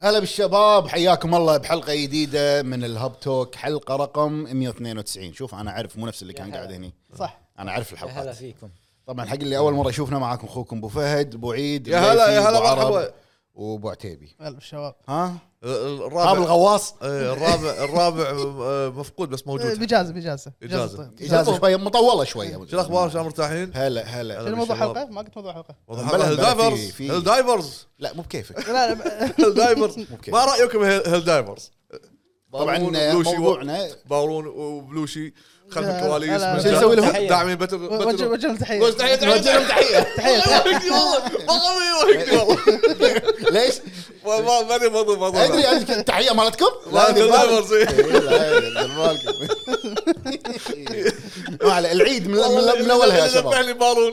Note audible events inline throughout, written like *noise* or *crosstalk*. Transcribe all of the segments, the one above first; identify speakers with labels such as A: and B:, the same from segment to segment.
A: هلا بالشباب حياكم الله بحلقه جديده من الهب توك حلقه رقم 192 شوف انا اعرف مو نفس اللي كان
B: هلا.
A: قاعد هني
C: آه.
B: صح
A: انا اعرف
B: يا هلا
A: الحلقات
B: فيكم
A: طبعا حق اللي اول مره يشوفنا معاكم اخوكم ابو فهد ابو عيد
C: يا هلا،
A: الليثي،
C: يا هلا،
A: أبو عرب،
C: مرحبا.
A: وابو عتيبي
D: هلا بالشباب
A: ها طاب
C: الرابع
A: الغواص
C: إيه، الرابع الرابع آه، مفقود بس موجود
D: بجازة بجازة
C: إجازة.
D: طيب.
A: اجازه شوي مطوله شوي
C: شو الاخبار شلون مرتاحين؟
A: هلا هلا
C: هلا.
D: شنو موضوع
C: بالشباب.
D: الحلقة؟ ما قلت موضوع
C: *laughs*
D: الحلقة
C: والله
A: بلا- بلا، في-
C: هالدايفرز
A: في-
C: هالدايفرز
A: لا مو بكيفك
D: لا لا
C: هالدايفرز
A: ممكن.
C: ما رايكم هال- هالدايفرز؟
A: طبعا
C: بارون وبلوشي
A: موضوعنا
C: بارون وبلوشي خلف
D: لا،
C: الكواليس
D: لا،
C: من
A: شو
C: جا-
A: نسوي لهم؟
B: تحية.
C: داعمين باتل
D: *laughs* وجه
C: باتل
D: وجه لهم تحية
C: وجه- تحية، تحية،
A: نوجه لهم
C: *laughs*
A: تحيه
D: تحية
C: وهكذا والله والله وهكذا والله
A: ليش؟
C: ما- ما ما ادري موضوع موضوع
A: ادري أدري التحيه مالتكم؟
C: لا،
A: هذه
C: الدايفرز، إيه.
A: لا، لا، بالك. ما عليه، العيد من, من, من اولها يا شباب
C: ذبحني بارون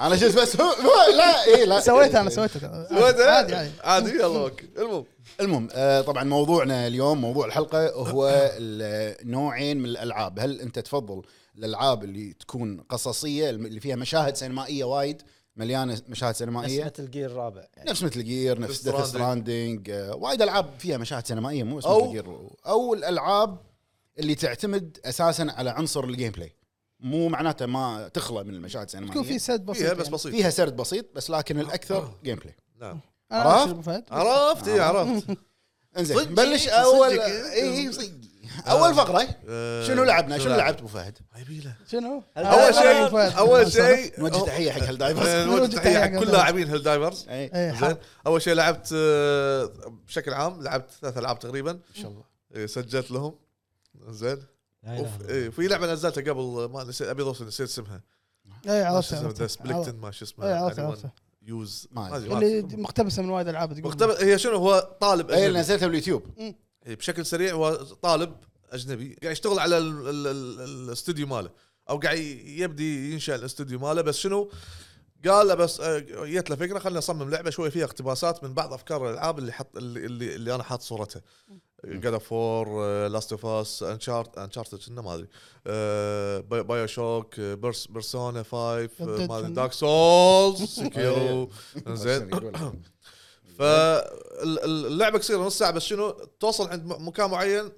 A: انا شفت بس هو هو- لا اي لا
D: سويتها أنا
C: *laughs*
D: سويتها عادي عادي
C: عادي يلا اوكي المهم
A: المهم آه، طبعا موضوعنا اليوم موضوع الحلقه هو ال- نوعين من الالعاب هل انت تفضل الالعاب اللي تكون قصصيه الم- اللي فيها مشاهد سينمائيه وايد مليانه مشاهد سينمائيه
B: اسمة الجير الرابع يعني.
A: نفس مثل جير نفس
C: Death
A: ديث
C: Stranding.
A: ستراندنج وايد العاب فيها مشاهد سينمائيه مو بس
C: أو-
A: مثل جير او الالعاب اللي تعتمد اساسا على عنصر الجيم بلاي مو معناته ما تخلى من المشاهد
D: تكون في
A: السينمائيه
D: سد بسيط
C: فيها بس
D: يعني.
C: بسيط
A: فيها سرد بسيط بس لكن الاكثر جيم بلاي
C: نعم
D: أنا
A: عرفت؟
D: أعرف شنو فهد.
C: عرفت اي عرفت
A: انزين
C: صدقي؟
A: نبلش إيه،
C: صدقي؟
A: اول
C: صدقي؟
A: اي
C: آه.
A: اول فقره شنو لعبنا شنو لعبت ابو فهد
C: عبيله
D: شنو؟
C: اول شيء
D: أبو فهد.
C: اول آه، شيء
A: نوجه تحيه حق
C: آه،
A: هالدايفرز
C: نوجه تحيه حق كل لاعبين هالدايفرز
A: إي.
D: إيه،
C: زين اول شيء لعبت آه، بشكل عام لعبت ثلاث العاب تقريبا ان
A: شاء الله.
C: سجلت لهم زين
B: لا
C: وف-
B: إله
C: إيه، في لعبه نزلتها قبل ما نسيت ابيض وأسود، نسيت اسمها
D: إيه،
C: ما
D: عرفتها
C: شو اسمها،
D: عرفتها.
C: ذا سبليكتن ما شو اسمه
D: إيه، عرفتها، عرفتها.
C: يوز
A: ما أدري.
D: اللي مقتبسة من وايد ألعاب تقول
C: مقتبس هي شنو هو طالب
D: إيه،
A: اي
C: أجنبي.
A: إيه، نزلتها باليوتيوب
C: إيه، بشكل سريع هو طالب اجنبي قاعد يشتغل على ال- ال- ال- الاستوديو ماله او قاعد يبدي ينشا الاستوديو ماله بس شنو قال له بس آه، جت له فكره خلينا نصمم لعبه شويه فيها اقتباسات من بعض افكار الالعاب اللي حط اللي, اللي, اللي انا حاط صورتها جاد اوف فور لاست اوف اس انشارت انشارتد كنا ما آه، ادري بايو شوك بيرسونا 5
D: Dead
C: آه، ما ادري
D: Dead.
C: دارك سولز سكيرو آه، زين فاللعبه قصيره نص ساعه بس شنو توصل عند م- مكان معين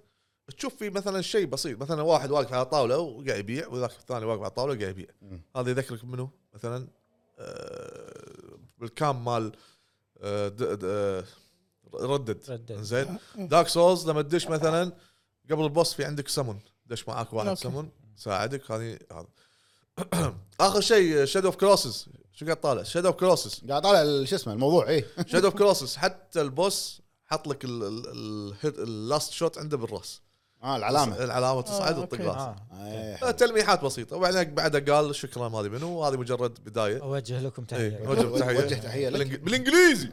C: تشوف فيه مثلا شيء بسيط مثلا واحد واقف على طاوله وقاعد يبيع وذاك الثاني واقف على طاوله وقاعد يبيع
A: مم.
C: هذا يذكرك منه مثلا آه، بالكام مال آه، د- د- آه، ردد
B: ردد.
C: زين دارك سولز لما تدش مثلا قبل البوس في عندك سمون دش معاك واحد
D: أوكي.
C: سمون ساعدك هذه هذا *coughs* اخر شيء شادو اوف كروسز شو قاعد طالع شادو اوف كروسز
A: قاعد طالع ال- شو اسمه الموضوع إيه. اي
C: شادو اوف كروسس حتى البوس حط لك ال- ال- ال- الهيد- اللاست شوت عنده بالراس
A: اه العلامه
C: العلامه تصعد
D: آه،
C: وتطق
D: أوكي.
C: راسه
B: آه.
A: إي، حلو.
C: تلميحات بسيطه وبعدين بعدها قال شكرا ما ادري منو هذه مجرد بدايه
B: اوجه لكم
C: إيه،
B: تحيه
C: وجه تحيه
A: وجه تحية لك.
C: بالإنج-
A: *laughs*
C: بالانجليزي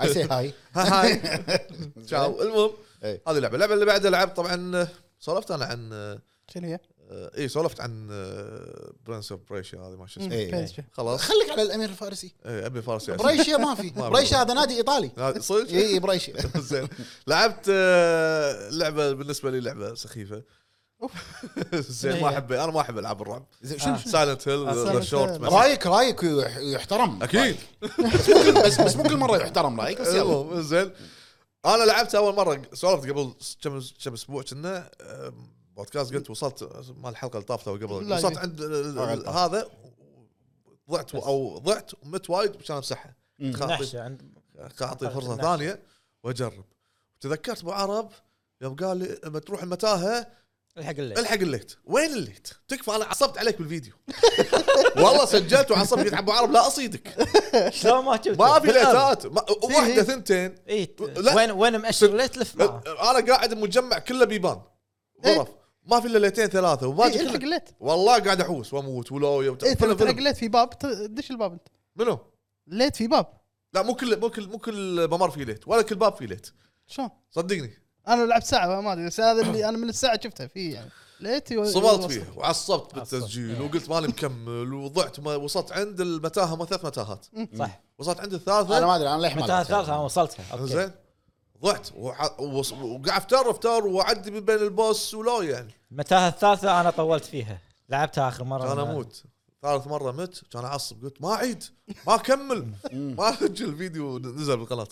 A: اي سي هاي
C: ها هاي تشاو المهم
A: إيه.
C: هذه اللعبه اللعبه اللي بعدها لعبت طبعا آه، سولفت انا عن آه،
D: شنو هي؟
C: اي سولفت عن آه، برنس اوف بريشيا هذه ما شو اسمه
A: إيه.
D: كيس شي.
C: خلاص
A: خليك على الامير الفارسي
C: إيه، ابي فارسي أسمع.
A: بريشيا ما في
C: *laughs* ما
A: بريشيا هذا نادي
C: *laughs*
A: ايطالي
C: هذا صدق
A: اي بريشيا
C: زين لعبت آه، لعبه بالنسبه لي لعبه سخيفه *laughs* زين ما
B: إيه.
C: احب انا ما احب العاب الرعب
A: زين،
B: آه.
A: شنو
C: سايلنت هيل
B: آه،
C: ذا
D: Silent Hill.
C: شورت
A: رايك رايك يح- يحترم
C: اكيد
A: بس بس مو كل مره يحترم رايك بس
C: *laughs*
A: يلا
C: المهم، زين انا لعبت اول مره سولفت قبل كم كم اسبوع كنا آه، بودكاست قلت وصلت مال الحلقه اللي طافت أو قبل
D: لا،
C: وصلت
D: إيه.
C: عند ال-
A: آه،
C: ال-
A: طافت.
C: هذا ضعت او ضعت ومت وايد عشان امسحها
A: مم.
C: خاطي-
B: نحشه عند
C: اعطي فرصه
B: نعم.
C: ثانيه واجرب تذكرت ابو عرب يوم قال لي لما تروح المتاهه
B: الحق الليل
C: الحق الليت وين الليت تكفى انا عصبت عليك بالفيديو *laughs* والله سجلت وعصبت قلت ابو عرب لا اصيدك
B: شلون ما شفت
C: ما في ليتات ما-
D: إيه.
C: واحده ثنتين
B: اي
C: لا.
B: إيه، وين وين مأشر ليت لف معه
C: انا قاعد مجمع كله بيبان غرف ما في الا ليتين ثلاثه
D: إيه،
C: وباقي
D: الحق
C: كله-
D: ليت
C: والله قاعد احوس واموت ولويا وت-
D: إيه،
C: فيلم-
D: تلحق
C: فيلم.
D: ليت في باب ت- دش الباب أنت
C: منو؟
D: ليت في باب
C: لا مو كل مو كل مو كل ممر فيه ليت ولا كل باب فيه ليت
D: شلون؟
C: صدقني
D: انا لعبت ساعه ما ادري بس هذا اللي انا من الساعه شفتها في يعني ليت يو-
C: صبرت
D: يوصل.
C: فيه وعصبت بالتسجيل
B: إيه.
C: وقلت ماني مكمل وضعت ما- وصلت عند المتاهه ما ثلاث متاهات
B: صح
C: وصلت عند
A: انا
C: الثالثه
A: ما ادري انا للحين ما
B: متى
A: لعبتها.
B: الثالثه انا وصلتها اوكي
C: زين ضعت وح- وص- وقاعد افتر افتر واعدي من بين البوس ولو يعني
B: المتاهه الثالثه انا طولت فيها لعبتها اخر مره
C: انا
B: لما-
C: اموت ثالث مره مت كان اعصب قلت ما اعيد ما اكمل ما اسجل فيديو نزل بالقناه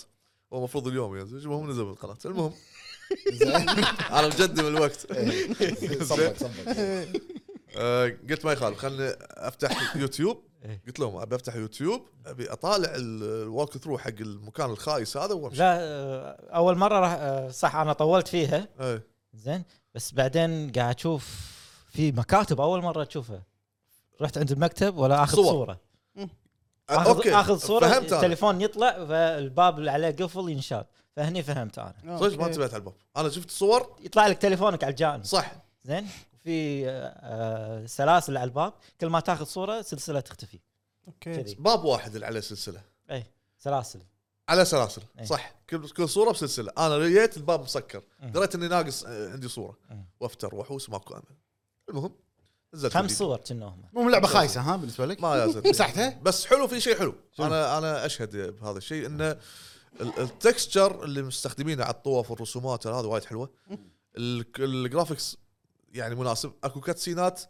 C: هو المفروض اليوم ينزل المهم نزل بالقناه المهم *laughs*
A: زين
C: انا مقدم الوقت
B: إيه.
C: *laughs*
A: صبك صبك
C: آه، قلت ما يخالف خلني افتح يوتيوب
B: إيه.
C: قلت لهم ابي افتح يوتيوب ابي اطالع الووك ثرو حق المكان الخايس هذا وامشي
B: لا آه، اول مره راح آه، صح انا طولت فيها
C: إيه.
B: زين بس بعدين قاعد اشوف في مكاتب اول مره اشوفها رحت عند المكتب ولا اخذ
C: صور.
B: صور, صورة.
C: آه،
B: اخذ
C: اوكي
B: اخذ صورة
C: فهمت انا
B: التليفون يطلع فالباب اللي عليه قفل ينشال فهني فهمت انا
D: آه،
C: صدق ما انتبهت على الباب انا شفت صور
B: يطلع لك تليفونك على الجانب
C: صح
B: زين في آه، سلاسل على الباب كل ما تاخذ صورة سلسلة تختفي
D: اوكي
B: كذي
C: باب واحد اللي عليه سلسله
B: اي سلاسل
C: على سلاسل
B: إيه.
C: صح كل كل صوره بسلسله انا لقيت الباب مسكر
B: إيه.
C: دريت اني ناقص آه، عندي صوره
B: إيه.
C: وافتر واحوس ماكو امل المهم نزلت
B: خمس
C: الفيديو.
B: صور كأنهم
A: المهم لعبه خايسه ها بالنسبه لك
C: ما
B: *laughs*
C: لازم
A: مسحتها؟
C: بس حلو في شيء حلو انا انا اشهد بهذا الشيء انه ال- التكستشر اللي مستخدمينه على الطوف والرسومات هذا وايد حلوه ال- الجرافيكس يعني مناسب اكو كاتسينات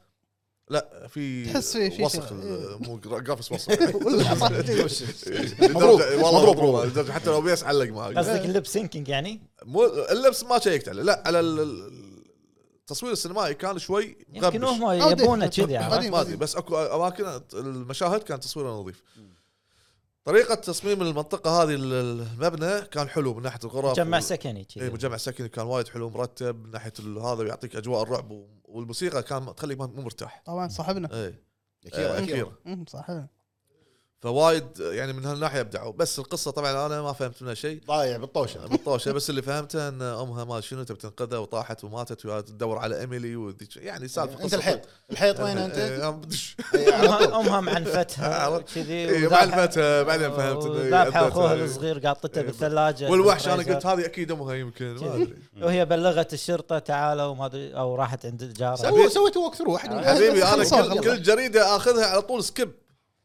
C: لا في
D: تحس في- في
C: وسخ
D: شيء.
C: ال-
D: إيه.
C: مو جرا-
D: *laughs*
C: جرافيكس وسخ
D: والله صح.
A: مبروك.
C: لدرجة- والله
A: مبروك.
C: مبروك لدرجة حتى لو بيس علق معك
B: قصدك اللب سينكينج يعني؟
C: مو اللبس ما شيكت عليه لا على ال- ال- التصوير السينمائي كان شوي
B: يمكن
C: مغبش.
B: هم
D: أو دي-
B: يبونه كذي يعني.
C: *laughs*
B: عرفت؟
D: قديم.
C: ما ادري بس اكو اماكن المشاهد كان تصويرها نظيف طريقة تصميم المنطقة هذه ال- المبنى كان حلو من ناحية الغرف
B: مجمع
C: وال-
B: سكني يعني.
C: اي
B: كذي
C: مجمع سكني كان وايد حلو مرتب من ناحية ال- هذا ويعطيك اجواء الرعب و- والموسيقى كان تخليك ما- مو مرتاح إيه،
D: طبعا صاحبنا
C: اي
A: أكيرا، أكيرا.
C: أكيرا.
D: مم، صاحبنا
C: فوايد يعني من هالناحية ابدعوا بس القصة طبعا انا ما فهمت منها شيء
A: ضايع بالطوشه
C: بالطوشه بس اللي فهمته ان امها ما شنو تبي تنقذها وطاحت وماتت وتدور على ايميلي وذيك يعني سالفه
A: انت الحيط الحيط وين انت؟
C: إيه، أنا بدش.
A: إيه، على طول.
B: امها
C: *laughs*
B: معنفتها
C: عرفت؟
B: كذي
C: إيه، ما علمتها بعدين فهمت إنه
B: ذابحه
C: أدتها.
B: اخوها الصغير قاطته
C: إيه.
B: بالثلاجه
C: والوحش انا
B: بالفريزر.
C: قلت هذه اكيد امها يمكن ما
D: إيه.
C: ادري
B: وهي بلغت الشرطه تعالوا ما ادري او راحت عند الجاره
A: سووا سويت وقت ثرو واحد من الحلقة.
C: حبيبي انا
A: خلصوا،
C: كل,
A: يلا.
C: كل جريده اخذها على طول سكيب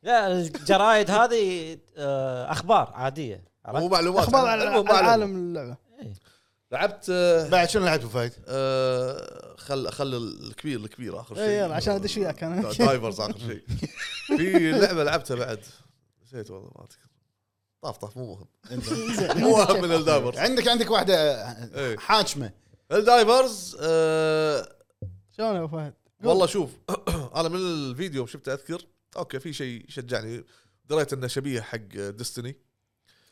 B: لا الجرايد هذه آه، اخبار عاديه
C: مو
B: عرفت؟
C: معلومات
D: اخبار على
C: المهم،
D: على
C: معلومات.
D: عالم اللعبه
C: لعبت آه،
A: بعد شنو لعبت فايت؟
C: آه، خل خل الكبير الكبير اخر شيء
D: إيه، يلا، عشان أدش وياك أنا.
C: *laughs* دا- دايفرز اخر
D: *laughs*
C: شيء في لعبه لعبتها بعد نسيت والله ما اذكر طاف طاف مو
D: *laughs*
C: مهم مو اهم من الدايفرز
A: عندك عندك واحده
C: إيه.
A: حاكمه
C: الدايفرز آه
D: شلون يا أبو فهد؟
C: والله شوف *clears throat* انا من الفيديو شفته اذكر اوكي في شيء شجعني دريت انه شبيه حق ديستني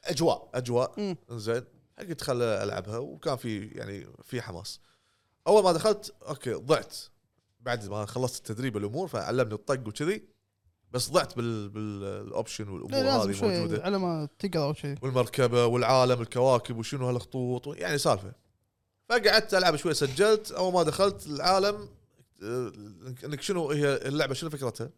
A: اجواء
C: اجواء
D: مم.
C: زين قلت خل العبها وكان في يعني في حماس اول ما دخلت اوكي ضعت بعد ما خلصت التدريب الامور فعلمني الطق وكذي بس ضعت بال بالاوبشن
D: لا
C: والامور
D: لازم
C: هذه
D: شوي
C: موجوده
D: على ما تقرا او شيء
C: والمركبه والعالم الكواكب وشنو هالخطوط يعني سالفه فقعدت العب شوي سجلت اول ما دخلت العالم آه، انك شنو هي اللعبه شنو فكرتها؟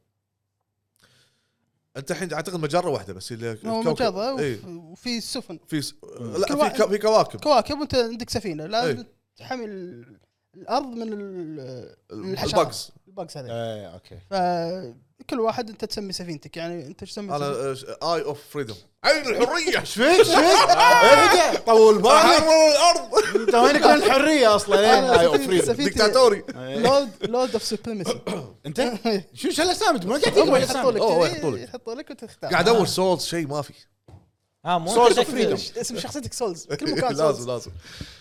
C: انت الحين اعتقد مجره واحده بس هي اللي
D: هو
C: الكوكب.
D: مجرة
C: إيه.
D: أه، وف- وفي سفن
C: في س... لا
D: كوا-
C: في, كو... في كواكب
D: كواكب وانت عندك سفينه
C: إيه.
D: لازم تحمي ال- الارض من ال- الحشرات.
C: البقز
D: الباجز
C: إيه.
D: هذه
A: ايه اوكي
D: فكل واحد انت تسمي سفينتك يعني انت ايش تسمي سفينتك؟
C: انا اي اوف فريدم عين الحريه
A: ايش فيك ايش
C: *laughs*
A: فيك؟ ارجع طول بالك
D: *laughs*
C: احرر الارض
A: انت وينك من الحريه
C: *laughs*
A: اصلا؟
D: أنا
A: ايوه
D: سفينتي-
A: فريدم
D: سفينتي
C: دكتاتوري
D: لود لود اوف سوبريمسي
A: *laughs* انت شو شو الاسامي ما *laughs* قاعد تجيب
D: هم يحطوا
A: الأسامي.
D: لك
C: *coughs* أوه،
D: كذي،
C: يحطوا لك.
D: يحطوا لك وتختار
C: قاعد ادور سولز شيء ما في
B: ها آه، مو
A: Source
B: انت
A: of
B: تكذب.
A: freedom.
D: اسم شخصيتك سولز
C: *laughs*
D: كل مكان
C: لازم
D: سولز
C: لازم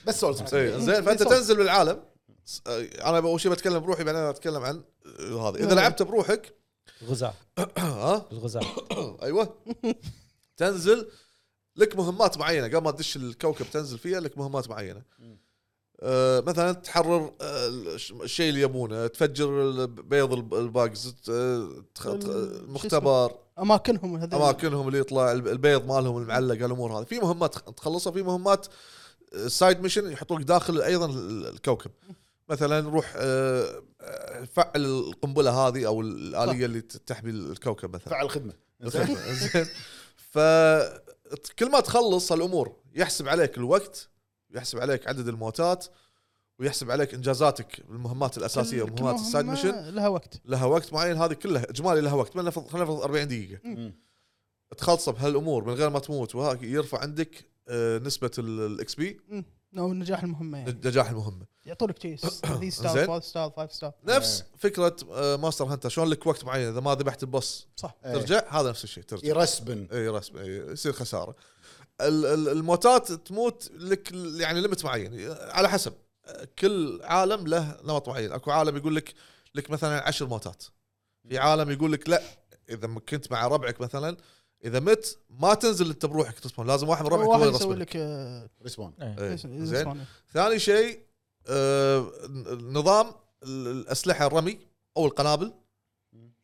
A: بس
C: *laughs*
A: سولز
C: إيه، زين فانت تنزل بالعالم س- آه، انا اول شيء بتكلم بروحي بعدين اتكلم عن آه، هذا
D: نعم.
C: اذا لعبت بروحك *coughs*
B: الغزاة
C: ها *coughs*
B: الغزاة
D: *laughs*
C: ايوه تنزل لك مهمات معينه قبل ما تدش الكوكب تنزل فيها لك مهمات معينه آه مثلا تحرر آه الش- الشيء اللي يبونه تفجر ال- بيض الب- الباجز ت- آه، تخ-
D: ال-
C: تخ-
D: شو اسمه؟
C: المختبر
D: اماكنهم هذول
C: اماكنهم اللي يطلع الب- البيض مالهم المعلق الامور هذه في مهمات تخ- تخلصها في مهمات سايد ميشن يحطوك داخل ايضا ال- الكوكب مثلا روح آه، آه، فعل القنبله هذه او الاليه اللي ت- تحمي الكوكب مثلا
A: فعل خدمه
C: الخدمة. زين ف كل ما تخلص الامور يحسب عليك الوقت يحسب عليك عدد الموتات ويحسب عليك انجازاتك بالمهمات الاساسيه
D: كل
C: مهمات السايد
D: مهمة
C: ميشن
D: لها وقت
C: لها وقت معين هذه كلها اجمالي لها وقت خلينا نفرض خلينا نفرض 40 دقيقه
A: مم.
C: تخلصه بهالامور من غير ما تموت وهاك يرفع عندك آه، نسبه الاكس بي
D: مم. او نجاح المهمه يعني
C: نجاح المهمه
D: يعطونك
C: *coughs*
D: كيس ثري
C: زين.
D: ستار فور ستار فايف ستار
C: نفس فكره آه، ماستر هانتر شلون لك وقت معين اذا ما ذبحت ببص
D: صح
A: إيه.
C: ترجع هذا نفس الشيء ترجع
A: يرسبن
C: اي رسم اي يصير خساره ال- ال- الموتات تموت لك ل- يعني ليمت معين على حسب كل عالم له نمط معين اكو عالم يقول لك لك مثلا عشر موتات في عالم يقول لك لا اذا م- كنت مع ربعك مثلا اذا مت ما تنزل انت بروحك تصمم لازم واحد من ربعك هو
D: واحد
C: يرسم
D: يسوي
C: لك.
D: لك آه،
A: ريسبون
C: إيه،
D: يسوي-
C: زين
D: يسوي-
C: ثاني شيء آه، نظام ال- الاسلحه الرمي او القنابل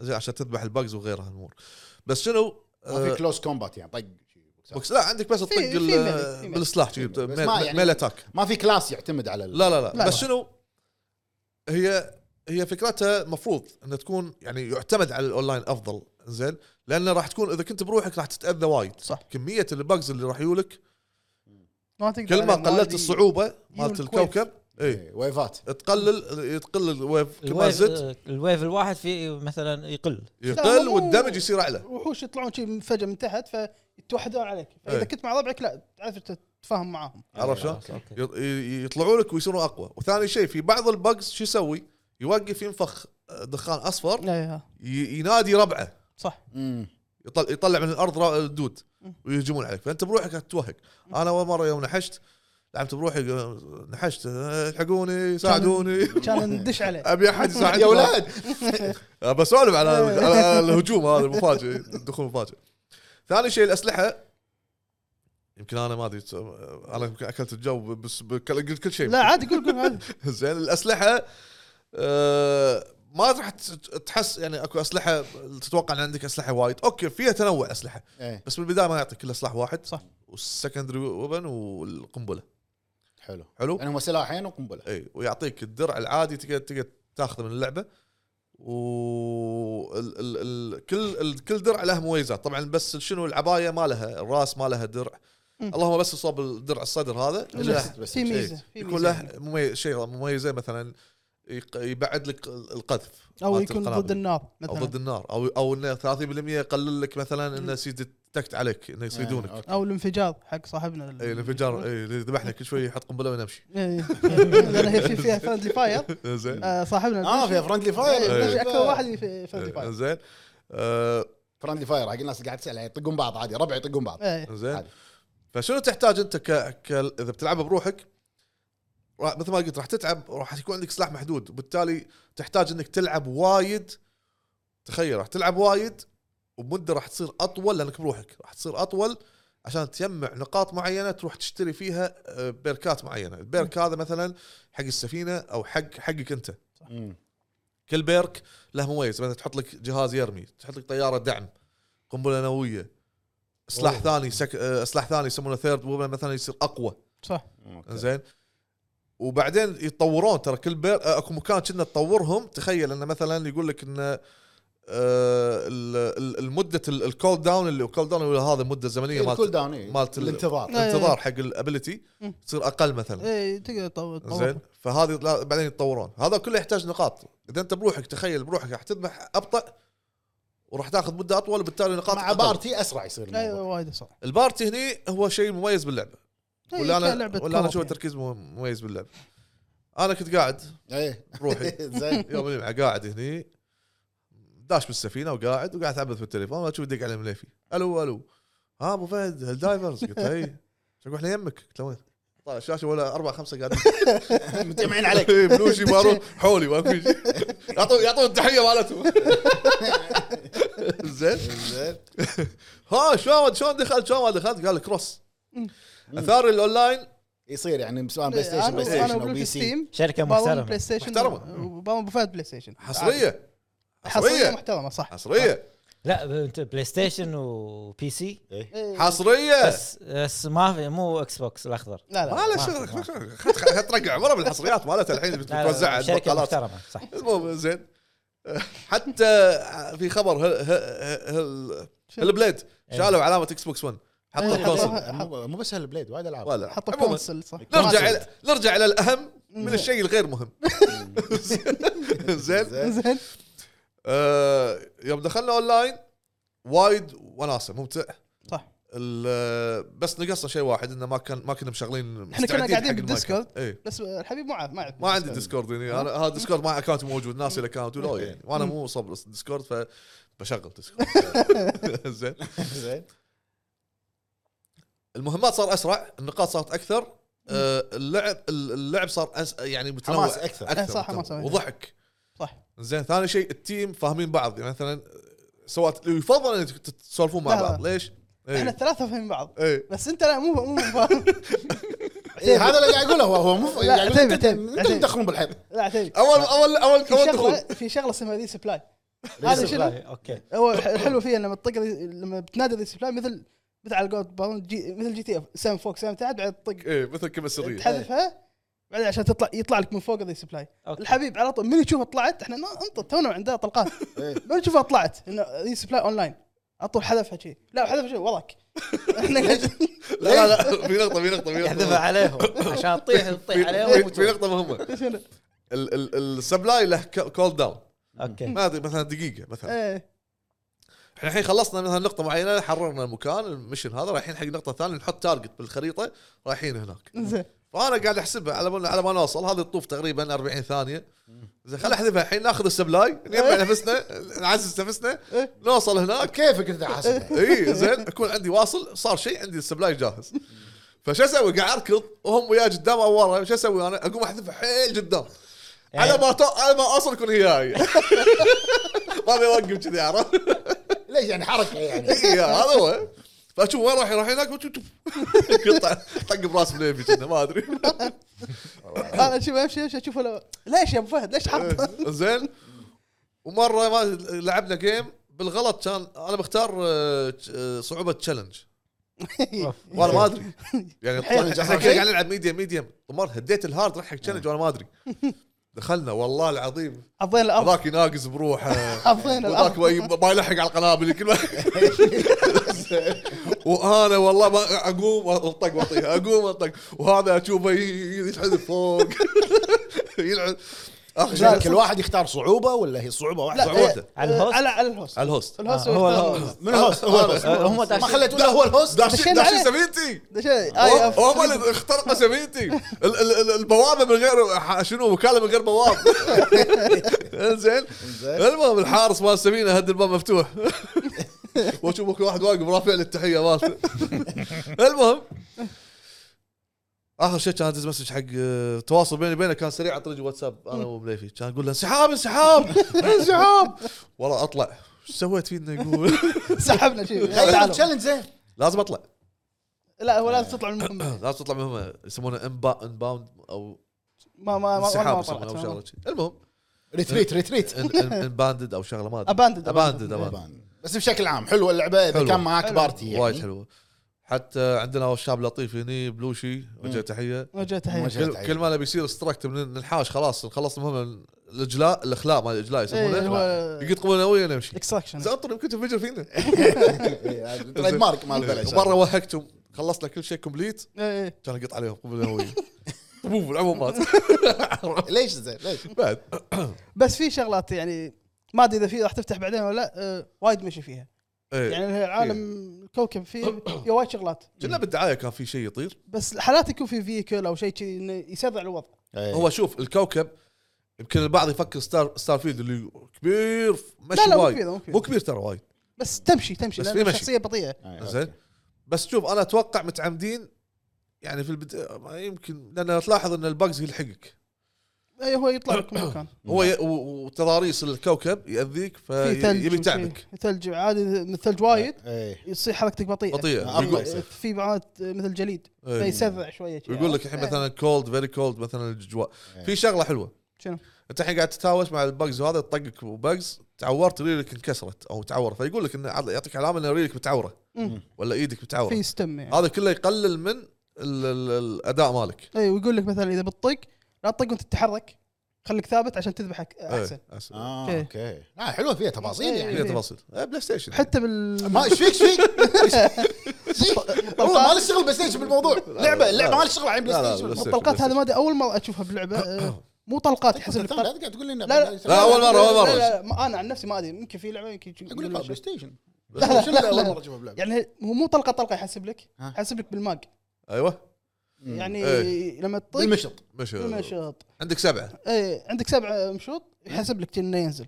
C: زين عشان تذبح الباجز وغيرها الامور بس شنو
A: ما
C: آه،
A: في كلوز كومبات يعني طق
C: بوكس لا عندك بس تطق
D: في
C: ال-
D: melee، في melee.
C: بالسلاح شي،
A: بس ما
C: ميل
A: يعني-
C: ميل اتاك
A: ما في كلاس يعتمد على ال-
C: لا لا لا
D: لا،
C: بس
D: لا.
C: شنو هي هي فكرتها المفروض انها تكون يعني يعتمد على الاونلاين افضل زين لان راح تكون اذا كنت بروحك راح تتاذى وايد
D: صح.
C: كميه الباجز اللي راح يولك
D: ما تقدر
C: كل ما
D: عليه،
C: قللت
D: دي-
C: الصعوبه مالت
D: يجون
C: الكوكب اي
A: إيه، ويفات
C: تقلل تقل الويف كل ما
B: الويف- آه.
C: زدت
B: الويف الواحد في مثلا يقل
D: لا،
C: يقل
D: مو-
C: والدمج يصير اعلى
D: وحوش يطلعون شي فجاه من تحت فيتوحدون عليك فاذا
C: إيه.
D: كنت مع ربعك لا تعرف تتفاهم معاهم
C: عرفت شلون؟
B: خلاص، آه، أوكي.
C: يط- ي- يطلعوا لك ويصيرون اقوى وثاني شيء في بعض البجز شو يسوي؟ يوقف ينفخ آه، دخان اصفر
D: لا
C: ي- ينادي ربعه
D: صح
A: مم.
C: يطلع, يطلع من الارض را- الدود
D: مم.
C: ويهجمون عليك فانت بروحك تتوهق انا اول مره يوم نحشت لعبت بروحي آه، نحشت آه،
D: *laughs*
C: الحقوني ساعدوني *laughs*
D: كان ندش عليه
C: ابي احد يساعدني
A: يا
C: *laughs*
A: اولاد
C: بسولف على
D: *laughs*
C: على الهجوم هذا المفاجئ الدخول المفاجئ ثاني شيء الاسلحه يمكن انا ما ادري انا يمكن اكلت الجو بس بك- قلت كل شيء
D: لا عادي قول قول عادي
C: *laughs* زين الاسلحه آه، ما راح تت- تحس يعني اكو اسلحه تتوقع ان عندك اسلحه وايد اوكي فيها تنوع اسلحه
A: ايه
C: بس بالبدايه ما يعطيك كل سلاح واحد
D: صح.
C: والسكندري وبن والقنبله
A: حلو
C: حلو
A: يعني هم سلاحين وقنبله
C: اي ويعطيك الدرع العادي تقدر تقدر تاخذه من اللعبه و ال... ال... ال... كل ال... كل درع له مميزات طبعا بس شنو العبايه ما لها الراس ما لها درع
D: مم.
C: اللهم بس صوب الدرع الصدر هذا
A: بس-
C: له
A: بس-
D: في
A: بس-
D: ميزه
C: إيه.
D: في
C: يكون
D: ميزة.
C: له مميز شيء مميزه مثلا يق- يبعد لك القذف
D: او
C: مالت
D: يكون
C: القنابل.
D: ضد النار
C: او
D: مثلا
C: ضد النار او او انه 30% يقلل لك مثلا انه
D: مم.
C: يصير تكت عليك انه
A: إيه،
C: يصيدونك
A: أوكي.
D: او الانفجار حق صاحبنا ال-
C: اي إيه، الانفجار اي اللي ذبحنا كل شوي يحط قنبله ونمشي
D: *laughs* إيه. لان هي في- فيها فرندلي فاير *laughs*
C: زين
D: آه، صاحبنا
A: اه فيها فرندلي فاير
D: إيه، اكثر
A: آه،
D: واحد في فرندلي فاير
C: زين آه،
A: فرندلي فاير حق الناس اللي قاعد تسال يعني يطقون بعض عادي ربع يطقون بعض
D: إيه.
C: زين
A: عادي.
C: فشنو تحتاج انت ك... ك... اذا بتلعبها بروحك راح مثل ما قلت راح تتعب راح يكون عندك سلاح محدود وبالتالي تحتاج انك تلعب وايد تخيل راح تلعب وايد ومده راح تصير اطول لانك بروحك راح تصير اطول عشان تجمع نقاط معينه تروح تشتري فيها آه، بيركات معينه البيرك هذا مثلا حق السفينه او حق حقك انت
D: إيه.
A: مم.
C: كل بيرك له مميز مثلا تحط لك جهاز يرمي تحط لك طياره دعم قنبله نوويه سلاح
A: أوه.
C: ثاني سك... آه، سلاح ثاني يسمونه ثيرد ويبن مثلا يصير اقوى
D: صح
A: أوكي.
C: زين وبعدين يتطورون ترى كل بير آه، اكو مكان كنا تطورهم تخيل انه مثلا يقول لك انه آه، ال- ال- المده الكول داون اللي الكول داون هذا مده زمنيه
A: إيه، الكول
C: مالت
A: داون إيه.
C: مالت ال-
A: الانتظار
D: لا.
C: الانتظار حق الابيلتي
D: مم.
C: تصير اقل
A: إيه.
C: مثلا
D: اي إيه، تقدر تطور
C: زين
D: تطور.
C: فهذه لا- بعدين يتطورون هذا كله يحتاج نقاط اذا انت بروحك تخيل بروحك راح تذبح ابطا وراح تاخذ مده اطول وبالتالي نقاط
A: مع
C: أقل.
A: بارتي اسرع يصير
D: لا،
A: الموضوع.
D: إيه، وايد صعب
C: البارتي هني هو شيء مميز باللعبه
D: إيه،
C: ولا انا
D: كلعبة
C: ولا انا
D: كوب
C: اشوف
D: يعني.
C: التركيز مم- مميز باللعبه انا كنت قاعد
A: *laughs* ايه
D: *laughs*
C: بروحي
A: زين
C: يوم الجمعه قاعد هني داش بالسفينه وقاعد وقاعد اتعبث بالتليفون واشوف يدق علي مليفي الو الو ها ابو فهد هل دايفرز قلت له اي شو احنا يمك قلت له وين طالع الشاشه ولا اربع خمسه قاعدين
A: متجمعين
C: *laughs*
A: عليك
C: إيه، بلوشي مارون حولي ما في شيء يعطون يعطون التحيه مالتهم زين
A: زين
C: ها شلون شلون دخلت شلون ما دخلت قال كروس اثار الاونلاين
A: يصير يعني سواء بلاي
D: إيه، أنا-
A: ستيشن بلاي ستيشن او
D: انا
A: بي
D: بلوك
A: سي
D: ستيم
B: شركه
D: باون بلاي
B: محترمه
D: ستيشن
C: محترمة.
D: وباون ابو فهد بلاي ستيشن
C: حصريه
D: حصريه
C: حصريه
D: محترمه صح
C: حصريه
B: لا انت بلاي ستيشن وبي سي
D: إيه.
C: حصريه
B: بس بس ما في مو اكس بوكس الاخضر
D: لا
C: ما
D: لا
C: له شغل ترقع عمره بالحصريات مالتها الحين
B: لا، لا،
C: بتوزعها
B: شركه
C: البقالات
B: محترمه
C: *laughs*
B: صح
C: المهم زين حتى في خبر هل هل هل البليد شالوا علامه اكس بوكس 1 حطوا
D: إيه،
C: الكونسل
D: حطوها.
A: مو مو بس هالبليد وايد العاب
C: ولا
D: حطوا
C: عموماً.
D: كونسل صح
C: نرجع
D: كونسل.
C: الى نرجع الى الاهم من الشيء
D: *laughs*
C: الغير مهم زين
D: زين
C: آه، يوم دخلنا اونلاين وايد وناسه ممتع
D: صح
C: ال- آه، بس نقصنا شيء واحد انه ما كان ما كنا مشغلين
D: إحنا كنا
C: مستعدين
D: قاعدين
C: حق المايك.
D: بالديسكورد.
C: اي
D: بس الحبيب مو عارف ما عندي
C: ما عندي ديسكورد يعني انا هذا ديسكورد ما اكونت موجود ناسي
D: *laughs*
C: الاكونت ولا يعني وانا مو صبر ديسكورد فبشغل ديسكورد
D: *laughs*
C: *laughs* زين
A: *laughs* زين
C: المهمات صار اسرع النقاط صارت اكثر آه، اللعب اللعب صار أس... يعني متنوع
A: حماس أكثر.
D: إيه، صح، حماس
C: متنوع.
D: أكثر.
C: وضحك
D: صح.
C: زين ثاني شيء التيم فاهمين بعض يعني مثلا سواء يفضل ان تت- تسولفون مع
D: لا، لا.
C: بعض ليش؟ إيه.
D: احنا
C: اي
D: الثلاثه فاهمين بعض
C: اي
D: بس انت لا مو مو مو *laughs* فاهم
A: إيه هذا اللي قاعد اقوله هو هو مو
D: لا،
A: قاعد
D: عتيبي،
A: يقول أنت-
D: عتيبي،
A: انتم
D: عتيبي.
A: تدخلون بالحب
D: لا عتيبي
C: اول اول اول
D: في
C: اول
D: شغله
C: دخول
D: في شغله اسمها ذي سبلاي هذا شنو؟
B: لا، اوكي
D: هو الح- الحلو فيها لما تطق ذي- لما بتنادي ذي سبلاي مثل مثل على قولة بالون جي مثل جي تي اف سام فوق سام تحت بعد تطق
C: اي إيه، مثل كلمه سريه
D: تحذفها بعدين عشان تطلع يطلع لك من فوق ذي سبلاي
B: أوكي.
D: الحبيب على طول من يشوفها طلعت احنا نا- انطر تونا عندها طلقات من يشوفها طلعت انه ذي سبلاي اون لاين على طول حذفها شي لا حذفها شي وضعك احنا
C: لا لا
D: إيه.
C: لا *laughs* في نقطه في نقطه في
D: يعني
B: يحذفها
C: نقطه
B: عليهم عشان تطيح تطيح
C: في-
B: عليهم
C: في- في
B: وتروح.
C: نقطه
D: *laughs*
C: مهمه ال- ال- السبلاي له كول داون *laughs*
B: اوكي
C: ما ادري مثلا دقيقه مثلا
D: ايه
C: احنا الحين خلصنا مثلا نقطه معينه حررنا المكان المشن هذا رايحين حق نقطه ثانيه نحط تارجت بالخريطه رايحين هناك
D: زين
C: فانا قاعد احسبها على ما على ما نوصل هذه الطوف تقريبا 40 ثانيه زين خل احذفها الحين ناخذ السبلاي نجمع نفسنا نعزز نفسنا نوصل هناك
A: كيفك انت حاسبها
C: اي زين اكون عندي واصل صار شيء عندي السبلاي جاهز فش اسوي قاعد اركض وهم وياي قدام او ورا شو اسوي انا اقوم احذفها حيل قدام على ما تو... على ما اوصل يكون هي هاي *laughs* ما ابي اوقف كذي عرفت
A: ليش يعني حركه يعني
C: إيه، هذا هو فاشوف وين راح يروح هناك وتشوف- *laughs* يقطع طق براس بليفي كنا ما ادري
D: انا اشوف امشي امشي اشوف لو- ليش يا ابو فهد ليش حط
C: *laughs* زين ومره ما لعبنا جيم بالغلط كان انا مختار آه، آه، صعوبه تشالنج
B: أوف.
C: وانا ما ادري يعني
D: الحين
C: احنا كنا قاعدين نلعب ميديم ميديم طمار هديت الهارد راح حق تشالنج وانا ما ادري دخلنا والله العظيم
D: حطينا الارض
C: هذاك يناقص بروحه
D: حطينا
C: وذاك
D: الارض
C: ما يب- ما يلحق على القنابل كل ما- وانا والله ما اقوم انطق واطيها اقوم انطق وهذا اشوفه ي- ي- يتحذف فوق *laughs* يلعب اخر
A: عشان
C: شيء
A: كل واحد يختار صعوبه ولا هي صعوبه واحده
D: لا
C: صعوبته.
D: إيه،
B: على الهوست؟
D: على على الهوست
C: على الهوست
D: الهوست
B: آه، هو الهوست.
D: الهوست.
A: من الهوست هو الهوست
B: آه، هم
A: ما
B: داشين-
A: خليت ولا هو الهوست
C: داشين
D: دشينا
C: داشين
D: عليه.
C: سفينتي
D: ده آه، شيء
C: آه،
D: آي أف-
C: هم اللي اخترقوا سفينتي ال- ال- ال- البوابه من غير ح- شنو وكاله من غير بواب زين
A: إنزين.
C: المهم الحارس مال السفينه هد الباب مفتوح واشوف كل واحد واقف رافع لي التحيه مالته المهم اخر شيء كان ادز مسج حق آه، تواصل بيني وبينه كان سريع اطرج واتساب انا وبليفي كان اقول له انسحاب انسحاب انسحاب والله اطلع شو سويت فينا يقول *laughs*
D: سحبنا شيء
A: خلينا
D: تعالوا.
A: تشالنج زين
C: لازم اطلع
D: لا هو لازم تطلع من المهمه
C: لا تطلع مهمه يسمونها انبا انباوند او
D: ما ما ما
C: انسحاب
D: ما
C: يسمونها او شغله
D: طلعت
C: شي. المهم
A: ريتريت ريتريت
D: *laughs*
C: انباندد او شغله ما ادري
D: اباندد
C: اباندد اباندد
A: بس بشكل عام حلوه اللعبه اذا
C: حلوة.
A: كان معاك
D: حلوة.
A: بارتي يعني
C: وايد حلوه حتى عندنا شاب لطيف هني بلوشي وجه تحيه
D: وجه تحيه
A: وجه
C: كل,
A: تحية. *laughs*
C: كل ما نبي يصير استراكت من ننحاش خلاص نخلص المهمه الاجلاء الاخلاء مال الاجلاء
D: إيه،
C: يسمونه
D: هو-
C: يقط قوه
D: *laughs*
C: نوويه نمشي
D: اكستراكشن
C: زين انطر يمكن تنفجر
A: *laughs*
C: فينا
A: تريد إيه، يعني طيب، مارك مال بلش
C: مره وهقتهم خلصنا كل شيء كومبليت
D: إيه، إيه.
C: كان يقط عليهم قوه
A: *laughs*
C: نوويه طبوب
D: *laughs*
C: العمومات
A: ليش زين ليش
C: بعد
D: بس في شغلات يعني ما ادري اذا في راح تفتح بعدين ولا لا آه، وايد مشي فيها
C: إيه.
D: يعني العالم الكوكب
C: *coughs*
D: فيه فيه وايد شغلات
C: كنا بالدعايه كان في شيء يطير
D: بس حالات يكون في فيكل او شيء كذي انه يسرع الوضع
A: هو
C: هو شوف الكوكب يمكن البعض يفكر ستار ستار فيلد اللي كبير مشي
D: لا، لا، مو
C: وايد
D: كبير، مو
C: مو
D: كبير.
C: كبير, ترى وايد
D: بس تمشي تمشي
C: بس
D: لان
C: في مشي.
D: الشخصيه بطيئه
A: إيه، يعني
C: زين بس شوف انا اتوقع متعمدين يعني في البدايه ما يمكن لان تلاحظ ان الباجز يلحقك
D: إيه، هو يطلع لك
C: *coughs*
D: من مكان
C: هو ي... و- وتضاريس الكوكب ياذيك
D: في ثلج
C: فيبي آه، يتعبك إيه.
D: وفي ثلج عادي من الثلج وايد
A: ايه
D: يصير حركتك بطيئه
C: بطيئه
A: آه،
C: ويقول-
A: أبطأ.
D: في بعض مثل جليد
C: إيه.
D: فيسرع شويه شي.
C: ويقول لك الحين مثلا كولد فيري كولد مثلا الجواء
A: إيه.
C: في شغله حلوه
D: شنو؟
C: انت الحين قاعد تتهاوش مع البجز وهذا طقك وبجز تعورت ريلك انكسرت او تعور فيقول لك انه عض- يعطيك علامه ان ريلك متعوره
D: مم.
C: ولا ايدك متعوره
D: في ستم يعني
C: هذا كله يقلل من ال- ال- الاداء مالك
D: اي إيه، ويقول لك مثلا اذا بتطق لا تطق وانت تتحرك خليك ثابت عشان تذبحك احسن
C: إيه، احسن
A: اه اوكي آه، حلوه فيها تفاصيل
D: إيه.
A: يعني
C: فيها تفاصيل إيه، بلاي ستيشن
D: حتى بال
A: ما ايش فيك ايش فيك؟
C: *laughs*
A: إيش فيك؟ والله ما لي شغل بلاي ستيشن بالموضوع لعبه اللعبه ما لي شغل عن بلاي
C: لا، لا،
A: ستيشن
C: بلاي ستيشن.
D: الطلقات هذا ما أدري، اول مره اشوفها بلعبه
C: *coughs*
D: آه، مو طلقات يحس
A: لا
D: إنك طلق-
A: قاعد تقول لي إنه
D: لا
A: بلاي
D: لا
A: ستيشن.
C: أول مرة، أول مرة.
D: لا، لا، لا، ما- انا عن نفسي ما ادري يمكن في لعبه يمكن
A: اقول لك بلاي ستيشن
C: بس-
D: لا، لا.
A: شنو اللي اول مره اشوفه بلعب؟
D: يعني هو مو طلقه طلقه يحسب لك
A: ها.
D: يحسب لك بالماج
C: ايوه
A: مم.
D: يعني
C: إيه.
D: لما تطق
A: بالمشط
C: مش
D: بالمشط
C: عندك سبعه
D: اي عندك سبع مشوط يحسب لك انه ينزل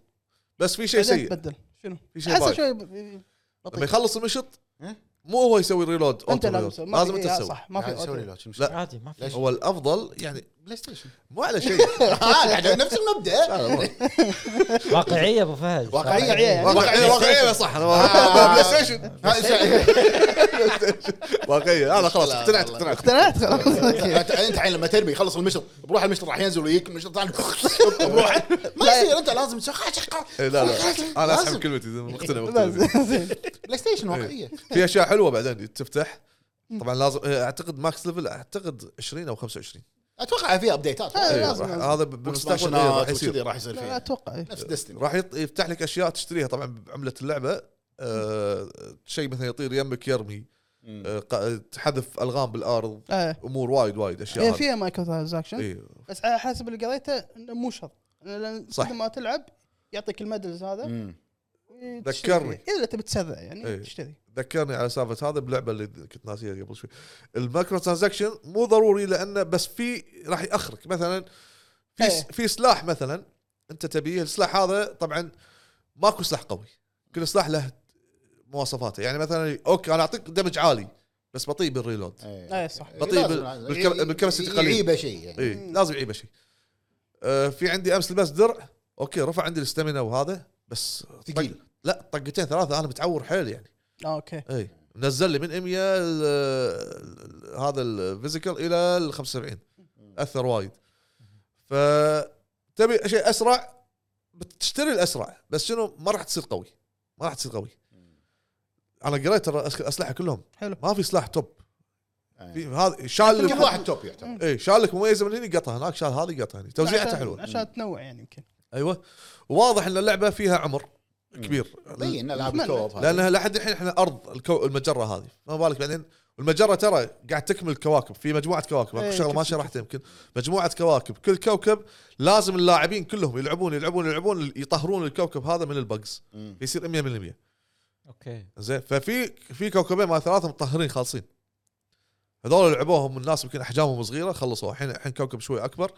C: بس في شيء
D: بعدين
C: سيء
D: تبدل شنو؟
C: في شيء
D: حسب
C: بايخ.
D: شوي
C: لما
D: بطيء
C: يخلص المشط
A: إيه؟
C: مو هو يسوي ريلود
D: انت
C: أوتو
D: لازم
C: ريلود.
D: تسوي ما
C: لازم
D: في-
C: انت
D: إيه،
C: تسوي
D: صح ما في
A: قاعد يسوي
D: أوتو.
A: ريلود شو
C: لا.
A: مشكلة؟
B: عادي ما في
A: ليش؟
C: هو الافضل يعني
A: بلاي
C: *laughs*
A: ستيشن
C: مو على
D: *laughs*
C: شيء
A: آه، قاعد نفس المبدا
C: لا،
A: *laughs*
C: لا،
B: واقعيه ابو فهد
A: واقعيه
D: واقعية يعني.
C: واقعيه
D: *laughs*
C: واقعيه صح انا ما- بلاي ستيشن
A: آه،
C: *laughs*
A: إيش-
C: واقعيه انا خلاص
A: لا،
C: اقتنعت
A: لا،
D: اقتنعت
C: اقتنعت *laughs*
D: *laughs* خلاص أوكي.
A: انت أنت الحين لما ترمي يخلص المشط بروح المشط راح ينزل ويجيك المشط
C: *laughs*
A: ثاني بروح ما يصير انت لازم تسخ- تسخ-
C: إيه،
D: *laughs*
C: لا لا انا
A: لازم.
C: اسحب كلمتي مقتنع
D: بس،
C: مقتنع
D: *laughs* زين.
A: بلاي ستيشن
C: إيه.
A: واقعيه
C: في اشياء حلوه بعدين تفتح طبعا لازم إيه، اعتقد ماكس ليفل اعتقد 20 او 25
A: اتوقع فيها ابديتات
D: إيه،
C: أيوة،
D: لازم،
C: راح-
D: لازم.
C: هذا بالمستقبل إيه، راح
A: واكسبانشنات
C: يصير
A: وكذي راح يصير
D: لا، لا
A: فيها
D: اتوقع إيه.
A: نفس ديستني
C: راح يط- يفتح لك اشياء تشتريها طبعا بعمله اللعبه آه، شيء مثلا يطير يمك يرمي آه، ق- تحذف الغام بالارض
D: إيه.
C: امور وايد وايد
D: إيه،
C: اشياء
D: فيها مايكرو ترانزاكشن
C: إيه.
D: بس على حسب اللي قريته انه مو شرط لان
C: صح.
D: كل ما تلعب يعطيك الميدلز هذا
A: مم.
D: تشتري
C: ذكرني.
D: فيه. اذا تبي تسرع يعني
C: إيه.
D: تشتري
C: ذكرني على سالفه هذا بلعبه اللي كنت ناسيها قبل شوي المايكرو ترانزاكشن مو ضروري لانه بس في راح ياخرك مثلا في
D: إيه.
C: في سلاح مثلا انت تبيه السلاح هذا طبعا ماكو سلاح قوي كل سلاح له مواصفاته يعني مثلا اوكي انا اعطيك دمج عالي بس بطيء بالريلود
A: إيه.
D: اي صح
C: بطيء
A: لازم-
C: بال-
A: لازم.
C: بالكم-
A: ي-
C: بالكبسيتي قليل.
A: يعيبه شيء يعني
C: اي إيه، لازم يعيبه شيء آه في عندي امس لبس درع اوكي رفع عندي الاستامينا وهذا بس طق-
A: ثقيل.
C: لا طقتين ثلاثه انا متعور حيل يعني
D: آه، اوكي
C: اي نزل لي من 100 ال- ال- هذا الفيزيكال الى ال 75 اثر وايد ف تبي شيء اسرع بتشتري الاسرع بس شنو ما راح تصير قوي ما راح تصير قوي انا قريت ترى أس- اسلحه كلهم
D: حلو
C: ما في سلاح توب
A: إيه.
C: في هذا شال
A: كل
C: لك
A: واحد توب يعتبر
C: اي شال لك مميزه من هنا قطها هناك شال هذه قطها هنا توزيعتها
D: عشان-
C: حلوه
D: عشان تنوع يعني يمكن
C: ايوه واضح ان اللعبه فيها عمر كبير
A: بين العاب
D: أتمنى.
A: الكوب هذه.
C: لانها لحد الحين احنا ارض الكو المجره هذه ما بالك بعدين المجره ترى قاعد تكمل كواكب في مجموعه كواكب اكو
D: إيه،
C: شغله ما
D: شفت-
C: شرحتها يمكن مجموعه كواكب كل كوكب لازم اللاعبين كلهم يلعبون يلعبون يلعبون يطهرون الكوكب هذا من البجز
A: مم.
C: يصير 100%
B: اوكي
C: زين ففي في كوكبين ما ثلاثه مطهرين خالصين هذول لعبوهم الناس يمكن احجامهم صغيره خلصوا الحين الحين كوكب شوي اكبر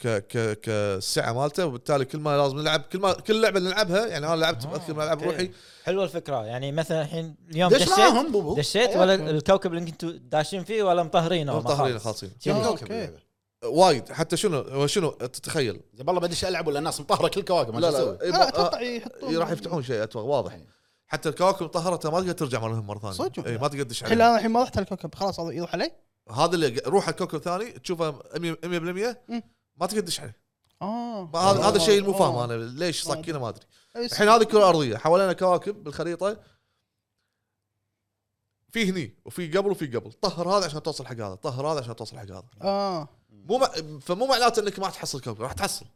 C: ك ك كالسعه مالته وبالتالي كل ما لازم نلعب كل ما كل لعبه نلعبها يعني انا لعبت
B: آه،
C: اذكر ما العب
B: أوكي.
C: روحي
B: حلوه الفكره يعني مثلا الحين اليوم
A: دش
B: دشيت
A: معاهم بوبو
B: دشيت ولا الكوكب اللي انتم داشين فيه ولا مطهرينه
C: مو
B: ولا
C: مطهرين خالصين
A: كم
D: آه،
A: كوكب
D: أوكي.
A: اللعبة؟
C: وايد حتى شنو هو شنو تتخيل
A: زين والله بدش العب ولا الناس مطهره كل كواكب ما
C: لا
A: تسوي.
C: لا إيه،
D: لا
C: ما-
D: اتوقع
C: آه،
D: يحطون
C: راح يفتحون شيء اتوقع واضح
A: إيه.
C: حتى الكواكب مطهرتها ما تقدر ترجع مرهم مره ثانيه
D: صدق؟
C: اي إيه، ما تقدر تدش
D: الحين
C: عليها.
D: انا الحين ما رحت على الكوكب خلاص هذا يروح علي
C: هذا اللي روح على كوكب ثاني تشوفه 100%
D: مم.
C: ما تقدر تدش عليه
D: اه
C: ما هذا هذا الشيء اللي مو
D: آه.
C: فاهمه انا ليش صكينا ما ادري
D: إيه،
C: الحين هذه كره ارضيه حوالينا كواكب بالخريطه في هني وفي قبل وفي قبل طهر هذا عشان توصل حق هذا طهر هذا عشان توصل حق هذا
D: اه
C: مو مع... فمو معناته انك ما راح تحصل كوكب راح تحصل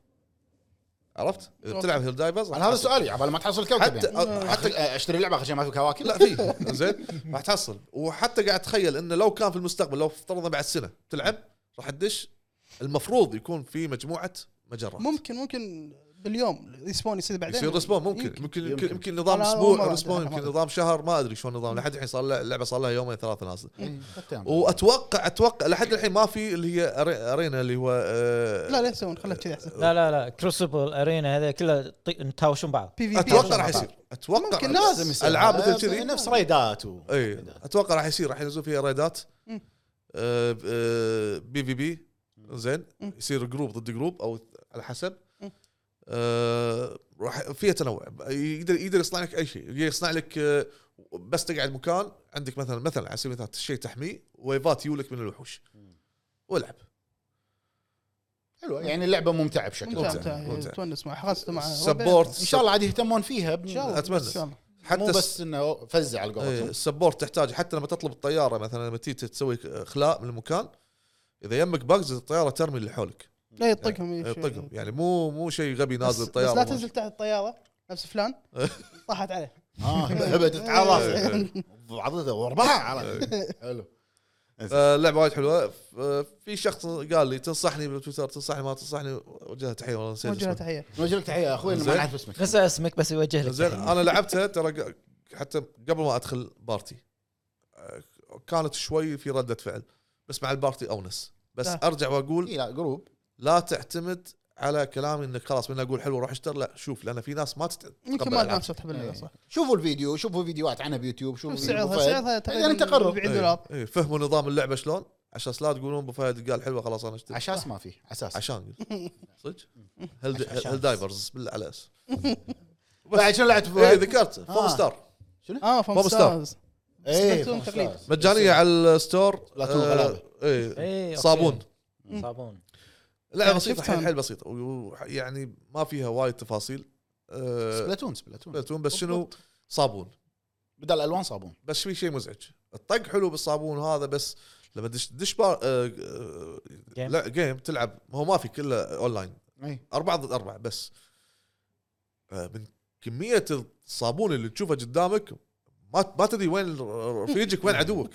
C: عرفت اذا بتلعب هيل دايفرز
A: انا هذا سؤالي على ما تحصل كوكب
C: حتى
A: يعني. حتى اشتري لعبه اخر شيء ما في كواكب
C: لا في زين راح تحصل وحتى قاعد اتخيل انه لو كان في المستقبل لو افترضنا بعد سنه تلعب راح تدش المفروض يكون في مجموعه مجرات
D: ممكن ممكن باليوم ريسبون يصير بعدين
C: يصير ريسبون ممكن
D: يمكن.
C: يمكن يمكن, يمكن,
A: يمكن.
C: يمكن نظام
D: أنا أول مرة
C: اسبوع
D: أعرف
C: ريسبون
D: هذا.
C: يمكن نظام شهر ما ادري شلون نظام لحد الحين صار لها- اللعبه صار لها يومين ثلاثه نازله
A: إيه، حتى أنا.
C: واتوقع اتوقع لحد الحين ما في اللي هي أري- ارينا اللي هو آه،
D: لا لا يسوون خلها كذي احسن
B: لا لا لا كروسبل ارينا هذا كله طي- نتهاوشون بعض
D: بي في بي
C: اتوقع
D: عشان
C: راح
D: بعض.
C: يصير اتوقع
D: ممكن،
C: راح-
A: لازم يصير
C: العاب
A: هذا.
C: مثل كذي
A: نفس ريدات و
C: اي اتوقع إيه، راح يصير راح ينزلون فيها ريدات
D: مم.
C: آه، آه، بي في بي زين
D: مم.
C: يصير جروب ضد جروب او على حسب
D: مم.
C: آه، راح فيها تنوع يقدر يقدر يصنع لك اي شيء يقدر يصنع لك آه، بس تقعد مكان عندك مثلا مثلا على سبيل المثال شيء تحميه ويفات يولك من الوحوش
A: مم.
C: والعب
A: حلوه يعني اللعبه ممتعه بشكل
D: ممتع
A: عام
C: ممتع، ممتع.
D: ممتع تونس مع خاصه مع
C: سبورت
A: ان شاء الله عاد يهتمون فيها بن-
D: ان شاء الله
C: أتمنى.
D: ان شاء الله
A: مو
C: حتى
A: بس انه فزع على
C: إيه،
A: قولتهم
C: السبورت تحتاج حتى لما تطلب الطياره مثلا لما تيجي تسوي خلاء من المكان اذا يمك باجز الطياره ترمي اللي حولك
D: لا يطقهم
C: إيه،
D: يشيل.
C: طقهم يعني مو مو شيء غبي نازل
D: بس-
C: الطياره
D: بس لا
C: مو
D: تنزل تحت الطياره نفس فلان
C: *laughs*
D: طاحت عليه
A: *laughs* اه بدت على راسي
C: إيه،
A: عضته
C: *laughs*
A: واربعه على حلو
C: اللعبه آه، وايد حلوه ف- في شخص قال لي تنصحني بالتويتر تنصحني ما تنصحني وجه له تحيه والله نسيت
D: وجه له
C: اسمه.
D: تحيه
A: نوجه لك تحيه يا اخوي إن ما
C: زين.
A: نعرف اسمك
B: نسى اسمك بس يوجه لك
C: زين
B: تحية.
C: انا لعبتها ترى ق- حتى قبل ما ادخل بارتي آه، كانت شوي في رده فعل بس مع البارتي اونس بس
D: لا.
C: ارجع واقول
A: إي إيه، لا جروب
C: لا تعتمد على كلامي انك خلاص من اقول حلو روح اشتر لا شوف لان في ناس ما تت-
D: يمكن
C: تقبل
D: ما ما
C: العاب.
D: تحب اللعبه صح
A: شوفوا الفيديو شوفوا فيديوهات عنها بيوتيوب شوفوا
D: شوف سعرها
A: فهد. يعني
D: سعرها
A: بعدين انت قرر.
D: 40
C: إيه،
D: دولار
C: إيه، فهموا نظام اللعبه شلون عشان لا تقولون ابو فهد قال حلوه خلاص انا اشتري
A: عشان ما في اساس
C: عشان *laughs* صدق هل
B: عشان.
C: هل دايفرز بالله على اس
A: بعد شنو لعبت
C: اي
A: فهد؟
C: ذكرت فور
A: آه.
C: ستار
D: اه
C: موب
D: فوم
C: ستار.
D: ستارز
A: إيه،
D: سبلاتون تقريبا.
A: ستارز.
C: مجانيه على الستور
A: بلاتون
C: آه،
A: غلابة.
C: إيه،
B: إيه، أوكي.
C: صابون
B: صابون
C: لعبه
D: يعني
C: بسيطه
D: شفتها
C: حيل
D: أنا.
C: حيل بسيطه و- و- يعني ما فيها وايد تفاصيل أه،
A: سبلاتون سبلاتون
C: سبلاتون بس شنو صابون
A: بدل الالوان صابون
C: بس في شيء مزعج الطق حلو بالصابون هذا بس لما دش دش بار أه، أه،
B: جيم.
C: لا جيم تلعب هو ما في كله اونلاين
A: اي
C: أربعة ضد أربعة بس آه، من كمية الصابون اللي تشوفه قدامك ما ما تدري وين رفيجك وين عدوك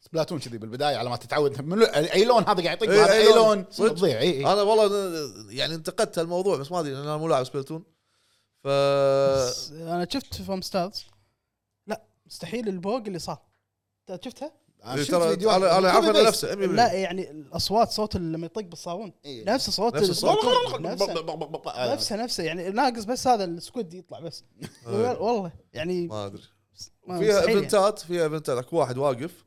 A: سبلاتون كذي بالبدايه على ما تتعود من لو- اي لون هذا قاعد يعطيك
C: إيه،
A: هذا
C: أي
A: اي
C: لون.
A: لون إيه،
C: صدق. آه،
A: تضيع اي اي
C: انا والله أنا يعني انتقدت هالموضوع بس ما ادري لأن انا مو لاعب سبلتون ف آه.
D: بس انا شفت فوم ستارز لا مستحيل البوق اللي صار انت شفتها؟
A: أنا شفت
C: إيه، ترى
A: فيديوهات.
C: انا انا عارف
A: كوبي
C: انا
A: بيست.
C: نفسه 100%
D: لا يعني الاصوات صوت اللي لما يطق بالصابون
A: إيه.
D: نفس صوت
C: نفس الصوت.
D: نفسه
A: نفس
D: نفسه نفسه يعني ناقص بس هذا السكود يطلع بس
C: إيه.
D: والله يعني
C: ما ادري
D: ما-
C: فيها
D: مستحيل يعني.
C: ايفنتات فيها ايفنتات اكو واحد واقف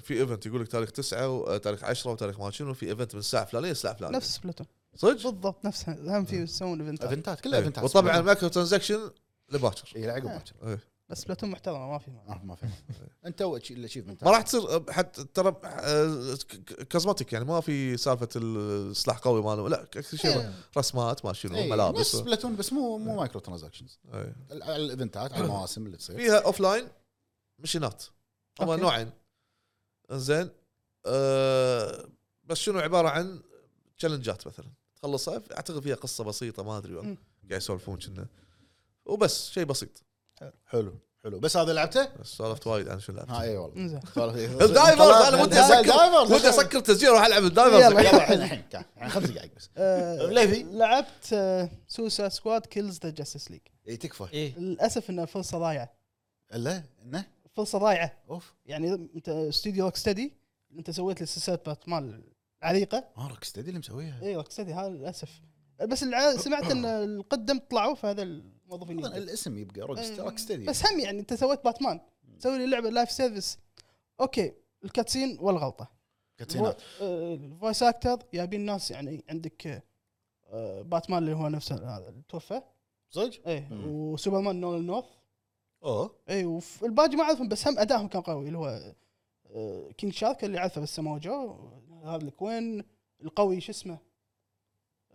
C: في ايفنت يقول لك تاريخ تسعة وتاريخ 10 وتاريخ ما شنو في ايفنت من الساعه الفلانيه للساعه الفلانيه
D: يعني. نفس سبلاتون
C: صدق؟
D: بالضبط نفسها هم في يسوون ايفنتات
A: ايفنتات كلها
C: إيه.
A: ايفنتات
C: وطبعا المايكرو ترانزكشن لباكر
A: اي لعقب باكر
C: إيه.
D: بس سبلاتون محترمه ما في
A: آه، ما فهمت *laughs* انت *laughs* الاتشيفمنت
C: ما راح تصير حتى ترى آه، ك- كوزماتيك يعني ما في سالفه السلاح قوي ماله لا كل شيء
D: إيه.
C: رسمات ما شنو
A: ملابس
C: ملابس
A: سبلاتون إيه، بس مو مو مايكرو ترانزاكشنز
C: إيه.
A: ال- على الايفنتات *laughs* على المواسم اللي تصير
C: فيها اوف لاين مشينات هم
D: أوكي.
C: نوعين انزين أه بس شنو عباره عن تشالنجات مثلا تخلصها اعتقد فيها قصه بسيطه ما ادري والله
D: مم.
C: قاعد يسولفون كنا وبس شيء بسيط
A: حلو حلو بس هذا لعبته؟
C: بس سولفت وايد عن شو لعبت
A: ها اي والله *laughs*
D: زين
C: الدايفرز انا ودي اسكر
A: الدايفرز
C: ودي اسكر تسجيل واروح العب الدايفرز
D: يلا.
A: يلا الحين الحين تعال. يعني خمس دقائق بس ليفي.
D: آه، لعبت آه، سوسا سكواد كيلز ذا جاستس ليج
A: اي إيه، تكفى
B: ايه
D: للاسف انها فرصه ضايعه
A: لا نه
D: فرصه ضايعه
A: اوف
D: يعني انت استوديو روك ستدي انت سويت السلسله بات مال العليقه
A: ما روك ستدي آه، اللي مسويها
D: اي روك ستدي هذا للاسف بس الع- سمعت ان القدم طلعوا فهذا الموظفين
A: أظن الاسم يبقى روك ست- روك ستدي
D: بس هم يعني انت سويت باتمان تسوي لي لعبه لايف سيرفيس اوكي الكاتسين والغلطه
A: كاتسينات
D: الفويس اكتر جايبين ناس يعني عندك آه، باتمان اللي هو نفسه هذا اللي توفى
A: صدق؟
D: ايه
A: مم.
D: وسوبرمان نول نورث
A: اوه
D: اي والباقي ما اعرفهم بس هم ادائهم كان قوي اللي هو آه، كينج شارك اللي اعرفه بس سمو جو هذا الكوين القوي شو اسمه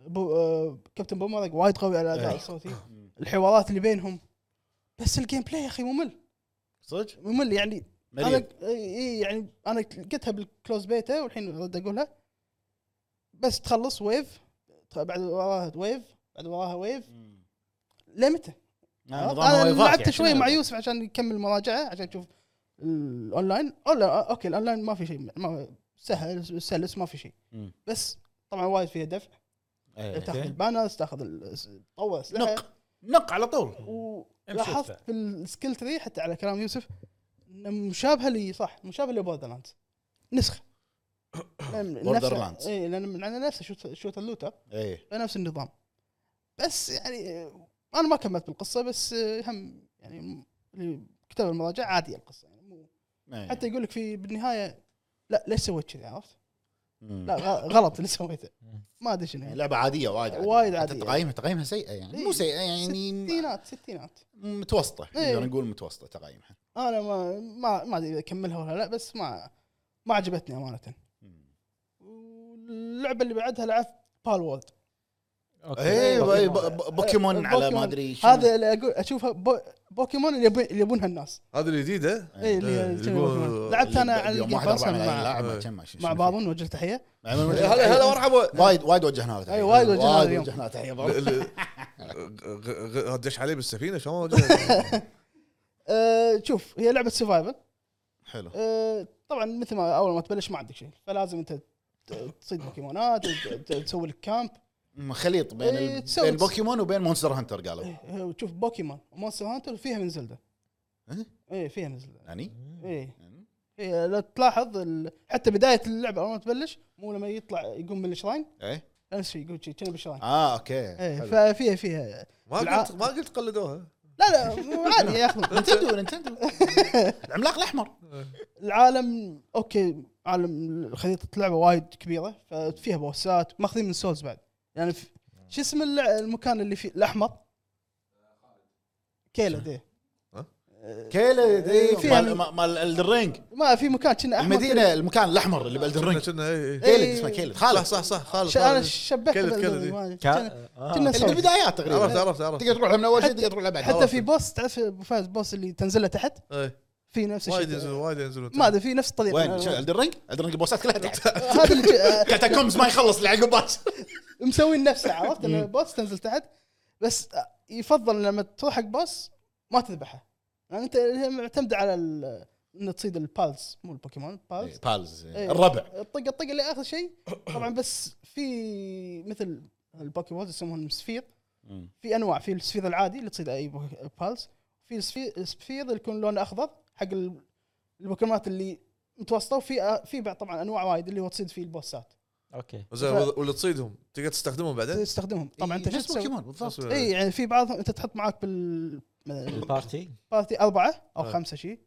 D: بو آه، كابتن بومرق وايد قوي على الاداء
A: إيه.
D: الصوتي
A: مم.
D: الحوارات اللي بينهم بس الجيم بلاي يا اخي ممل
A: صدق؟
D: ممل يعني
A: مريض
D: انا اي يعني انا لقيتها بالكلوز بيتا والحين رد اقولها بس تخلص ويف بعد وراها ويف بعد وراها ويف
A: مم.
D: لمتى؟
A: آه، نظام
D: انا
A: وايفات
D: لعبت
A: يعني.
D: شوي مع يوسف عشان يكمل مراجعه عشان اشوف الاونلاين أو لا اوكي الاونلاين ما في شيء ما سهل سلس ما في شيء
A: مم.
D: بس طبعا وايد فيها دفع
A: إيه.
D: تاخذ البانرز تاخذ ال- تطور اسلحه
A: نق نق على طول
D: ولاحظت بالسكيل تري حتى على كلام يوسف إنه مشابهه لي صح مشابهه لبوردر لاند نسخه
A: Borderlands.
D: اي لان إيه، من- على نفسه شوت شوت اللوتر
A: ايه
D: نفس النظام بس يعني آه، انا ما كملت بالقصه بس آه، هم يعني م- اللي كتب المراجع عاديه القصه يعني مو
A: إيه.
D: حتى يقول لك في بالنهايه لا ليش سويت كذي عرفت؟
A: مم.
D: لا غ- غلط اللي سويته ما ادري شنو
A: يعني
D: يعني.
A: لعبه عاديه وايد
D: وايد
A: حتى
D: عادية.
A: تقايمها تقايمها سيئه يعني
D: إيه.
A: مو سيئه يعني
D: ستينات ستينات
A: متوسطه
D: إيه.
A: نقدر نقول متوسطه تقايمها
D: انا ما ما ما ادري اذا اكملها ولا لا بس ما ما عجبتني امانه
A: مم.
D: واللعبه اللي بعدها لعبت بال وورد
A: ايه إيه،
D: بوكيمون.
A: ب- ب- بوكيمون على ما ادري شنو.
D: هذا اللي اقول اشوفها بو بوكيمون اللي يبون- اللي يبونها الناس
C: هذه الجديده
A: إيه،
D: اي إيه، اللي
C: اللي
D: يسوي
C: يقول-
D: بوكيمون. لعبت انا على
A: اليوم
D: الجيم
A: واحد
D: باس
A: أربعة ملايين
D: مع
A: لاعب
C: إيه.
A: كم ما شنو
D: مع إيه،
A: فيه.
D: بابون وجه تحيه
A: مع بابون.
C: هلا هلا مرحبا
A: وايد وايد وجهنا له تحية.
D: إي، إيه، وايد وجهنا له اليوم.
A: وجهنا له تحيه بابا.
C: ال- ال- غ- غ- دش عليه بالسفينه شلون ما-
D: أه شوف هي لعبه سرفايفل
A: حلو
D: أه طبعا مثل ما اول ما تبلش ما عندك شيء فلازم انت ت- تصيد بوكيمونات ت- ت- تسوي لك كامب
A: م- خليط بين
D: إيه،
A: ال-
D: تسوي- إيه.
A: بين بوكيمون وبين مونستر هانتر قالوا
D: أه، وتشوف بوكيمون ومونستر هانتر وفيها من زلده
A: ها؟
D: ايه فيها نزله
A: يعني
D: ايه
A: يعني؟
D: إيه لو تلاحظ ال... حتى بدايه اللعبه اول ما تبلش مو لما يطلع يقوم من الشراين
A: ايه
D: نفس الشيء يقول شيء كنا بالشراين
A: اه اوكي
D: ايه
A: حلو.
D: ففيها فيها
C: ما قلت ما قلت قلدوها
D: لا لا مو عادي ياخذون
A: نتندو
D: *laughs*
A: نتندو العملاق الاحمر
D: العالم اوكي عالم خريطه اللعبه وايد كبيره ففيها بوسات ماخذين من سولز بعد يعني في... شو اسم اللع- المكان اللي فيه الاحمر؟ كيلد ايه
C: ها؟
A: كيلا دي
D: إيه، فيها-
A: مال مال- مال الدرينج
D: ما في مكان كنا احمر كذا.
A: المدينه المكان الاحمر اللي
C: كنا
A: بالدرينج
C: كنا اي اي
A: كيلد
D: إيه.
A: اسمه كيلد
C: صح
A: خالد
C: إيه، صح صح خالد
D: ش... انا
C: خالد.
D: شبهت
C: كيلد- كيلد إيه.
B: كا- آه.
D: كنا
A: اللي بالبدايات تقريبا
C: عرفت عرفت عرفت
A: تقدر تروح لها من اول شيء
D: حتى-
A: تقدر تروح لها بعد
D: حتى
C: عرفت.
D: في بوس تعرف أبو فهد البوس اللي تنزله تحت
C: إيه.
D: في نفس
C: وايد
D: الشيء
C: ينزلون وايد ينزلون
D: ما ادري في نفس الطريقه
A: وين شو الدرينج الدرينج البوسات كلها
D: *laughs*
A: تحت
D: هذا اللي ج-
A: كاتاكومز ما يخلص اللي عقب
D: مسوين نفسه عرفت ان البوس تنزل تحت بس يفضل لما تروح حق بوس ما تذبحه يعني انت هي معتمده على ال- ان تصيد البالز مو البوكيمون بالز
A: بالز
D: إيه.
A: الربع
D: الطق الطق اللي اخر شيء طبعا بس في مثل البوكيمون يسمونهم سفير في انواع في السفير العادي اللي تصيد اي بو- بالز في السفير السفير اللي يكون لونه اخضر حق ال- البوكيمونات اللي متوسطه وفي آه، في بعد طبعا انواع وايد اللي هو تصيد فيه البوسات
B: اوكي
C: زين وال- واللي تصيدهم تقدر تستخدمهم بعدين
D: تستخدمهم طبعا انت شو
A: نفس
D: تسوي؟
A: بوكيمون إيه، بالضبط
C: إيه. بس-
D: اي يعني في بعضهم انت تحط معاك بال
B: البارتي
D: بارتي اربعه او
C: آه.
D: خمسه شيء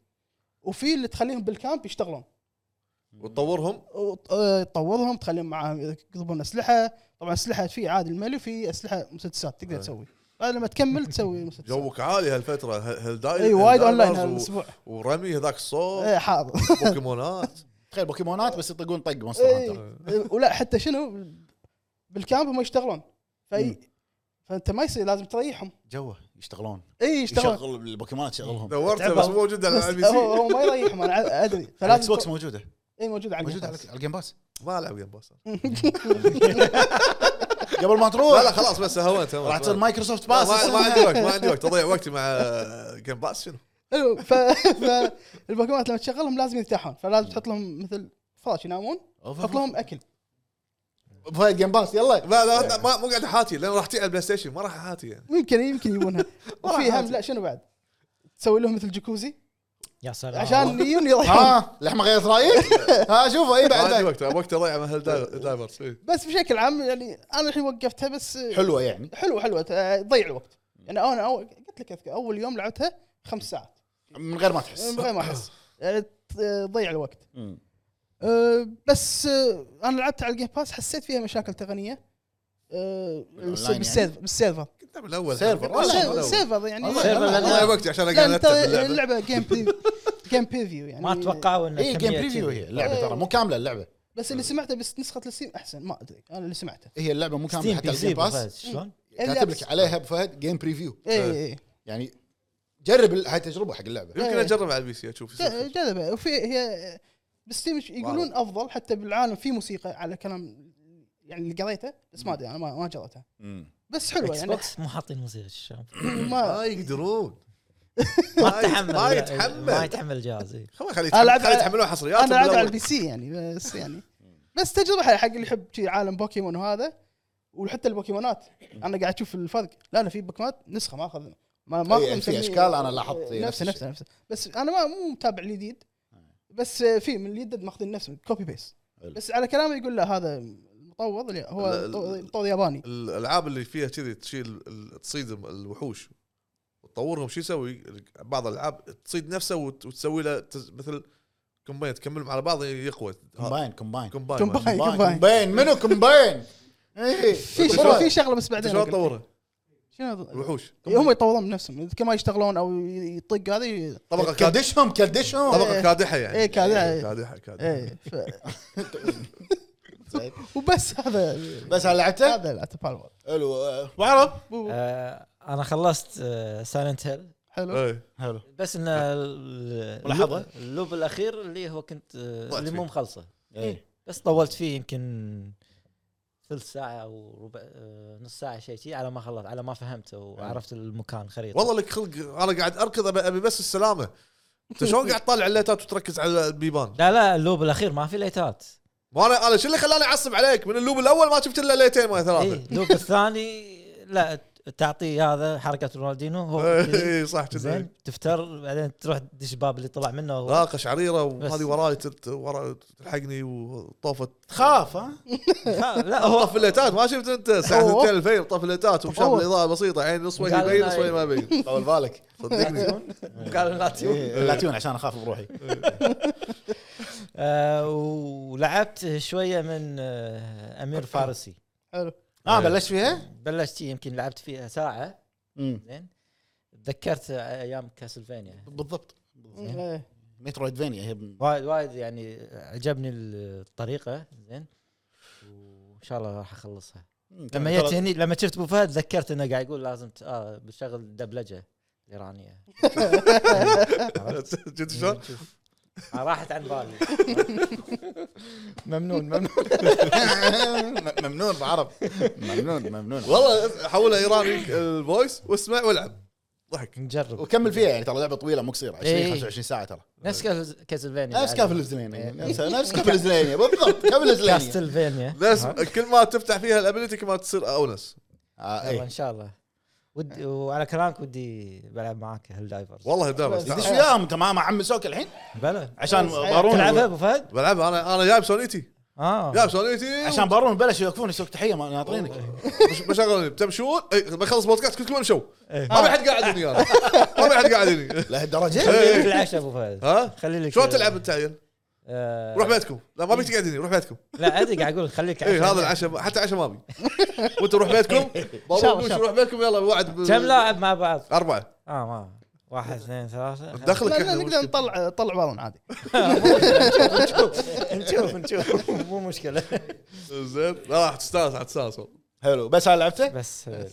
D: وفي اللي تخليهم بالكامب يشتغلون
C: آه، وتطورهم
D: وط- آه، تطورهم تخليهم معاهم يضربون اسلحه طبعا اسلحه في عادي الملي في اسلحه مسدسات تقدر
C: آه.
D: تسوي بعد لما تكمل تسوي مسدسات
C: جوك عالي هالفتره هالدايل
D: اي إيه، وايد إيه. اونلاين هالاسبوع
C: ورمي هذاك الصوت
D: إي، حاضر
C: بوكيمونات
A: تخيل بوكيمونات بس يطقون طق مونستر
D: إي.
A: هانتر
D: إيه، ولا حتى شنو بالكامب هم يشتغلون في
A: مم.
D: فانت ما يصير لازم تريحهم
A: جوه يشتغلون
D: اي يشتغلون
A: يشغل البوكيمونات يشغلهم
C: دورته
D: تعبان.
C: بس مو موجود على
D: بس
C: البي
D: *laughs* هو
C: سي
D: هو ما يريحهم انا ع- ادري
A: الاكس
D: فلازم
A: بوكس موجوده
D: اي موجود إيه. على
A: موجوده على
D: الجهاز.
A: على الجيم باس
C: ما العب جيم باس
A: قبل ما
C: لا لا
A: تروح
C: خلاص بس هونت هونت.
A: راح تصير مايكروسوفت
C: ما
A: باس
C: ما- ما عندي وقت ما عندي وقت اضيع وقتي مع جيم باس شنو
D: حلو إيوه، ف... *laughs* فالبوكيمونات لما تشغلهم لازم يرتاحون فلازم تحط لهم مثل فراش ينامون تحط لهم اكل
A: فهد جيم باس
D: *laughs*
A: يلا
C: لا لا لا، ما مو قاعد احاتي لان راح تجي على البلاي ستيشن ما راح احاتي يعني
D: يمكن
A: *laughs*
D: يمكن يبونها وفي هم لا شنو بعد تسوي لهم مثل جاكوزي
B: يا
A: آه. *laughs*
B: سلام
D: عشان يجون يضيعون
A: ها لحمه غيرت
D: *laughs*
A: رايك ها شوفه اي
C: ما
A: بعد بعد.
C: عندي وقت وقت اضيع مع هالدايفرز إي.
D: بس بشكل عام يعني انا الحين وقفتها بس
A: حلوه يعني
D: حلوه حلوه تضيع الوقت يعني انا أول قلت لك أذكر اول يوم لعبتها خمس ساعات
A: من غير ما تحس
D: من غير
A: *laughs*
D: ما احس يعني تضيع الوقت
A: مم.
D: أه، بس أه، انا لعبت على الجيم باس حسيت فيها مشاكل تقنيه أه،
A: بالأونلاين
D: بالس-
A: يعني؟
D: بالسيرفر بالسيرفر
C: كنت من الاول
A: سيرفر. والله
D: سيرفر-
A: والله.
D: سيرفر يعني
A: والله. سيرفر
D: لا،
C: اضيع وقتي عشان
D: لا
C: اقعد
D: انت
C: ارتب اللعبه
D: اللعبه جيم بي جيم بريفيو يعني
B: ما اتوقعوا انه
A: اي جيم
B: كمية
A: بريفيو
B: كذي.
A: إيه، هي اللعبه ترى مو كامله اللعبه
D: بس اللي سمعته بس نسخه السيم احسن ما ادري انا اللي سمعته
A: هي اللعبه مو كامله
B: ستيم
A: حتى
B: بي
A: الجيم
B: سي
A: باس
B: بس شلون؟
A: كاتب لك عليها ابو فهد جيم بريفيو
D: اي
A: يعني جرب ال- هاي تجربه حق اللعبه
C: يمكن
D: إيه.
C: اجرب على البي سي اشوف شو يصير.
D: جذبه وفي هي بستيم يقولون افضل حتى بالعالم في موسيقى على كلام يعني اللي قريته بس ما ادري انا ما ما جربتها
A: مم.
D: بس حلوه
B: اكس
D: يعني
B: بوكس مو حاطين موسيقى شلون؟
D: ما
A: آه،
D: *laughs*
C: ما يقدرون
B: ما
C: ما
B: تحمل
C: ما
B: ما
C: يتحمل
B: يتحمل الجهاز إيه. إي.
C: خليه خليه
D: أنا ألعب
C: يتحمل- خليه
D: على-
C: يتحملون حصريات
D: انا قاعد على
C: بالأول.
D: البي سي يعني بس يعني بس تجربه حلوة حق اللي يحب شي عالم بوكيمون وهذا وحتى البوكيمونات انا قاعد اشوف الفرق لا لا في بوكيمونات نسخه ما اخذ ما ما
A: إيه،
D: أخذ
A: في
D: مسميه-
A: أشكال أنا لاحظت نفس
D: نفسه
A: الشيء.
D: نفسه نفسه بس انا ما مو متابع الجديد بس في من الجديد ماخذين نفسه كوبي بيست
A: حلو.
D: بس على كلامه يقول لا هذا مطور لا،
C: لا،
D: هو
C: ال-
D: مطور- مطور ياباني
C: الالعاب اللي فيها كذي تشيل ال- تصيد الوحوش وتطورهم شو يسوي؟ بعض الالعاب تصيد نفسه وت- وتسوي له تز- مثل كومباين تكملهم على بعض يقوى
A: كومباين كومباين
C: كومباين
D: كومباين.
C: ماشي.
A: كومباين
D: كومباين.
A: كومباين منو إيه. كومباين؟ اي
D: في شغله في شغله بس بعدين
C: شلون
D: أقول لك.
C: تطوره؟
D: شنو
C: الوحوش
D: إيه، هم يطورون من نفسهم كما يشتغلون او يطق هذا
C: طبقه كاد-
A: كدشهم كدشهم
C: طبقه كادحه يعني
D: إيه، كادحة، إيه.
C: كادحه كادحه
D: ايه *laughs* ف- وبس هذا يعني.
A: بس هل لعبته؟
D: هذا الاعتبار
A: حلو آه، وعرب
B: آه، انا خلصت آه، سايلنت هيل
D: حلو
C: إيه.
A: حلو
B: بس ان ال-
A: ملاحظة؟
B: اللوب- اللوب الاخير اللي هو كنت آه،
C: ضعت
B: اللي
C: فيه.
B: مو مخلصه
A: إي.
B: بس طولت فيه يمكن ثلث ساعه او ربع آه، نص ساعه شيء شيء على ما خلصت على ما فهمت وعرفت المكان خريطه
C: والله لك خلق انا قاعد اركض أبي- ابي بس السلامه انت شلون قاعد تطالع الليتات وتركز على البيبان؟
B: لا لا اللوب الاخير ما في ليتات
C: ما انا
B: طيب.
C: انا شو اللي خلاني اعصب عليك؟ من اللوب الاول ما شفت الا ليتين ما ثلاثه
B: اي اللوب إيه، الثاني لا تعطيه هذا حركه رونالدينو هو
D: إيه.
C: *laughs*
B: كذي.
C: اي إيه، صح كذا
B: زين تفتر بعدين تروح تدش باب اللي طلع منه هو.
C: راقه شعريره وهذه
B: بس.
C: وراي تلت- ورا تلحقني وطافت
A: تخاف ها
B: لا هو
C: طفلتات ما شفت انت ساعه
D: أوه.
C: 2 الفيل طفلتات ومشاف
D: أوه.
C: الاضاءه بسيطه عين يعني نص وجهي
B: قال
C: يبين
B: لنا
C: نص
D: إيه.
C: وجهي ما يبين
A: طول بالك
D: *laughs*
C: صدقني *laughs*
B: قال لا تيون
A: إيه، لا تيون عشان اخاف بروحي
B: آه، ولعبت شويه من آه، *coughs* امير فارسي
D: حلو
A: اه بلشت فيها؟
B: بلشت فيه يمكن لعبت فيها ساعه
A: مم.
B: زين تذكرت ايام كاسلفينيا
A: بالضبط
B: زين.
D: إيه.
A: مترويدفينيا هي ب-
B: وايد وايد يعني عجبني الطريقه زين وان شاء الله راح اخلصها
A: يعني
B: لما جيت هني لما شفت ابو فهد تذكرت انه قاعد يقول لازم ت- آه بشغل دبلجه ايرانيه عرفت؟
C: جد شلون؟
B: شوف. آه، راحت عن بالي ممنون ممنون
A: م- *laughs* ممنون بعرب ممنون ممنون
C: والله حولها ايراني الفويس واسمع والعب ضحك
B: نجرب
A: وكمل فيها يعني ترى لعبه طويله مو قصيره 20
B: إيه.
A: 25 ساعه ترى
B: نفس كاس- كاسلفينيا
A: نفس كافلزلينيا
B: إيه.
A: نفس نفس كافلزلينيا بالضبط كافلزلينيا
B: كاستلفينيا
C: لازم كل ما تفتح فيها الابيلتي كل ما تصير اونس
A: آه،
B: يلا ان
A: إيه.
B: شاء الله ودي وعلى كلامك ودي بلعب معاك هالدايفرز
C: والله دايما
A: يدش
C: استعمل.
A: وياهم انت ما مع عم سوك الحين
B: بلى إيه.
A: عشان
B: تلعبها
A: بارون
B: ابو فهد؟
C: بلعبها انا انا جايب سونيتي
B: اه
C: جايب سونيتي
A: عشان بارون بلش يوقفون يسوق تحيه ما ناطرينك
C: وبش- بشغل بتمشون إي، بخلص بودكاست كلكم امشوا
B: إيه.
C: ما في حد قاعد هني انا ما في حد قاعد هني
A: لهالدرجه
B: خلي لك العشاء ابو
C: *laughs*
B: فهد
C: ها
B: خلي لك
C: شلون تلعب انت عيل؟
B: آه،
C: روح بيتكم لا ما بيك تقعد هني روح بيتكم
B: لا عادي قاعد اقول خليك
C: اي
B: عشاء.
C: هذا العشاء ما- حتى عشاء ما *laughs* ابي وانت روح بيتكم
B: يعني. إيه. إن
C: بابا
B: شاء الله، إن
C: قوش
B: شاء
C: روح بيتكم يلا وعد ب-
B: كم لاعب مع بعض؟
C: اربعه
B: اه ما واحد اثنين ثلاثة
C: *laughs* دخلك
D: لا لا
C: احنا
D: نقدر نطلع طلع بارون عادي
B: نشوف نشوف مو مشكلة
C: زين لا راح تستانس راح تستانس والله.
A: حلو بس انا لعبته
B: بس آه،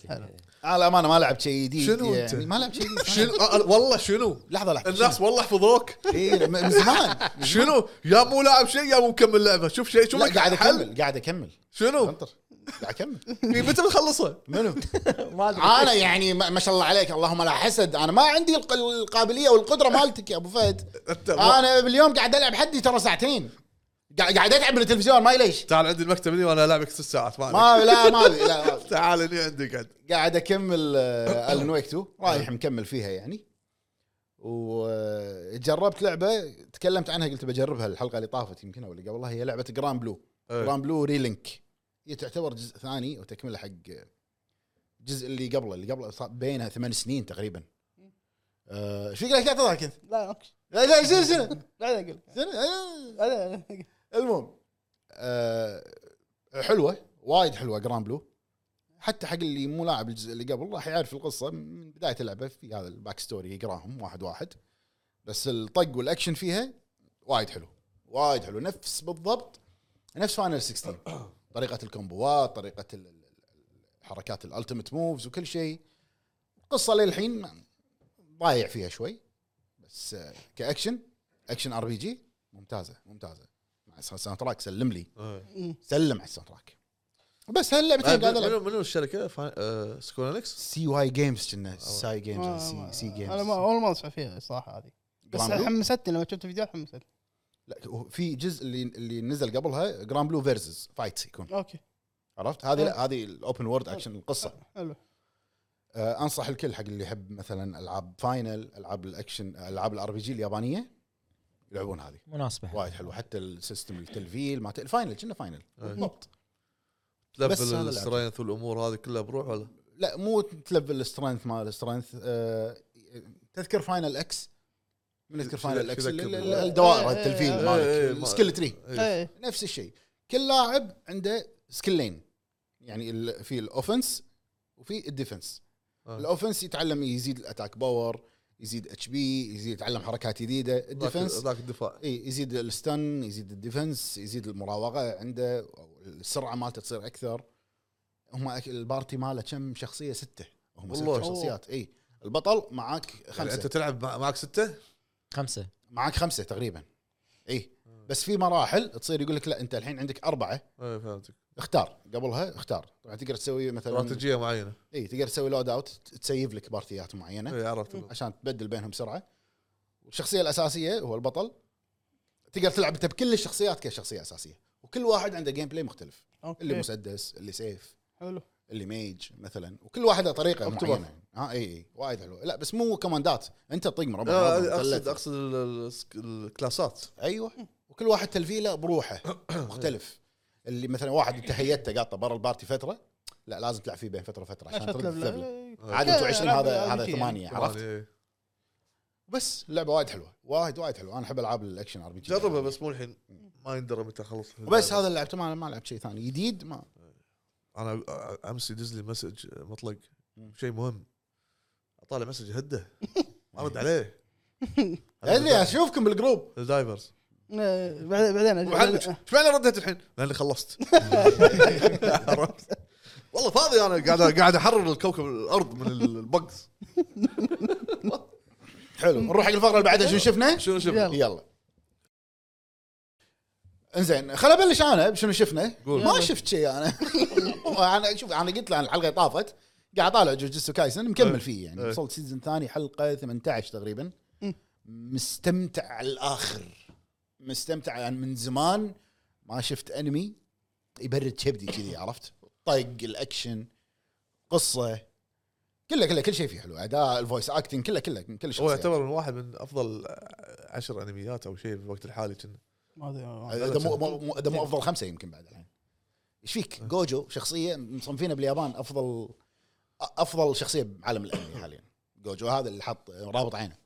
A: على الامانه ما لعبت شيء جديد
C: شنو
A: يعني
C: أنت؟
A: ما لعبت شيء جديد *laughs*
C: شنو آه، آه، والله شنو
A: لحظه لحظه *laughs*
C: الناس والله حفظوك
A: اي إيه، من زمان
C: شنو يا مو لاعب شيء يا مو مكمل لعبه شوف شيء شوف
A: لا،
C: لك
A: قاعد
C: حل.
A: اكمل قاعد اكمل
C: شنو
A: انطر قاعد اكمل
C: متى بتخلصها
A: منو
B: ما ادري
A: انا يعني ما ما شاء الله عليك اللهم لا حسد انا ما عندي الق- القابليه والقدره مالتك يا ابو فهد
C: انت
A: انا باليوم قاعد العب حدي ترى ساعتين قاعد قاعد اتعب من التلفزيون ما ليش
C: تعال عندي المكتب هني وانا العبك ست ساعات ما عليك.
A: ما لا ما أبي، لا ما أبي.
C: تعال هني عندي قاعد
A: قاعد آه، اكمل الن ويك 2 رايح مكمل فيها يعني وجربت لعبه تكلمت عنها قلت بجربها الحلقه اللي طافت يمكن او اللي قبلها هي لعبه جران بلو
C: إيه.
A: جران بلو ريلينك هي تعتبر جزء ثاني وتكمله حق الجزء اللي قبله اللي قبله صار بينها ثمان سنين تقريبا آه، ايش فيك لك قاعد تضحك انت؟
D: لا أوكي.
A: لا لا شنو شنو؟
D: لا اقول
A: شنو؟ آه.
D: لا
A: المهم آه، حلوه وايد حلوه جران بلو حتى حق اللي مو لاعب الجزء اللي قبل راح يعرف القصه من بدايه اللعبه في هذا الباك ستوري يقراهم واحد واحد بس الطق والاكشن فيها وايد حلو وايد حلو نفس بالضبط نفس فاينل 16 طريقه الكومبوات طريقه ال- ال- الحركات الالتيميت موفز وكل شيء القصه للحين ما- ضايع فيها شوي بس آه، كاكشن اكشن ار بي جي ممتازه ممتازه مع الساوند تراك سلم لي سلم على الساوند تراك بس هاللعبتين قاعد العب
C: منو منو الشركه فا- آه، سكويرنكس
A: سي واي جيمز كنا ساي جيمز
D: آه،
A: أو سي سي جيمز
D: انا ما اول ما اسمع فيها الصراحه هذه بس
A: جران بلو؟
D: حمستني لما شفت الفيديو حمستني
A: لا هو في جزء اللي اللي نزل قبلها جران بلو فيرسز فايتس يكون
D: اوكي
A: عرفت هذه
D: آه.
A: لا هذه الاوبن وورد اكشن القصه
D: حلو
A: آه، انصح الكل حق اللي يحب مثلا العاب فاينل العاب الاكشن العاب الار بي جي اليابانيه يلعبون هذه
B: مناسبة
A: وايد حلوه حتى السيستم التلفيل ما ت- الفاينل كنا فاينل
C: إيه. آه،
A: بالضبط بس هذا
C: تلفل
A: العب.
C: السترينث والامور هذه كلها بروح ولا
A: لا مو تلفل السترينث مال السترينث آه، تذكر فاينل اكس من يذكر
C: شو
A: فاينل
C: ذاك-
A: اكس
C: شو ذاك
A: ال-
C: ال-
A: ال- الدوائر
D: إيه، إيه،
A: التلفيل
D: إيه،
C: إيه،
A: مالك
C: ما-
A: السكيل تري
C: إيه.
D: إيه.
A: نفس الشيء كل لاعب عنده سكلين يعني ال- في الاوفنس وفي الديفنس
C: آه.
A: الاوفنس يتعلم يزيد الاتاك باور يزيد اتش بي يزيد يتعلم حركات جديده
C: ذاك-
A: الديفنس
C: ذاك الدفاع
A: اي يزيد الستن يزيد الديفنس يزيد المراوغه عنده أو السرعه مالته تصير اكثر هم أك- البارتي ماله كم شخصيه سته هم
C: والله.
A: ست شخصيات اي البطل معاك
C: يعني انت
A: خمسه
C: تلعب مع- معك سته
B: خمسة
A: معاك خمسه تقريبا اي بس في مراحل تصير يقول لك لا انت الحين عندك اربعه
C: اي إيه، فهمتك
A: اختار قبلها اختار طبعا تقدر تسوي مثلا
C: استراتيجيه معينه
A: اي تقدر تسوي لود اوت تسيف لك بارتيات معينه
C: اي إيه، عرفت الوضع.
A: عشان تبدل بينهم بسرعه والشخصيه الاساسيه هو البطل تقدر تلعب انت بكل الشخصيات كشخصيه اساسيه وكل واحد عنده جيم بلاي مختلف
D: اوكي
A: اللي مسدس اللي سيف
D: حلو
A: اللي ميج مثلا وكل واحده طريقه
C: أوكتوبر.
A: معينه ها اي اي وايد حلوه لا بس مو كماندات انت تطق مربع مربع،
C: آه، اقصد
A: مثلث.
C: اقصد ال- ال- السك- الكلاسات
A: ايوه وكل واحد تلفيله بروحه مختلف اللي مثلا واحد انت هيئته قاطه برا البارتي فتره لا لازم تلعب فيه بين فتره فتره عشان
D: عشان
A: ترد
D: تلعب-
A: الثبله
C: آه.
A: عاد انتوا 20 هذا
D: ألعاب
A: هذا
D: RPG.
A: ثمانيه
C: طبعاً،
A: عرفت
C: إيه.
A: بس اللعبه وايد حلوه وايد وايد حلوه انا احب العاب الاكشن ار بي جي
C: جربها بس مو الحين ما يندرى متى اخلص
A: وبس هذا اللي لعبته ما ما لعبت شيء ثاني جديد ما
C: انا امس يدز لي مسج مطلق
A: مم.
C: شيء مهم اطالع مسج
A: *laughs*
C: هده ما ارد عليه
A: ادري اشوفكم بالجروب
C: الدايفرز
D: آه، بعدين إيه. بعدين
C: وحلمش ايش معنى رديت الحين؟ لاني خلصت عرفت؟ والله فاضي انا قاعد قاعد احرر الكوكب الارض من البقز
A: حلو نروح حق الفقره اللي بعدها شو شفنا؟
C: شنو شوف
D: يلا.
A: يلا انزين خل ابلش انا بشنو شفنا
C: قول.
A: ما شفت شيء *laughs* انا انا شوف انا قلت لان الحلقه طافت قاعد طالع جوجيتسو كايسن
C: أي.
A: مكمل فيه يعني
C: أي.
A: وصلت سيزون ثاني حلقه 18 تقريبا
D: مم.
A: مستمتع على الاخر مستمتع يعني من زمان ما شفت انمي يبرد كبدي
C: *coughs*
A: كذي عرفت طق الاكشن قصه كله كله كل شيء فيه حلو اداء الفويس اكتنج كله كله من كل شيء
C: هو يعتبر من واحد من افضل عشر انميات او شيء في الوقت الحالي كنا
D: ما أدري، ما أدري.
A: هذا مو- مو مو- هذا مو افضل خمسه يمكن بعد الحين ايش فيك جوجو شخصيه مصنفينه باليابان افضل افضل شخصيه بعالم الانمي حاليا جوجو هذا اللي حط رابط عينه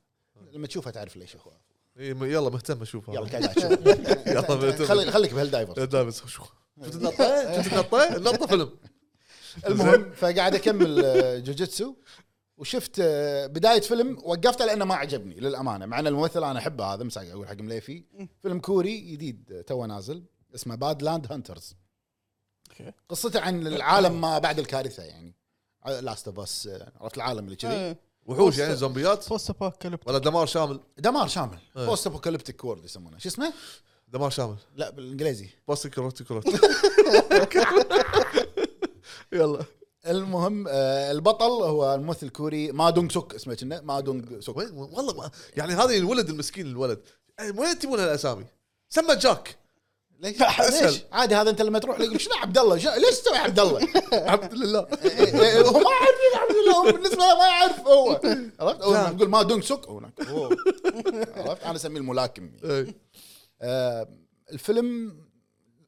A: لما تشوفه تعرف ليش هو
C: إيه، م- يلا مهتم اشوفها
A: يلا كذا *laughs* شوف خلي خليك إيه. بهالدايفر
C: الدايفرز شو شفت النطه شفت النطه النطه فيلم
A: المهم فقاعد اكمل آه، جوجيتسو وشفت آه، بدايه فيلم وقفته لانه ما عجبني للامانه مع ان الممثل انا احبه هذا مساق اقول حق مليفي فيلم كوري جديد آه، توه نازل اسمه باد لاند هانترز
D: أوكي.
A: قصته عن العالم ما بعد الكارثه يعني لاست اوف اس عرفت العالم اللي كذي
D: آه،
C: وحوش يعني زومبيات
D: بوست ابوكاليبت
C: ولا دمار شامل
A: دمار شامل
C: إيه.
A: بوست ابوكاليبتيك وورد يسمونه شو اسمه؟
C: دمار شامل
A: لا بالانجليزي
C: بس كروت كروت *laughs* يلا
A: المهم آه، البطل هو الممثل الكوري ما دونغ سوك اسمه كنا ما دونغ سوك
C: وين والله ما يعني هذا الولد المسكين الولد أي، وين تبون هالاسامي؟ سمى جاك
A: ليش؟
C: أسهل.
A: ليش؟ عادي هذا انت لما تروح يقول شنو عبد الله؟ شنو- ليش تسوي عبد الله؟
C: *laughs* عبد لله
A: إيه، هو ما يعرف مين عبد الله هو بالنسبه له ما يعرف هو عرفت؟ هو
C: نعم.
A: لما نقول ما دونغ سوك هو هناك. هو. عرفت؟ انا اسميه الملاكم
C: إيه.
A: آه، الفيلم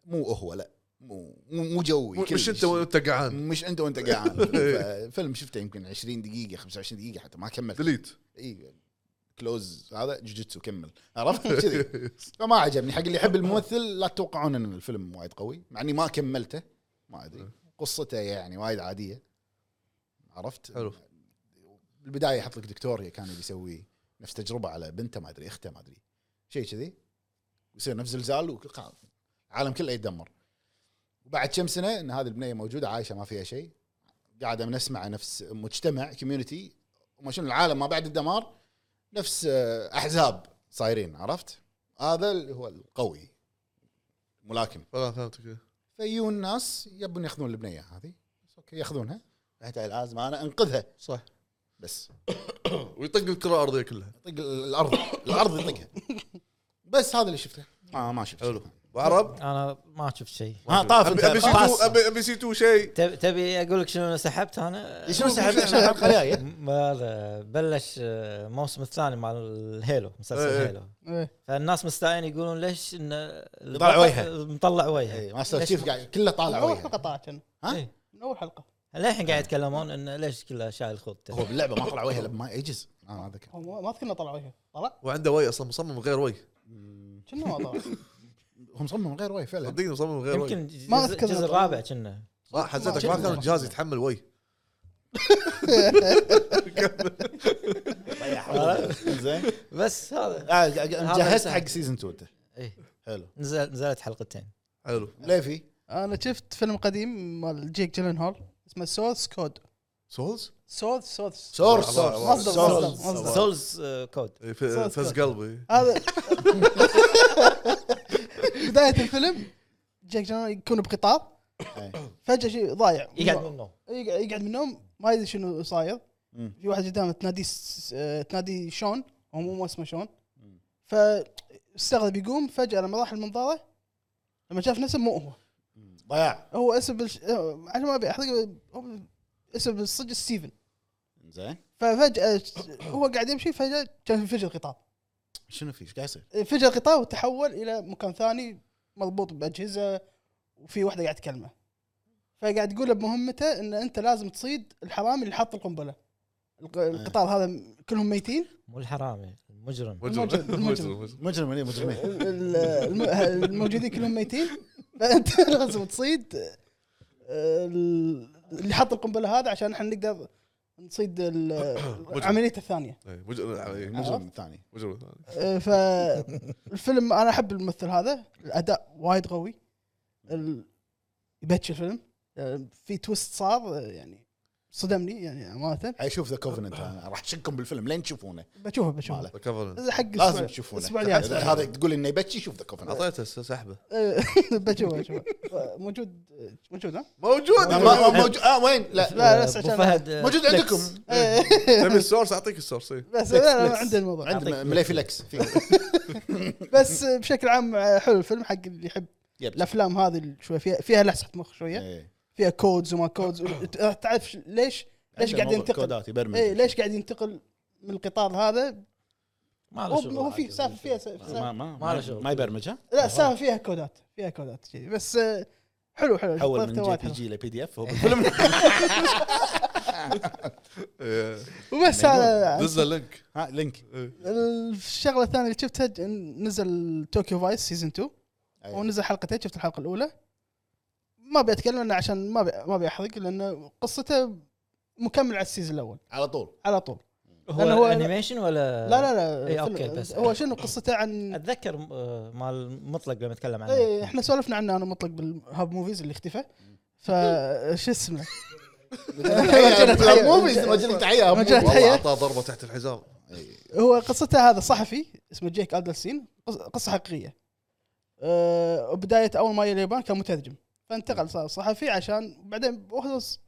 A: مو هو لا مو مو مو جوي
C: مش إيه.
A: كلش.
C: انت وانت قعان
A: مش انت وانت
C: *laughs*
A: قاعد فيلم شفته يمكن 20 دقيقه 25 دقيقه حتى ما كملت
C: ديليت
A: اي إيه، كلوز هذا جوجيتسو كمل عرفت كذي فما عجبني حق اللي يحب الممثل لا تتوقعون ان الفيلم وايد قوي مع اني ما كملته ما ادري قصته يعني وايد عاديه عرفت
C: حلو.
A: بالبدايه يحط لك دكتور كان يبي يسوي نفس تجربه على بنته ما ادري اخته ما ادري شيء كذي يصير نفس زلزال وخلاص العالم كله يتدمر وبعد كم سنه ان هذه البنيه موجوده عايشه ما فيها شيء قاعده نسمع نفس مجتمع كوميونتي وما شنو العالم ما بعد الدمار نفس آه، احزاب صايرين عرفت هذا اللي هو القوي ملاكم
C: والله فهمتك
A: فيجون ناس يبون ياخذون البنيه هذه بس اوكي ياخذونها هاي لازم انا انقذها
C: صح
A: بس
C: ويطق الكره الارضيه كلها
A: طق الارض الارض يطقها بس هذا اللي شفته آه، ما ما شفت
C: حلو وعرب
B: انا ما شفت شيء
A: ها طاف
C: ابي ابي
A: انت
C: سي 2
B: باس.
C: ابي ابي سي 2 شيء
B: تب- تبي اقول لك شنو أنا سحبت انا
A: شنو سحبت احنا الحلقه الجايه
B: م- هذا بلش آه، الموسم الثاني مع الهيلو مسلسل
C: إيه.
B: هيلو فالناس مستائين يقولون ليش ان
A: مطلع إيه، وجهه.
B: مطلع وجهه
A: إي، ماستر
B: ليش-
A: شيف قاعد كله
D: من
A: طالع
D: اول
A: وجهه
D: حلقه طلعت أنا.
A: ها؟
B: إيه.
D: من اول حلقه
B: للحين قاعد يتكلمون انه ليش كله شايل خط
A: هو باللعبه ما طلع وجهه لما يجز آه، ما اذكر
D: هو ما ما اذكر إنه طلع وجهه طلع
C: وعنده وي اصلا مصمم غير وي
D: كنا ما *laughs* طلع
A: هو مصمم غير وجه
C: *laughs*
A: فعلا
C: صدقني مصمم غير وي
B: يمكن ج-
D: ما
B: جزء
D: أذكر
B: الجزء
D: الأطفال.
B: الرابع كنا
C: ما حزتك ما كان الجهاز يتحمل وي
A: زين
B: بس هذا
A: آه، جهزت
B: هذا
A: حق سيزون 2 انت
B: إيه.
A: حلو
B: نزل نزلت حلقتين
C: حلو
A: ليفي
D: انا شفت فيلم قديم مال جيك جيلن هول اسمه سورس كود
C: سولز
D: سورس سورس
A: سورس
C: عبارة- عبارة.
A: سورس
D: مصدر،
A: سورس
D: مصدر. مصدر.
B: سولز آه، كود
C: إيه، ف-
D: سولز
C: فز قلبي
D: هذا *laughs* بدايه الفيلم جيك جيلن يكون بقطار
A: إيه.
D: فجاه شيء ضايع
B: يقعد من النوم
D: يقعد يقعد من النوم ما يدري شنو صاير
A: مم.
D: في واحد قدامه تنادي س- آه، تنادي شون هو مو مو اسمه شون
A: مم.
D: فاستغرب يقوم فجاه لما راح المنظاره لما شاف نفسه مو هو
A: ضياع
D: هو اسم بالش... آه، عشان ما ابي احرق هو اسم الصج ستيفن
A: زين
D: ففجاه هو قاعد يمشي فجاه كان انفجر قطار
A: شنو في ايش قاعد يصير؟
D: انفجر قطار وتحول الى مكان ثاني مربوط باجهزه وفي واحده قاعد تكلمه فقاعد تقول له بمهمته ان انت لازم تصيد الحرامي اللي حاط القنبله الق- القطار هذا كلهم ميتين
B: مو يعني، الحرامي المجرم
C: مجرم
D: المجرم.
C: مجرم مجرم.
A: مجرم إيه، مجرمين *laughs*
D: ال- الم- الموجودين كلهم ميتين *laughs* فانت لازم تصيد ال- اللي حط القنبله هذا عشان احنا نقدر نصيد
A: *coughs*
D: ال- عمليته الثانيه
C: إيه، مجرم
A: المجرم الثاني
C: مجرم
D: فالفيلم انا احب الممثل هذا الاداء وايد قوي ال- يبتش الفيلم في تويست صار يعني صدمني يعني امانه
A: اشوف ذا كوفننت انا راح اشككم بالفيلم لين تشوفونه
D: بشوفه بشوفه
A: ماله.
C: كفر
D: حق
A: لازم تشوفونه *laughs*
D: الاسبوع الجاي
A: إذا هذا تقول انه يبكي شوف ذا كوفننت
C: اعطيته س- سحبه
D: *laughs* بشوفه بشوفه موجود موجود ها؟
C: موجود
A: ما- موجود اه وين لا
D: لا بس
B: أبو
D: عشان
B: فهد، آه،
A: موجود
B: فليكس.
A: عندكم
C: تبي السورس اعطيك السورس إيه.
D: بس
B: فليكس،
D: لا لا
B: فليكس.
D: عندي الموضوع
A: عند ملي فليكس
D: بس بشكل عام آه، حلو الفيلم حق اللي يحب الافلام هذه اللي شوي فيها فيها لسعه مخ
A: إيه.
D: شويه فيها كودز وما كودز
A: آه.
D: تعرف ش- ليش ليش إيه، قاعد ينتقل
A: كودات يبرمج
D: اي ليش قاعد ينتقل من القطار هذا
B: ما
D: هو-
B: له شغل
D: هو في
B: عاد.
D: سالفه فيها سالفه
A: ما ما
B: ما له
A: ما,
B: شغل.
A: ما يبرمج ها
D: لا السالفه فيها كودات فيها كودات شي. بس آه، حلو حلو
A: حول من جي
D: طريقته وايد
A: بي
D: حلوة.
A: جي لبي دي اف هو بالفيلم *laughs*
C: إيه.
D: وبس هذا
C: دز اللينك
A: ها لينك
C: إيه.
D: الشغله الثانيه اللي شفتها ج- نزل توكيو فايس سيزون 2
B: إيه.
A: أي.
D: ونزل حلقتين شفت الحلقه الاولى ما ابي اتكلم عنه عشان ما بي ما ابي احرق لان قصته مكمل على السيزون الاول
A: على طول
D: على طول لأن
B: هو
D: هو-
B: انيميشن ولا
D: لا لا لا
B: إيه،
D: فيلم-
B: أوكي، بس.
D: هو شنو قصته عن
B: اتذكر آه، مال مطلق لما اتكلم عنه
D: ايه احنا سولفنا عنه انا مطلق بالهاب موفيز اللي
B: *laughs*
D: اختفى فش اسمه *laughs*
A: وجهنا
D: تحية.
A: موفيز وجهنا تحيه
D: وجهنا
A: موفيز.
D: تحية.
C: والله اعطاه ضربه تحت الحزام
D: هو قصته هذا صحفي اسمه جيك ادلسين قص- قصه حقيقيه أه بدايه اول ما جاء اليابان كان مترجم فانتقل صار صحفي عشان بعدين وهو ص-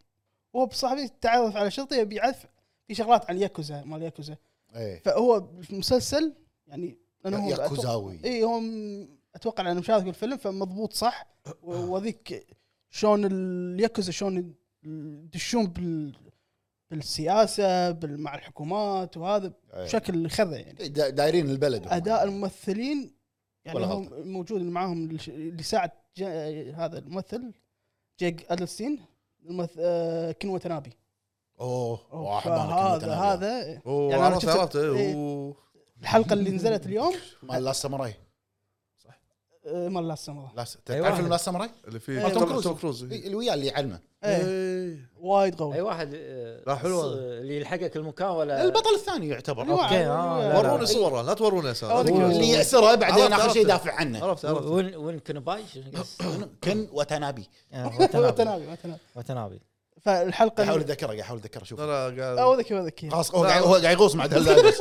D: وهو بصحفي تعرف على شرطي يبي يعرف في شغلات عن ياكوزا مال ياكوزا
A: إيه.
D: فهو بالمسلسل يعني لأنه هو
A: ياكوزاوي
D: اي هو م- اتوقع انه مشارك بالفيلم فمضبوط صح و- وذيك شلون الياكوزا شلون يدشون بال بالسياسه بال- مع الحكومات وهذا
A: إيه.
D: بشكل خذ يعني
A: دا- دايرين البلد هم.
D: اداء الممثلين يعني
A: ولا
D: هو
A: غلطة.
D: موجود اللي معاهم اللي ش- اللي ساعد جا- هذا الممثل جيك ادلستين الممثل آه، كنوة تنابي
A: اوه
D: أوه،
A: واحد أنا كنت
D: فهذا
A: أنا وياه.
D: هذا
C: اوه
D: يعني أنا
C: عرفت
D: شفت-
C: عرفت إيه،
D: إيه.
C: أوه.
D: الحلقه اللي نزلت اليوم
A: مال لاست ساموراي
D: آه، مال لاست ساموراي
A: لاست
B: أي
C: أيوة.
A: تعرف
B: واحد.
A: فيلم لاست ساموراي؟
C: اللي
D: مال
C: فيه
D: توم
A: كروز.
C: توم كروز إيه.
A: إيه، اللي وياه اللي يعلمه
D: إيه،
C: إيه.
D: وايد
B: اي
A: أيوة.
D: قوي
B: واحد آه،
C: لا، حلوة.
B: ص- اللي يلحقك المكان
C: آه.
B: ولا
A: البطل الثاني يعتبر
D: أيوة.
B: اوكي اه لا، لا.
C: وروني صوره لا توروني اسامي
D: أوريك.
A: اللي يأسره بعدين
C: عرفت،
A: اخر شيء
C: عرفت.
A: يدافع
D: إيه.
A: عنه
C: عرفت عرفت
B: وين وين كنباي شنو قص-
A: كن وتنابي
B: آه، وتنابي
D: وتنابي وتنابي
B: وتنابي
D: فالحلقه
A: احاول اتذكره قاعد احاول اتذكره شوف
C: لا لا
D: اه
C: قال
D: ذكي هو ذكي
A: خلاص هو قاعد هو قاعد يغوص مع
C: *laughs*
A: دلدادس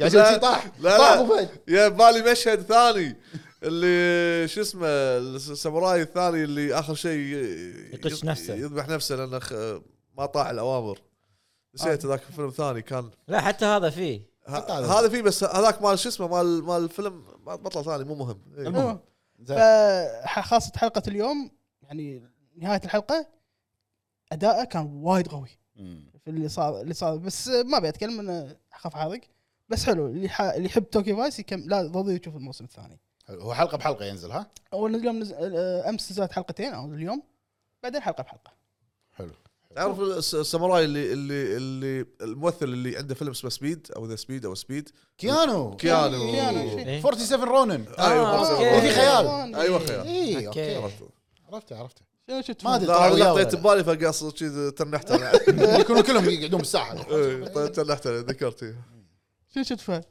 A: يا
C: لا،
A: شيخ طاح
C: لا،
A: طاح
C: لا.
A: أبو فهد.
C: يا بالي مشهد ثاني اللي شو اسمه الساموراي الثاني اللي اخر شيء ي-
B: يقش
C: يذ-
B: نفسه.
C: يذبح نفسه لانه خ- ما طاع الاوامر
D: آه.
C: نسيت ذاك فيلم ثاني كان
B: لا حتى هذا فيه
A: حتى
C: ه-
A: هذا.
C: هذا فيه بس هذاك مال شو اسمه مال مال الفيلم بطل ثاني مو مهم إيه.
D: المهم
A: زين.
D: فخاصه حلقه اليوم يعني نهايه الحلقه اداءه كان وايد قوي
A: مم.
D: في اللي صار اللي صار بس ما ابي اتكلم انا اخاف احرق بس حلو اللي ح... اللي يحب توكي فايس يكم... لا ضروري يشوف الموسم الثاني
A: هو حلقه بحلقه ينزل ها
D: اول اليوم نز... آه، امس نزلت حلقتين او اليوم بعدين حلقه بحلقه
A: حلو
C: تعرف الس- الساموراي اللي اللي اللي الممثل اللي عنده فيلم اسمه سبيد او ذا سبيد او سبيد
A: كيانو
C: كيانو.
D: كيانو شي.
B: إيه.
A: 47 رونن
C: ايوه
B: آه،
C: خمسة.
B: أوكي. إيه.
A: وفي خيال.
C: ايوه خيال
A: اي
B: أوكي.
A: اوكي
C: عرفت.
A: عرفته
C: *laughs*
A: عرفته
D: شنو شفت
A: ما أدري.
C: لا انا حطيت ببالي فقص شي تنحت
B: *laughs*
C: انا
A: يكونوا كلهم يقعدون
C: *laughs*
A: بالساحه
C: إيه، طيب تنحت انا ذكرت إيه.
D: شنو شفت فهد؟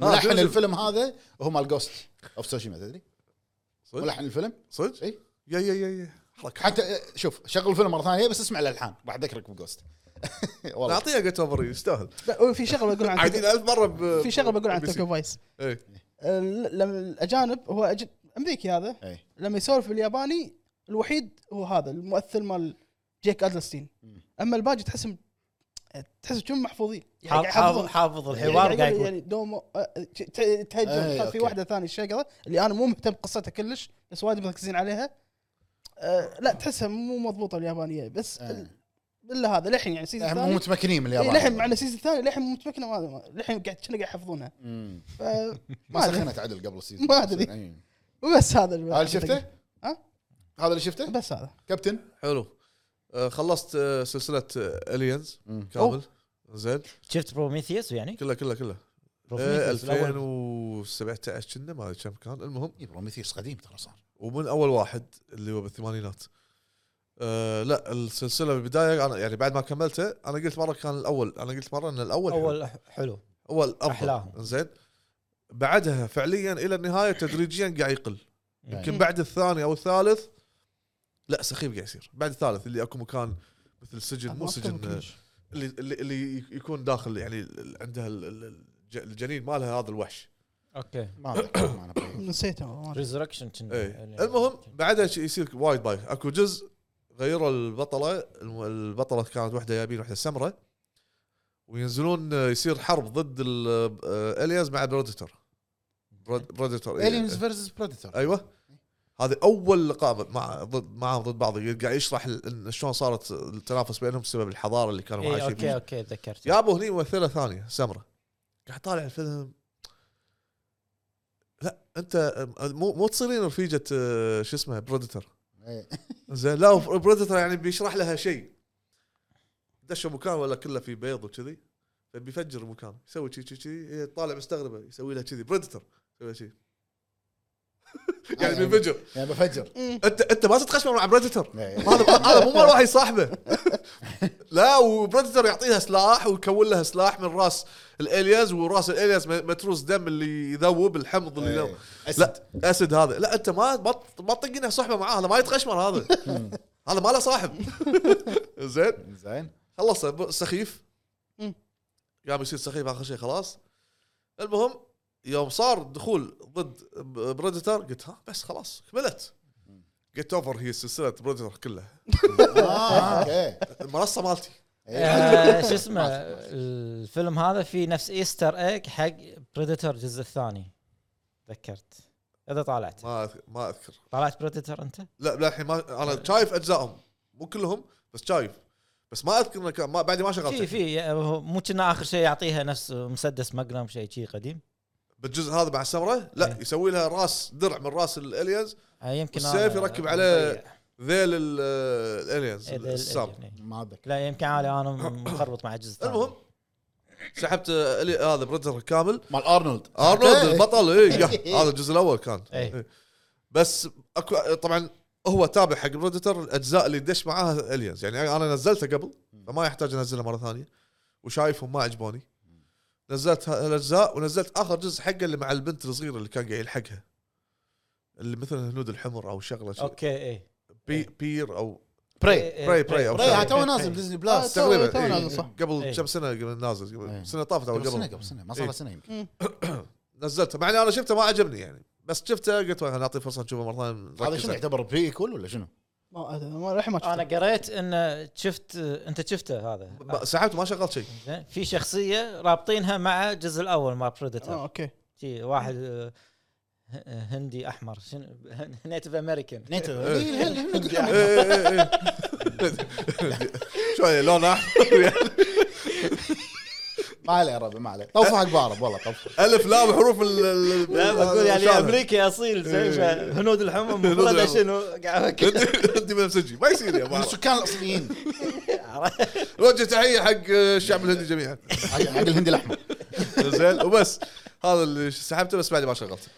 A: ملحن
C: جوجو.
A: الفيلم هذا هو مال جوست اوف سوشيما تدري
C: صدق؟
A: ملحن الفيلم
C: صدق؟
A: إي.
C: يا يا يا يا حركة
A: حتى آه، شوف شغل الفيلم مره ثانيه بس اسمع الالحان راح اذكرك بجوست *laughs* والله
C: نعطيه جيت اوفر يستاهل
B: *laughs*
D: لا وفي شغله بقول عن
C: عايدين ألف مرة ب...
D: في شغله بقول عن
C: بي سي.
D: توكي فايس
C: إيه.
D: ال- لما الاجانب هو أج... امريكي هذا
A: إيه.
D: لما يسولف بالياباني الوحيد هو هذا الممثل مال جيك ادلستين
A: مم.
D: اما الباقي تحسهم تحسهم كم محفوظين يعني
B: حاف- حافظ
D: يحفظون.
B: حافظ الحوار قاعد يقول
D: يعني دوم تهجم
A: أي،
D: في
A: أيوة، أوكي.
D: واحده ثانيه الشقره اللي انا مو مهتم بقصتها كلش بس وايد مركزين عليها آه، لا تحسها مو مضبوطه اليابانيه بس
A: آه.
D: ال- الا هذا للحين يعني السيزون
A: إحنا مو
D: الثاني
A: متمكنين من
D: إيه،
A: اليابان
D: للحين مع إن السيزون الثاني للحين مو متمكنه ما- ما- للحين قاعد كنا قاعد يحفظونها
A: مم. *laughs*
D: ف-
A: ما
D: ما أدري.
A: سخنت عدل قبل السيزون
D: ما أدري.
A: إيه.
D: بس هذا اللي
A: هذا اللي شفته؟
D: ها؟
A: هذا اللي شفته؟
D: بس هذا
A: كابتن
C: حلو آه، خلصت آه، سلسله الينز
A: مم.
C: كامل زين
B: شفت بروميثيوس يعني؟
C: كلها كلها كلها آه،
B: بروميثيوس الأول.
C: 2017 كنا ما ادري كم كان المهم
A: إيه، بروميثيوس قديم ترى صار
C: ومن اول واحد اللي هو بالثمانينات أه لا السلسله بالبدايه انا يعني بعد ما كملته انا قلت مره كان الاول انا قلت مره ان الاول حلو.
B: اول حلو
C: اول افضل
B: أحلاهم.
C: زين بعدها فعليا الى النهايه تدريجيا قاعد يقل يمكن
A: مم.
C: بعد الثاني او الثالث لا سخيف قاعد يصير بعد الثالث اللي اكو مكان مثل سجن مو سجن آه، اللي اللي, اللي يكون داخل يعني عندها ال- ال- الج- الجنين مالها هذا الوحش
B: اوكي
A: *coughs* ما أدري، ما أدري.
D: نسيته والله ما أدري.
B: ريزركشن كنا
C: ايه المهم
B: إيه،
C: بعدها شي- يصير وايد بايك اكو جزء غيروا البطله الم- البطله كانت واحده يابين واحده سمراء وينزلون آه، يصير حرب ضد الاليز مع بريدتور بريدتور
A: Aliens versus Predator
C: ايوه إيه. هذه اول لقاء مع ضد معهم ضد بعض قاعد يشرح ال- إن شلون صارت التنافس بينهم بسبب الحضاره اللي كانوا
B: إيه
C: عايشين
B: اوكي
C: فيها
B: اوكي تذكرت
C: جابوا هني ممثله ثانيه سمره قاعد طالع الفيلم لا انت مو مو تصيرين رفيجه آه، شو اسمه بريدتر
A: إيه.
C: زين لا بريدتر يعني بيشرح لها شيء دشوا مكان ولا كله في بيض وكذي فبيفجر المكان يسوي شي شي شي هي طالع مستغربه يسوي لها كذي بريدتر يسوي لها شي *laughs* يعني بينفجر
A: يعني
D: *laughs*
A: بفجر
C: انت انت ما تتخشم مع بريدتر
A: إيه.
C: هذا هذا مو مال واحد صاحبه لا وبريدتر يعطيها سلاح ويكون لها سلاح من راس الاليز وراس الاليز م- متروس دم اللي يذوب الحمض اللي يذوب
A: إيه. أسد.
C: لا اسد هذا لا انت ما ما ت- ما تطقينه صحبه معاه هذا ما يتخشمر هذا هذا ما له صاحب زين
A: زين
C: خلص ب- سخيف
D: مم.
C: قام يصير سخيف اخر شيء خلاص المهم يوم صار دخول ضد بريدتر قلت ها بس خلاص كملت جيت اوفر هي سلسله بريدتر كلها
A: آه، اوكي
C: المنصه مالتي
D: إيه.
C: *laughs*
B: آه، شو اسمه الفيلم هذا فيه نفس ايستر ايج حق بريدتر الجزء الثاني تذكرت اذا طالعت
C: ما أذ- ما اذكر
B: طالعت بريدتر انت؟
C: لا للحين ما
B: يعني.
C: انا شايف اجزائهم مو كلهم بس شايف بس ما اذكر إنه كان ما بعد ما شغلت
B: في في هو مو كنا اخر شيء يعطيها نفس مسدس ماجنم شيء شيء قديم
C: بالجزء هذا مع السمره لا
B: إيه.
C: يسوي لها راس درع من راس الالينز
B: آه، يمكن
C: والسيف
B: هذا
C: يركب عليه ذيل ال- الالينز
B: ال- ال-
C: السام
B: ال- إيه.
A: ما اتذكر
B: لا يمكن انا انا مخربط مع الجزء الثاني
C: المهم سحبت آه، إلي- هذا بريدتر كامل
A: مال إيه. ارنولد
C: ارنولد
A: أوكي.
C: آه، البطل اي هذا الجزء الاول كان
B: إيه.
C: إيه. بس اكو طبعا هو تابع حق بريدتر الاجزاء اللي دش معاها الينز يعني انا نزلته قبل فما يحتاج انزلها مره ثانيه وشايفهم ما عجبوني نزلت ه- الاجزاء ونزلت اخر جزء حقه اللي مع البنت الصغيره اللي كان قاعد يلحقها اللي مثل الهنود الحمر او شغله شي-
B: اوكي اي
C: بي بير او
A: بري
C: بري- بري أو
A: بري
C: بري.
A: طيب، تو آه، نازل ديزني بلاس
D: إيه. آه، تو-
C: تقريبا
D: تو
C: إيه.
D: نازل، صح.
C: قبل
B: إيه.
C: كم سنه قبل نازل
A: إيه.
C: قبل سنه طافت او
A: قبل سنه
C: قبل
A: قبل سنه ما صار
C: إيه.
A: له سنه يمكن
C: نزلته مع اني انا شفته ما عجبني يعني بس شفته قلت والله نعطيه فرصه نشوفه مره ثانيه
A: هذا
C: نركز
A: شنو
C: عليه. إيه.
A: يعتبر بريكول ولا شنو؟
D: ما أدري، ما الحين ما
B: انا
D: شفته
B: قريت ان شفت انت شفته هذا
C: ب- سحبت ما شغلت شيء
B: زين في شخصيه رابطينها مع الجزء الاول مع
D: اه
B: بريدتر
D: اوكي
B: شي واحد آه، ه- هندي احمر شنو نيتف امريكان
A: نيتف إيه، هل- هل- هل-
C: إيه إيه إيه. *laughs* شوي لون احمر
A: ما عليه يا ربي ما عليه طوفوا حق بعرب والله طوفوا
C: الف لام حروف ال- ال
B: لا بقول يعني
C: شالها. *laughs*
B: امريكي اصيل
A: إيه.
B: زين شا- هنود الحمى
C: هنود
B: المفروض
C: الحمى.
B: شنو قاعد أفكر.
C: انت انت بنفسجي ما يصير يا أبو
A: من
C: *laughs* عرب.
A: السكان الاصليين
C: وجه تحيه حق الشعب الهندي *laughs* جميعا
A: حق حق الهندي الاحمر
C: زين وبس هذا اللي سحبته بس بعد ما شغلته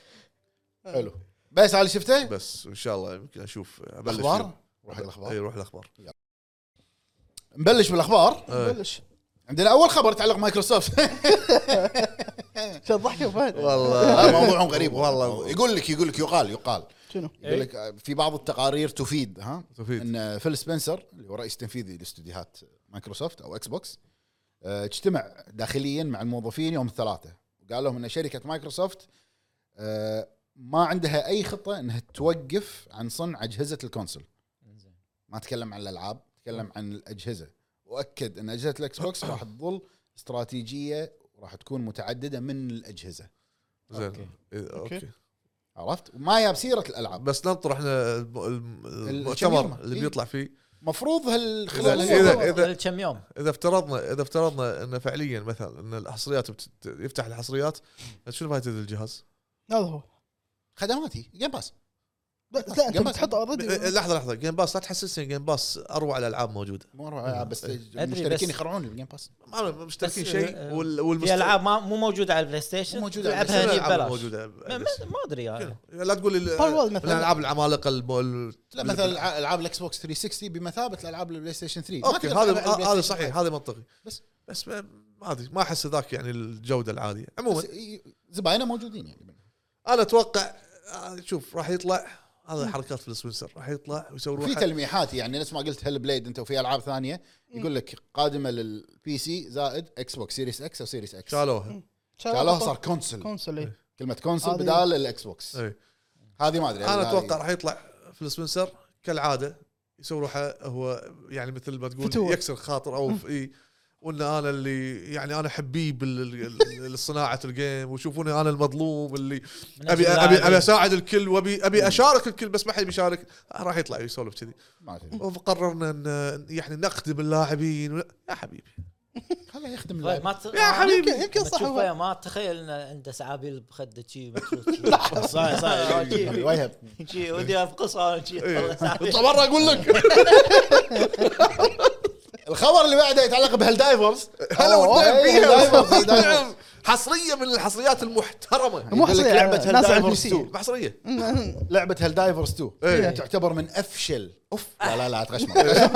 A: حلو بس هذا اللي شفته
C: بس ان شاء الله يمكن اشوف ابلش
A: الاخبار
C: فيه.
A: روح حق
C: اي
A: الاخبار
C: إيه، روح الاخبار
B: إيه،
A: نبلش بالاخبار
C: إيه. طيب.
D: بلش
A: عندنا اول خبر يتعلق مايكروسوفت *laughs*
D: شو الضحكه فهد
C: والله
A: آه، موضوعهم غريب
C: والله. إيه.
A: والله يقول لك يقول لك يقال يقال
D: شنو؟
A: يقول لك آه، في بعض التقارير تفيد ها
C: تفيد.
A: ان آه، فيل سبنسر اللي هو رئيس تنفيذي لاستديوهات مايكروسوفت او اكس بوكس آه، اجتمع داخليا مع الموظفين يوم الثلاثاء وقال لهم ان شركه مايكروسوفت آه، ما عندها اي خطه انها توقف عن صنع اجهزه الكونسل ما تكلم عن الالعاب تكلم عن الاجهزه واكد ان اجهزه الاكس
C: *coughs*
A: بوكس راح تظل استراتيجيه وراح تكون متعدده من الاجهزه
C: زين
B: أوكي.
C: إيه،
D: أوكي.
C: اوكي
A: عرفت ما ياب سيره الالعاب
C: بس ننطر احنا الم- الم- المؤتمر
A: الشميرمة.
C: اللي
A: إيه.
C: بيطلع فيه
A: مفروض
C: إذا- إذا-
A: هالخلال
C: إذا-
B: قبل كم يوم
C: اذا افترضنا اذا افترضنا انه فعليا مثلا ان الحصريات بت- يفتح الحصريات شنو فائده الجهاز؟
D: هذا هو
A: خدماتي جيم باس
D: بس لا انت
A: قبل-
D: بتحط
C: ب-
D: اوريدي
C: لحظه لحظه جيم باس لا تحسسني جيم باس اروع الالعاب موجوده
A: مو أروح
C: إيه،
A: ألعب، بس
B: أدري
A: المشتركين
B: بس-
A: يخرعون الجيم باس
C: ما مشتركين
B: بس،
C: شيء
A: أه،
B: آه،
C: وال-
B: في
C: والمست-
B: العاب ما- مو موجوده على البلاي ستيشن
A: مو موجودة على
B: تلعبها
A: البلاي
B: لي
C: الألعاب
B: ببلاش
C: موجوده
B: ما-
C: بس.
B: ما- يعني. ما ادري انا
C: لا تقول لي
D: Paul Wall مثلاً.
C: الالعاب العمالقه الب- ال-
A: لا مثلا العاب الاكس بوكس 360 بمثابه العاب البلاي ستيشن 3 ما
C: اوكي
A: تقدر
C: هذا
A: تلعب على البلاي
C: هذا
A: ستيشن
C: صحيح هذا منطقي
A: بس-
C: بس ما ما ادري ما احس ذاك يعني الجوده العاليه عموما
A: بس ي- زباينه موجودين يعني
C: انا اتوقع آه، شوف راح يطلع هذا حركات في السويسر راح يطلع ويسوي
A: في تلميحات يعني نفس ما قلت هل بليد انت وفي العاب ثانيه يقول لك قادمه للبي سي زائد اكس بوكس سيريس اكس او سيريس اكس
C: شالوها
A: قالوها صار كونسل
D: كونسول إيه.
A: كلمه كونسل
D: هذه-
A: بدال الاكس بوكس
C: إيه.
A: هذه ما ادري
C: انا
A: هذه-
C: اتوقع راح يطلع في السويسر كالعاده يسوي روحه هو يعني مثل ما تقول
D: فتوة.
C: يكسر خاطر او في إيه وان انا اللي يعني انا حبيب صناعه الجيم ويشوفوني انا المظلوم اللي
B: من
C: ابي
B: أجل
C: ابي ابي
B: اللاعبين.
C: اساعد الكل وابي ابي اشارك الكل بس ما حد بيشارك راح يطلع يسولف كذي
A: ما ادري
C: وقررنا ان يعني نخدم اللاعبين يا حبيبي
A: هذا يخدم
B: طيب
A: اللاعب.
B: ما ت...
C: يا حبيبي.
D: يمكن يمكن صح هو
B: تشوفه ما تخيل انه عنده سعابيل بخده
C: *laughs*
B: شي مكشوف شي.
A: صح *laughs*
B: صح.
A: ويهب
B: شي ودي آه، افقصها أنا شي.
C: إيه.
B: سعابيل.
A: طب مره اقول لك *laughs* الخبر اللي بعده يتعلق بهالدايفرز
C: هلا ونعم
A: إيه،
C: فيها
A: هالدايفرز، *laughs* هالدايفرز.
C: نعم. حصريه من الحصريات المحترمه
D: مو
A: يقول لك
D: حصرية،
A: لعبه
D: ناس على البي
A: هالدايفرز
D: سي.
A: 2
C: محصريه
A: لعبه هالدايفرز 2
C: إيه.
A: تعتبر من افشل اوف لا لا لا
C: *laughs*
A: تغشمر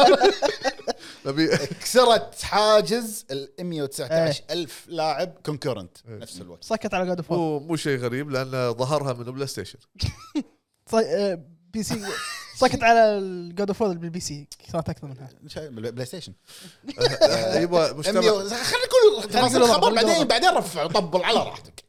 C: نبي
A: كسرت حاجز ال 119
C: إيه.
A: الف لاعب كونكورنت نفس الوقت
D: سكت على جاد اوف وور
C: مو مو شيء غريب لان ظهرها من بلاي
A: *laughs*
C: ستيشن
D: آه، بي سي سكت على جاد اوف وور بالبي سي كانت اكثر منها
A: شيء بال- بلاي ستيشن
C: آه، يبا
A: خلينا
C: مجتمع
A: نقول تفاصيل
D: نقول
A: الخبر
D: الخبر،
A: بعدين
D: نقول
A: بعدين رفع طبل
C: *laughs*
A: على راحتك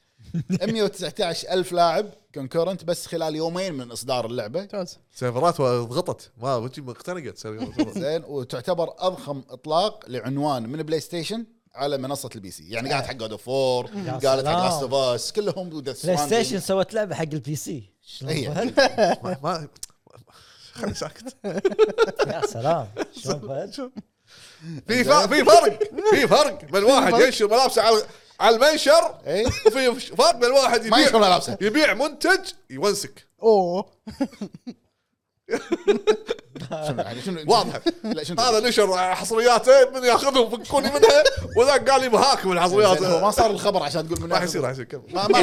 A: 119 الف لاعب كونكورنت بس خلال يومين من اصدار اللعبه
D: جوز
C: سيرفرات ضغطت ما وجهي اختنقت سيرفرات.
A: *laughs* زين وتعتبر اضخم اطلاق لعنوان من بلاي ستيشن على منصه البي سي يعني قالت حق جود اوف 4 قالت حق لاست اوف اس كلهم ودث
B: بلاي
A: ستراندينج.
B: ستيشن سوت لعبه حق البي سي شلون
C: إيه.
A: هي.
B: فهد؟
C: ما ما خلي
A: *laughs*
C: ساكت
B: يا سلام شلون فهد؟
C: في فا- في
A: *laughs*
C: فرق في فرق من واحد
D: فرق.
C: ينشر ملابسه على على المنشر
A: إيه.
C: وفي فرق من واحد
A: ما يشغل
C: يبيع
A: ملابسه
C: يبيع منتج يونسك
D: اوه
A: شنو- شنو-
C: واضحة.
A: لا شنو
C: هذا نشر حصرياته من ياخذهم فكوني منها وذاك قال لي بهاكم الحصريات
A: زين، هو ما صار الخبر عشان تقول من
C: راح يصير راح يصير كمل
A: ما ما-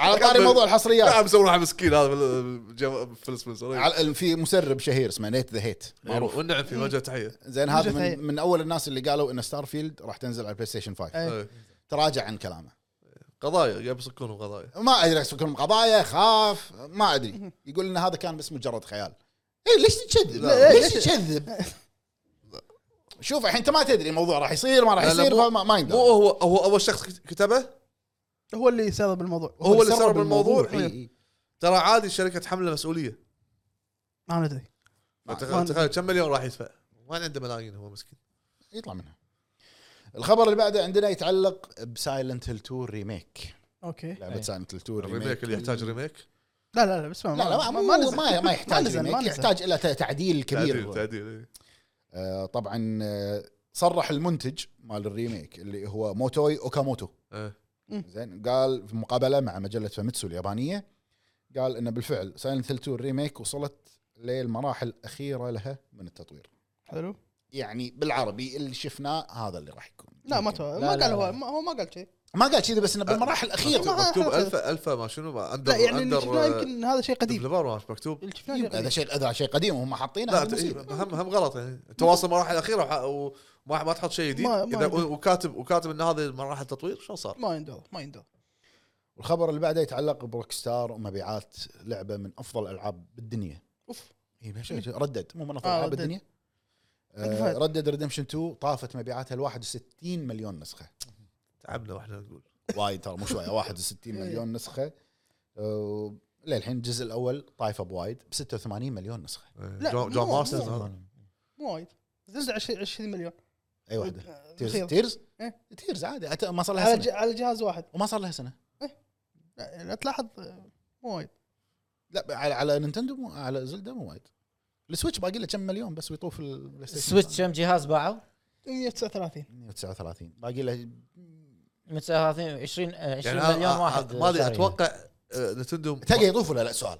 A: على طاري موضوع
C: لا
A: الحصريات
C: مسوي روحه مسكين هذا بال- جو- فيل سبنسر
A: على- في مسرب شهير اسمه نيت ذا هيت معروف
C: والنعم في وجه تحيه
A: زين هذا
D: وجهة هي.
A: من, من اول الناس اللي قالوا ان ستار فيلد راح تنزل على البلاي ستيشن 5
D: إيه.
C: إيه.
A: تراجع عن كلامه
C: قضايا جاب يسكون قضايا
A: ما ادري ايش كلهم قضايا خاف ما ادري يقول ان هذا كان بس مجرد خيال اي ليش تكذب؟
C: لا.
A: ليش تكذب؟ شوف الحين انت ما تدري الموضوع راح يصير ما راح
C: لا، لا،
A: يصير
C: مو-
A: فما ما
D: نعم.
C: مو
A: يندرى
C: هو هو اول شخص كتبه
D: هو اللي سبب بالموضوع
C: هو اللي سرب الموضوع.
A: إي- إي.
C: ترى عادي شركه حمله مسؤوليه
D: ما ندري نعم.
C: تخيل تخيل كم مليون راح يدفع ما عنده ملايين هو مسكين
A: يطلع منها الخبر اللي بعده عندنا يتعلق بسايلنت هيل 2 ريميك
D: اوكي
A: لعبه سايلنت هيل 2
C: الريميك اللي يحتاج ريميك
D: لا لا لا بس ما
A: لا لا ما
D: *laughs* ما
A: ما
D: نزل.
A: ما, ما يحتاج
D: نزل، ما
A: ريميك
D: نزل.
A: يحتاج الى ت- تعديل
C: تعديل
A: كبير
C: تعديل إيه.
A: آه، طبعا آه، صرح المنتج مال الريميك اللي هو موتوي اوكاموتو
C: إيه.
A: زين قال في مقابله مع مجله فاميتسو اليابانيه قال انه بالفعل سايلنت هيل 2 الريميك وصلت للمراحل الاخيره لها من التطوير
D: حلو
A: يعني بالعربي اللي شفناه هذا اللي راح يكون
D: لا ما
A: يمكن.
D: تو- ما
B: لا، لا،
D: قال هو
B: لا.
D: ما هو ما قال شيء
A: ما قال كذي بس انه بالمراحل الاخيره
D: ما-
C: مكتوب
D: ما-
C: الفا الفا ما شنو ما اندر
D: لا يعني اللي شفناه
C: اندر
D: يمكن هذا شيء قديم
C: آه، ديفلوبر ما مكتوب
D: اللي شفناه شيء
A: هذا
D: قديم
A: شيء هذا شيء قديم وهم حاطينه
C: لا
A: هذا
C: ت-
A: مصيبة.
C: هم هم غلط يعني تواصل مراحل الاخيره وح- وما ما تحط شيء جديد
D: ما- ما
C: إذا-
D: يمكن.
C: وكاتب وكاتب ان هذه مراحل تطوير شو صار؟
D: ما يندر ما يندر
A: والخبر اللي بعده يتعلق بروك ستار ومبيعات لعبه من افضل الالعاب بالدنيا إيه،
D: اوف
A: اي مش ردد مو من افضل
D: آه،
A: العاب
D: ردد.
A: بالدنيا
D: حق
A: آه
D: فهد.
A: ردد ريدمشن 2 طافت مبيعاتها ال 61 مليون نسخه
C: تعبنا واحنا نقول
A: وايد ترى مو شويه 61
D: إيه.
A: مليون نسخه آه، للحين الجزء الاول طايفه بوايد ب 86 مليون نسخه
D: لا،
C: جون جون
D: مو-
C: مارسترز
D: مو-
C: هذا.
D: مو وايد زلزال 20 20 مليون
A: اي واحده تيرز
D: أخير.
A: تيرز
D: إيه.
A: تيرز عادي أت- ما صار
D: على
A: لها
D: ج-
A: سنه
D: على جهاز واحد
A: وما صار لها سنه
D: لا لا تلاحظ مو وايد
A: لا على, على نينتندو مو على زلدا مو وايد السويتش باقي له كم مليون بس ويطوف البلاي ستيشن
B: سويتش كم جهاز باعوا؟
D: 139
A: 139 باقي له
B: من 30 20 آه، 20
C: يعني
B: يعني مليون
C: أنا-
B: واحد
C: ما ادري
B: شاريها.
C: اتوقع آه، نتندو
A: تلقى يطوف ولا لا سؤال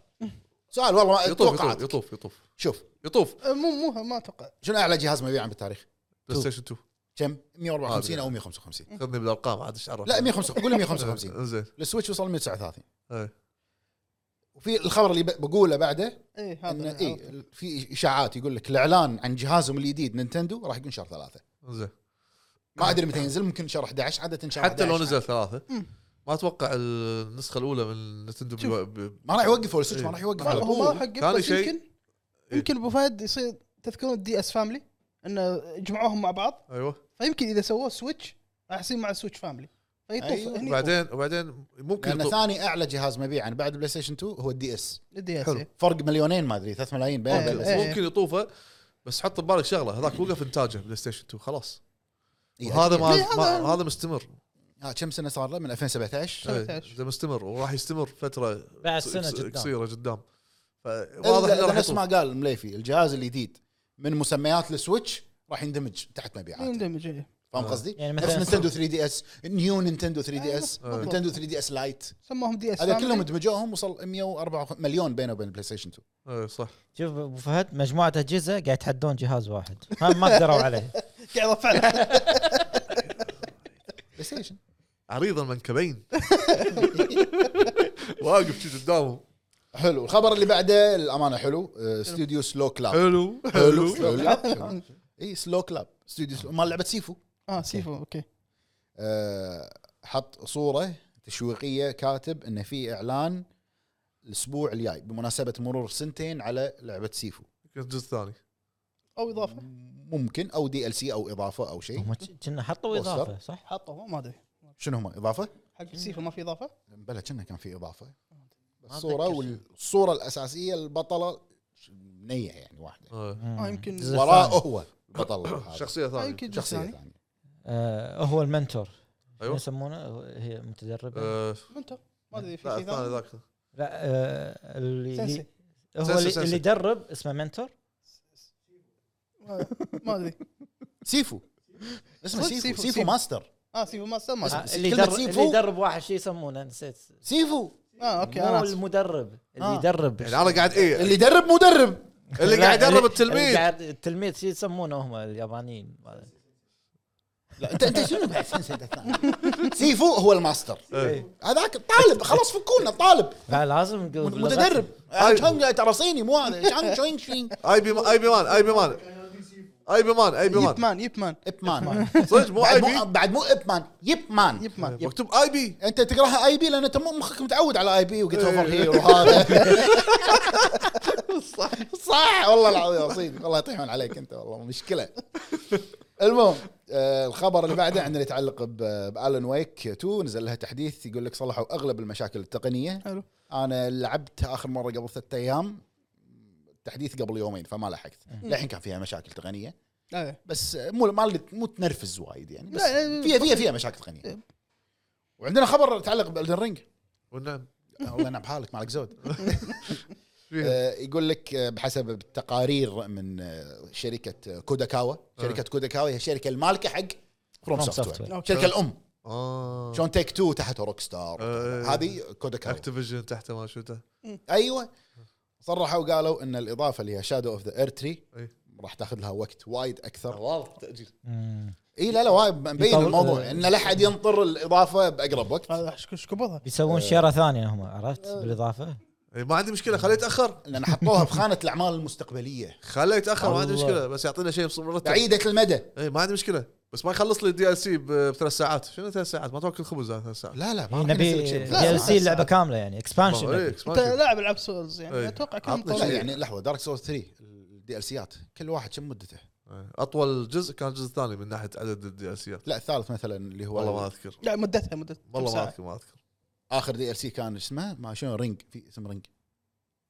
A: سؤال والله ما
C: يطوف
A: توقعات
C: يطوف يطوف يطوف
A: شوف
C: يطوف
D: أه، مو مو ما اتوقع
A: شنو اعلى جهاز مبيعا بالتاريخ؟
C: بلاي ستيشن 2
A: كم؟ 154
C: هذا. طيب.
A: او 155
C: خذني بالارقام عاد ايش عرف
A: إيه. لا 155 قول 155
C: زين
A: السويتش وصل 139
C: إيه.
A: وفي الخبر اللي ب- بقوله بعده
D: اي
A: ان
D: هذا إيه.
A: اي في اشاعات يقول لك الاعلان عن جهازهم الجديد نينتندو راح يكون شهر ثلاثه
C: زين
A: ما ادري
D: *laughs*
A: متى ينزل ممكن شهر 11 عاده شهر
C: حتى لو
A: 11.
C: نزل ثلاثه
D: مم.
C: ما اتوقع النسخه الاولى من نتندو
D: شوف.
A: ما راح يوقفوا السويتش ما
C: إيه.
A: راح يوقف على
D: هو ما
A: طول
D: حق
C: ثاني
D: بس
C: شيء-
D: يمكن يمكن ابو فهد يصير تذكرون الدي اس فاملي انه جمعوهم مع بعض
C: ايوه
D: فيمكن اذا سووه سويتش راح يصير مع سويتش فاملي فيطوف
A: أيوة.
D: هني
C: وبعدين وبعدين ممكن
A: لان
C: يطوف.
A: ثاني اعلى جهاز مبيعا بعد البلاي ستيشن 2 هو الدي اس
D: الدي اس
C: حلو.
D: إيه.
A: فرق مليونين ما ادري 3 ملايين بين
D: أوكي.
A: البلاي ستيشن.
D: إيه.
C: ممكن يطوفه بس حط ببالك شغله هذاك وقف انتاجه بلاي ستيشن 2 خلاص
A: إيه،
C: وهذا
A: أكيد.
C: ما,
D: إيه، هذا-
C: ما هذا مستمر
A: آه، كم سنه صار له من 2017
C: إيه،
D: 13.
C: ده مستمر وراح يستمر فتره
B: بعد سنه
C: قص-
B: قدام
C: قصيره قدام فواضح انه
A: واضح
C: راح
A: نفس ما
C: يطوف
A: قال مليفي الجهاز الجديد من مسميات السويتش راح يندمج تحت مبيعاته
D: يندمج إيه.
A: فاهم
C: آه.
A: قصدي؟
B: يعني
A: نفس
B: مثلا
A: نينتندو 3 دي اس نيو نينتندو 3 دي اس
D: أيوه.
C: أيوة.
A: نينتندو 3 دي اس لايت
D: سموهم دي اس
A: هذا كلهم دمجوهم وصل 104 مليون بينه وبين البلاي ستيشن 2
C: إيه، صح
B: شوف ابو فهد مجموعه اجهزه قاعد يتحدون جهاز واحد ما ما قدروا
C: *laughs*
B: عليه
D: قاعد *laughs* ارفع
A: بلاي ستيشن
C: عريض المنكبين واقف شي قدامهم
A: حلو الخبر اللي بعده الامانه حلو آه، استوديو سلو كلاب
C: حلو
A: حلو
C: حلو
A: حلو *laughs* حلو. اي سلو كلاب استوديو سلو- مال لعبه سيفو
D: اه سيفو اوكي
A: آه، حط صوره تشويقيه كاتب انه في اعلان الاسبوع الجاي بمناسبه مرور سنتين على لعبه سيفو
C: الجزء الثاني
D: او اضافه
A: ممكن او دي ال سي او اضافه او
C: إيه.
A: شيء
B: هم كنا حطوا
A: بوستر.
B: اضافه صح؟
D: حطوا ما ادري
A: شنو هم اضافه؟
D: حق سيفو ما في اضافه
A: بلا كنا كان في اضافه بس
B: ما
A: الصوره
B: أتذكر.
A: والصوره الاساسيه البطله ش- منيه يعني واحده
C: آه.
D: اه يمكن
B: زفت.
A: وراه هو البطل هذا. يعني.
C: شخصيه
D: آه،
C: ثانيه
D: يمكن جزء
A: شخصيه
D: ثاني
A: ثانيه
B: آه هو المنتور شنو
C: ايوه
B: يسمونه هي متدربه
C: آه،
D: انت ما ادري في
C: لا
D: شيء
C: الثاني
D: ثاني
C: ذاك
B: لا آه اللي
D: سنسي.
B: اللي- هو
C: سنسي،
B: اللي,
C: سنسي.
B: اللي يدرب اسمه منتور
D: ما- *laughs* ما ادري
A: سيفو اسمه
D: صدق
A: سيفو سيفو,
D: سيفو، سيفو.
A: ماستر
D: اه سيفو ما ما
B: آه
D: أدري.
B: اللي
A: كلمة
B: يدرب
A: سيفو؟
B: اللي يدرب واحد شو يسمونه نسيت
A: سيفو
D: اه اوكي
B: مو
D: انا آسف.
B: المدرب اللي
A: آه.
B: يدرب
C: يعني انا قاعد ايه
A: اللي يدرب مدرب
C: اللي
B: لا،
C: قاعد يدرب
B: اللي-
C: التلميذ
B: اللي قاعد التلميذ شو يسمونه هم اليابانيين
A: لا انت انت شنو بعد سنسي ده الثاني؟ سيفو هو الماستر
C: إيه.
A: هذاك طالب خلاص فكونا طالب
B: لا لازم نقول
A: مد-
B: باللغة.
A: متدرب
C: أيوة.
A: شان- ترى صيني مو هذا شان شوينغ شوينغ
C: اي بي اي بي مان اي بي مان اي بي مان اي بي
D: يب
C: مان
D: مان يب مان
A: اب مان
C: صدق مو اي
A: بعد
C: بي
A: مو بعد مو اب مان يب مان
D: يب مان
C: مكتوب اي بي
A: انت تقراها اي بي لان انت مو مخك متعود على اي بي وقلت اوفر هير وهذا صح صح والله العظيم صدق والله يطيحون عليك انت والله مشكله المهم آه الخبر اللي بعده عندنا يتعلق ب- بالن ويك 2 نزل لها تحديث يقول لك صلحوا اغلب المشاكل التقنيه
D: حلو
A: انا لعبت اخر مره قبل ثلاثة ايام تحديث قبل يومين فما لحقت للحين كان فيها مشاكل تقنيه
D: ايه
A: بس مو ما اللي- مو تنرفز وايد يعني بس
D: لا،
A: فيها فيها فيها مشاكل
B: إيه.
A: تقنيه وعندنا خبر يتعلق بالدن رينج آه،
C: والنعم
A: والله انا بحالك مالك
B: إيه.
A: زود
C: فيها.
A: آه، يقول لك آه، بحسب التقارير من آه، شركه آه، كوداكاوا شركه كوداكاوا هي الشركه المالكه حق فروم
B: إيه. From
A: سوفت
B: Software. إيه.
A: وير
D: أوكي.
A: الشركه الام
C: اه
A: شلون تيك تو تحت روك ستار
C: آه.
A: هذه كوداكاوا
C: اكتيفيجن تحته ما شفته
A: ايوه صرحوا وقالوا ان الاضافه اللي هي شادو اوف ذا ايرتري
B: إيه.
C: أي.
A: راح تاخذ لها وقت وايد اكثر
C: واضح تاجيل
B: مم.
A: اي لا لا وايد مبين
B: يطول- إيه.
A: الموضوع ان لا احد ينطر الاضافه باقرب
B: *laughs*
A: وقت
D: هذا ايش إيش كبرها
B: بيسوون شيره ثانيه هم عرفت
D: آه.
B: بالاضافه
C: إيه، ما عندي مشكله خليه يتاخر
A: لان حطوها بخانه الاعمال المستقبليه
C: خليه يتاخر ما عندي
B: الله.
C: مشكله بس يعطينا شيء بص- مرتب
A: بعيده المدى
C: اي ما عندي مشكله بس ما يخلص لي الدي ال سي بثلاث ساعات شنو ثلاث ساعات ما تاكل خبز هذا ثلاث ساعات
A: لا لا ما راح
B: إيه، نبي
A: ينزل لك شيء.
D: لا،
B: دي ال سي
D: لا.
B: لعبه كامله يعني
C: ما- إيه،
B: اكسبانشن
D: انت
C: expansion.
D: لاعب العاب سولز
C: إيه.
D: يعني اتوقع كم
C: عطني
A: لا
D: طول
A: يعني لحظه دارك سورس 3 الدي ال سيات كل واحد كم مدته؟
C: إيه. اطول جزء كان الجزء الثاني من ناحيه عدد الدي ال سيات
A: لا الثالث مثلا اللي هو
C: والله ما اذكر
D: لا مدتها مدة
C: والله ما اذكر ما اذكر
A: اخر دي ال سي كان اسمه ما شنو رينج في اسم رينج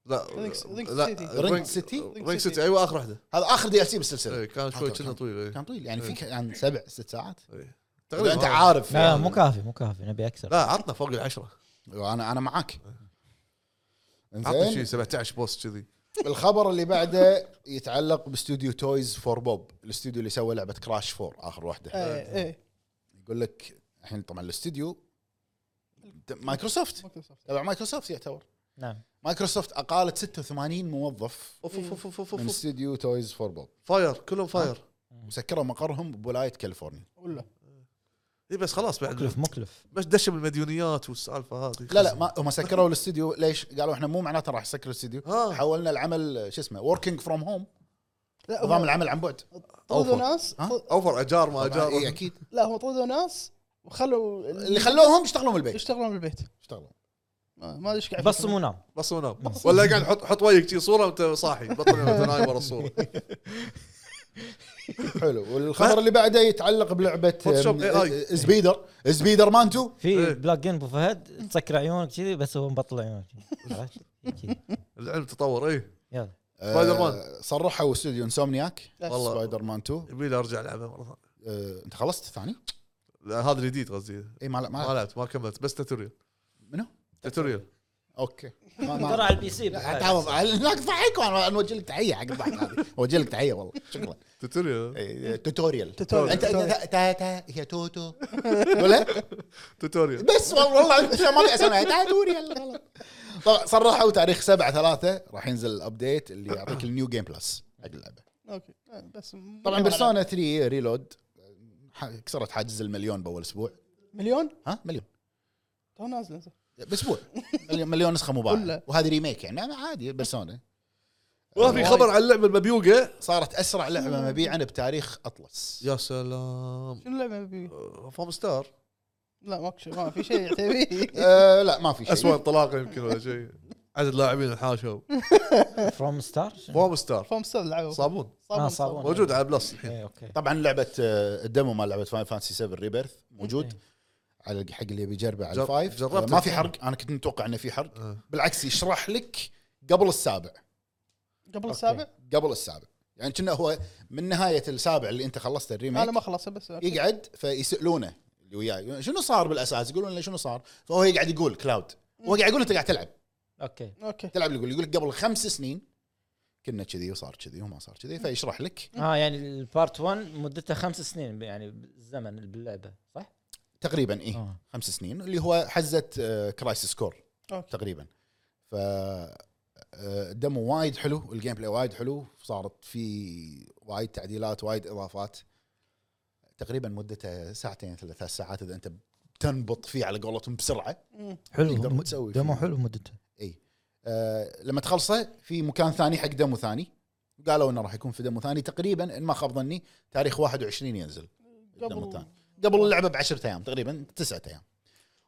C: لا
D: Ring- Ring City.
C: لا
A: Ring City؟ طيب.
C: رينج سيتي ايوه اخر واحده
A: هذا اخر دي ال سي بالسلسله
C: إيه، كان شوي
A: حاضر،
C: كنا
A: حاضر.
C: طويل إيه.
A: كان طويل يعني
C: إيه.
A: في ك- يعني سبع ست ساعات
C: إيه.
A: إذا انت
C: آه.
A: عارف
B: لا
A: يعني.
B: مو كافي مو كافي نبي اكثر
C: لا عطنا فوق العشره
A: انا انا معاك
C: عطني شيء
A: انزين
C: 17 بوست كذي
A: الخبر اللي بعده يتعلق باستوديو تويز فور بوب الاستوديو اللي سوى لعبه كراش 4 اخر واحده
D: اي اي
A: يقول لك الحين طبعا الاستوديو مايكروسوفت
D: مايكروسوفت
A: تبع مايكروسوفت يعتبر
B: نعم
A: مايكروسوفت اقالت 86 موظف
C: اوف اوف اوف اوف
A: من
C: اوف
A: استوديو تويز فور بوب
C: فاير كلهم فاير
A: وسكروا مقرهم بولايه
C: *laughs*
A: كاليفورنيا
D: ولا
C: اي إيه، بس خلاص بعد
B: مكلف مكلف
C: بس دش بالمديونيات والسالفه هذه
A: لا لا ما هم سكروا الاستوديو ليش؟ قالوا احنا مو معناته راح نسكر الاستوديو
C: آه.
A: حولنا العمل شو اسمه وركينج فروم هوم
D: لا
C: آه.
A: نظام
D: هو
A: العمل عن بعد
D: طردوا
C: أوفر.
D: ناس
A: ها؟
D: طر-
C: اوفر اجار ما
A: طبعاً، إيه،
C: اجار
A: اكيد
D: لا هم طردوا ناس وخلوا
A: اللي خلوهم يشتغلون بالبيت
D: يشتغلون بالبيت
A: يشتغلون
D: ما ما ادري ايش قاعد
B: بس
D: يفكرون.
B: مو نام
C: بس ونام ولا قاعد حط حط وجهك شي صوره وانت صاحي
A: *laughs*
C: بطل وأنت نايم ورا الصوره
A: حلو والخبر اللي بعده يتعلق بلعبه
C: فوتوشوب
A: آه،
C: AI.
A: سبيدر سبيدر مان 2
B: في
C: إيه.
B: بلاجين ابو فهد تسكر عيونك كذي بس هو مبطل عيونك عرفت؟ كذي.
C: العلم تطور اي
B: يلا
A: آه،
C: سبايدر مان.
A: صرحوا استوديو انسومنياك
D: بس.
C: والله.
A: سبايدر مان 2
C: يبي لي ارجع العبها مره ثانيه
A: آه، انت خلصت الثاني؟
C: لا، هذا الجديد قصدي
A: اي ما
C: ما
A: ما
C: لعبت ما كملت بس توتوريال
A: منو؟
C: توتوريال
A: اوكي ما
B: ترى
A: ما
B: على البي سي أبو
A: لا،
B: فهد.
A: تعوض هناك ضحك وانا نوجه لك تحيه حق الضحك هذه اوجه لك تحيه والله شكرا
C: توتوريال
A: إيه، توتوريال
D: توتوريال.
A: انت أنت- تا تا هي توتو ولا إيه. *laughs*
C: توتوريال
A: بس والله ما في اسامي تا توتوريال غلط. طبعا صرحوا تاريخ 7 3 راح ينزل الابديت اللي يعطيك النيو جيم بلس حق اللعبه
D: اوكي آه، بس مو
A: طبعا
D: على-
A: بيرسونا 3 ريلود ح- كسرت حاجز المليون باول اسبوع
D: مليون
A: ها مليون
D: تو نازله زين.
A: باسبوع مليون, مليون نسخه مباعه
D: كله.
A: وهذه ريميك يعني أنا عادي بيرسونا
C: ما في خبر عن اللعبه المبيوقه
A: صارت اسرع لعبه مبيعا بتاريخ اطلس
C: يا سلام
D: شنو اللعبه بي
C: آه، فوم ستار
D: لا ماكو شيء ما في شيء
A: *laughs*
D: يعتبيه
A: أه لا ما في شيء
C: اسوء انطلاقه يمكن ولا شيء عدد لاعبين الحاشوا
B: فروم ستار شنو؟
C: فوم
A: *laughs*
C: ستار
D: فهم ستار لعبوا
C: صابون
B: آه،
D: صابون
B: صابون.
D: صابون
C: موجود على بلس الحين
B: إيه، اوكي
A: طبعا لعبه آه، الديمو مال لعبه فاين فانسي 7 ريبيرث موجود
B: إيه.
A: على حق اللي بيجربه على
C: جر-
A: الفايف
C: جربت
A: آه، ما في
C: الديمو.
A: حرق انا كنت متوقع انه في حرق
C: آه.
A: بالعكس يشرح لك قبل السابع
D: قبل السابع
A: قبل السابع يعني كنا هو من نهايه السابع اللي انت خلصت
D: انا
A: الريميك
D: ما خلصت بس أوكي.
A: يقعد فيسالونه اللي وياي شنو صار بالاساس يقولون له شنو صار فهو يقعد يقول كلاود هو قاعد يقول انت قاعد تلعب
B: اوكي
D: اوكي
A: تلعب يقول يقول لك قبل خمس سنين كنا كذي وصار كذي وما صار كذي فيشرح لك
B: اه يعني البارت 1 مدته خمس سنين يعني بالزمن باللعبه صح؟
A: تقريبا ايه
B: آه.
A: خمس سنين اللي هو حزه آه، كرايسيس كور
D: أوكي.
A: تقريبا ف آه، الدمو وايد حلو والجيم بلاي وايد حلو صارت في وايد تعديلات وايد اضافات تقريبا مدته ساعتين ثلاث ثلاث ساعات اذا انت بتنبط فيه على قولتهم بسرعه
D: مم.
A: تقدر
B: حلو
A: تسوي
B: دمو
A: فيه.
B: حلو
A: *laughs*
B: مدته
A: آه، لما تخلصه في مكان ثاني حق دمو ثاني قالوا انه راح يكون في دمو ثاني تقريبا ان ما خاب ظني تاريخ 21 ينزل الدمو
D: قبل
A: الثاني قبل اللعبه ب 10 ايام تقريبا 9 ايام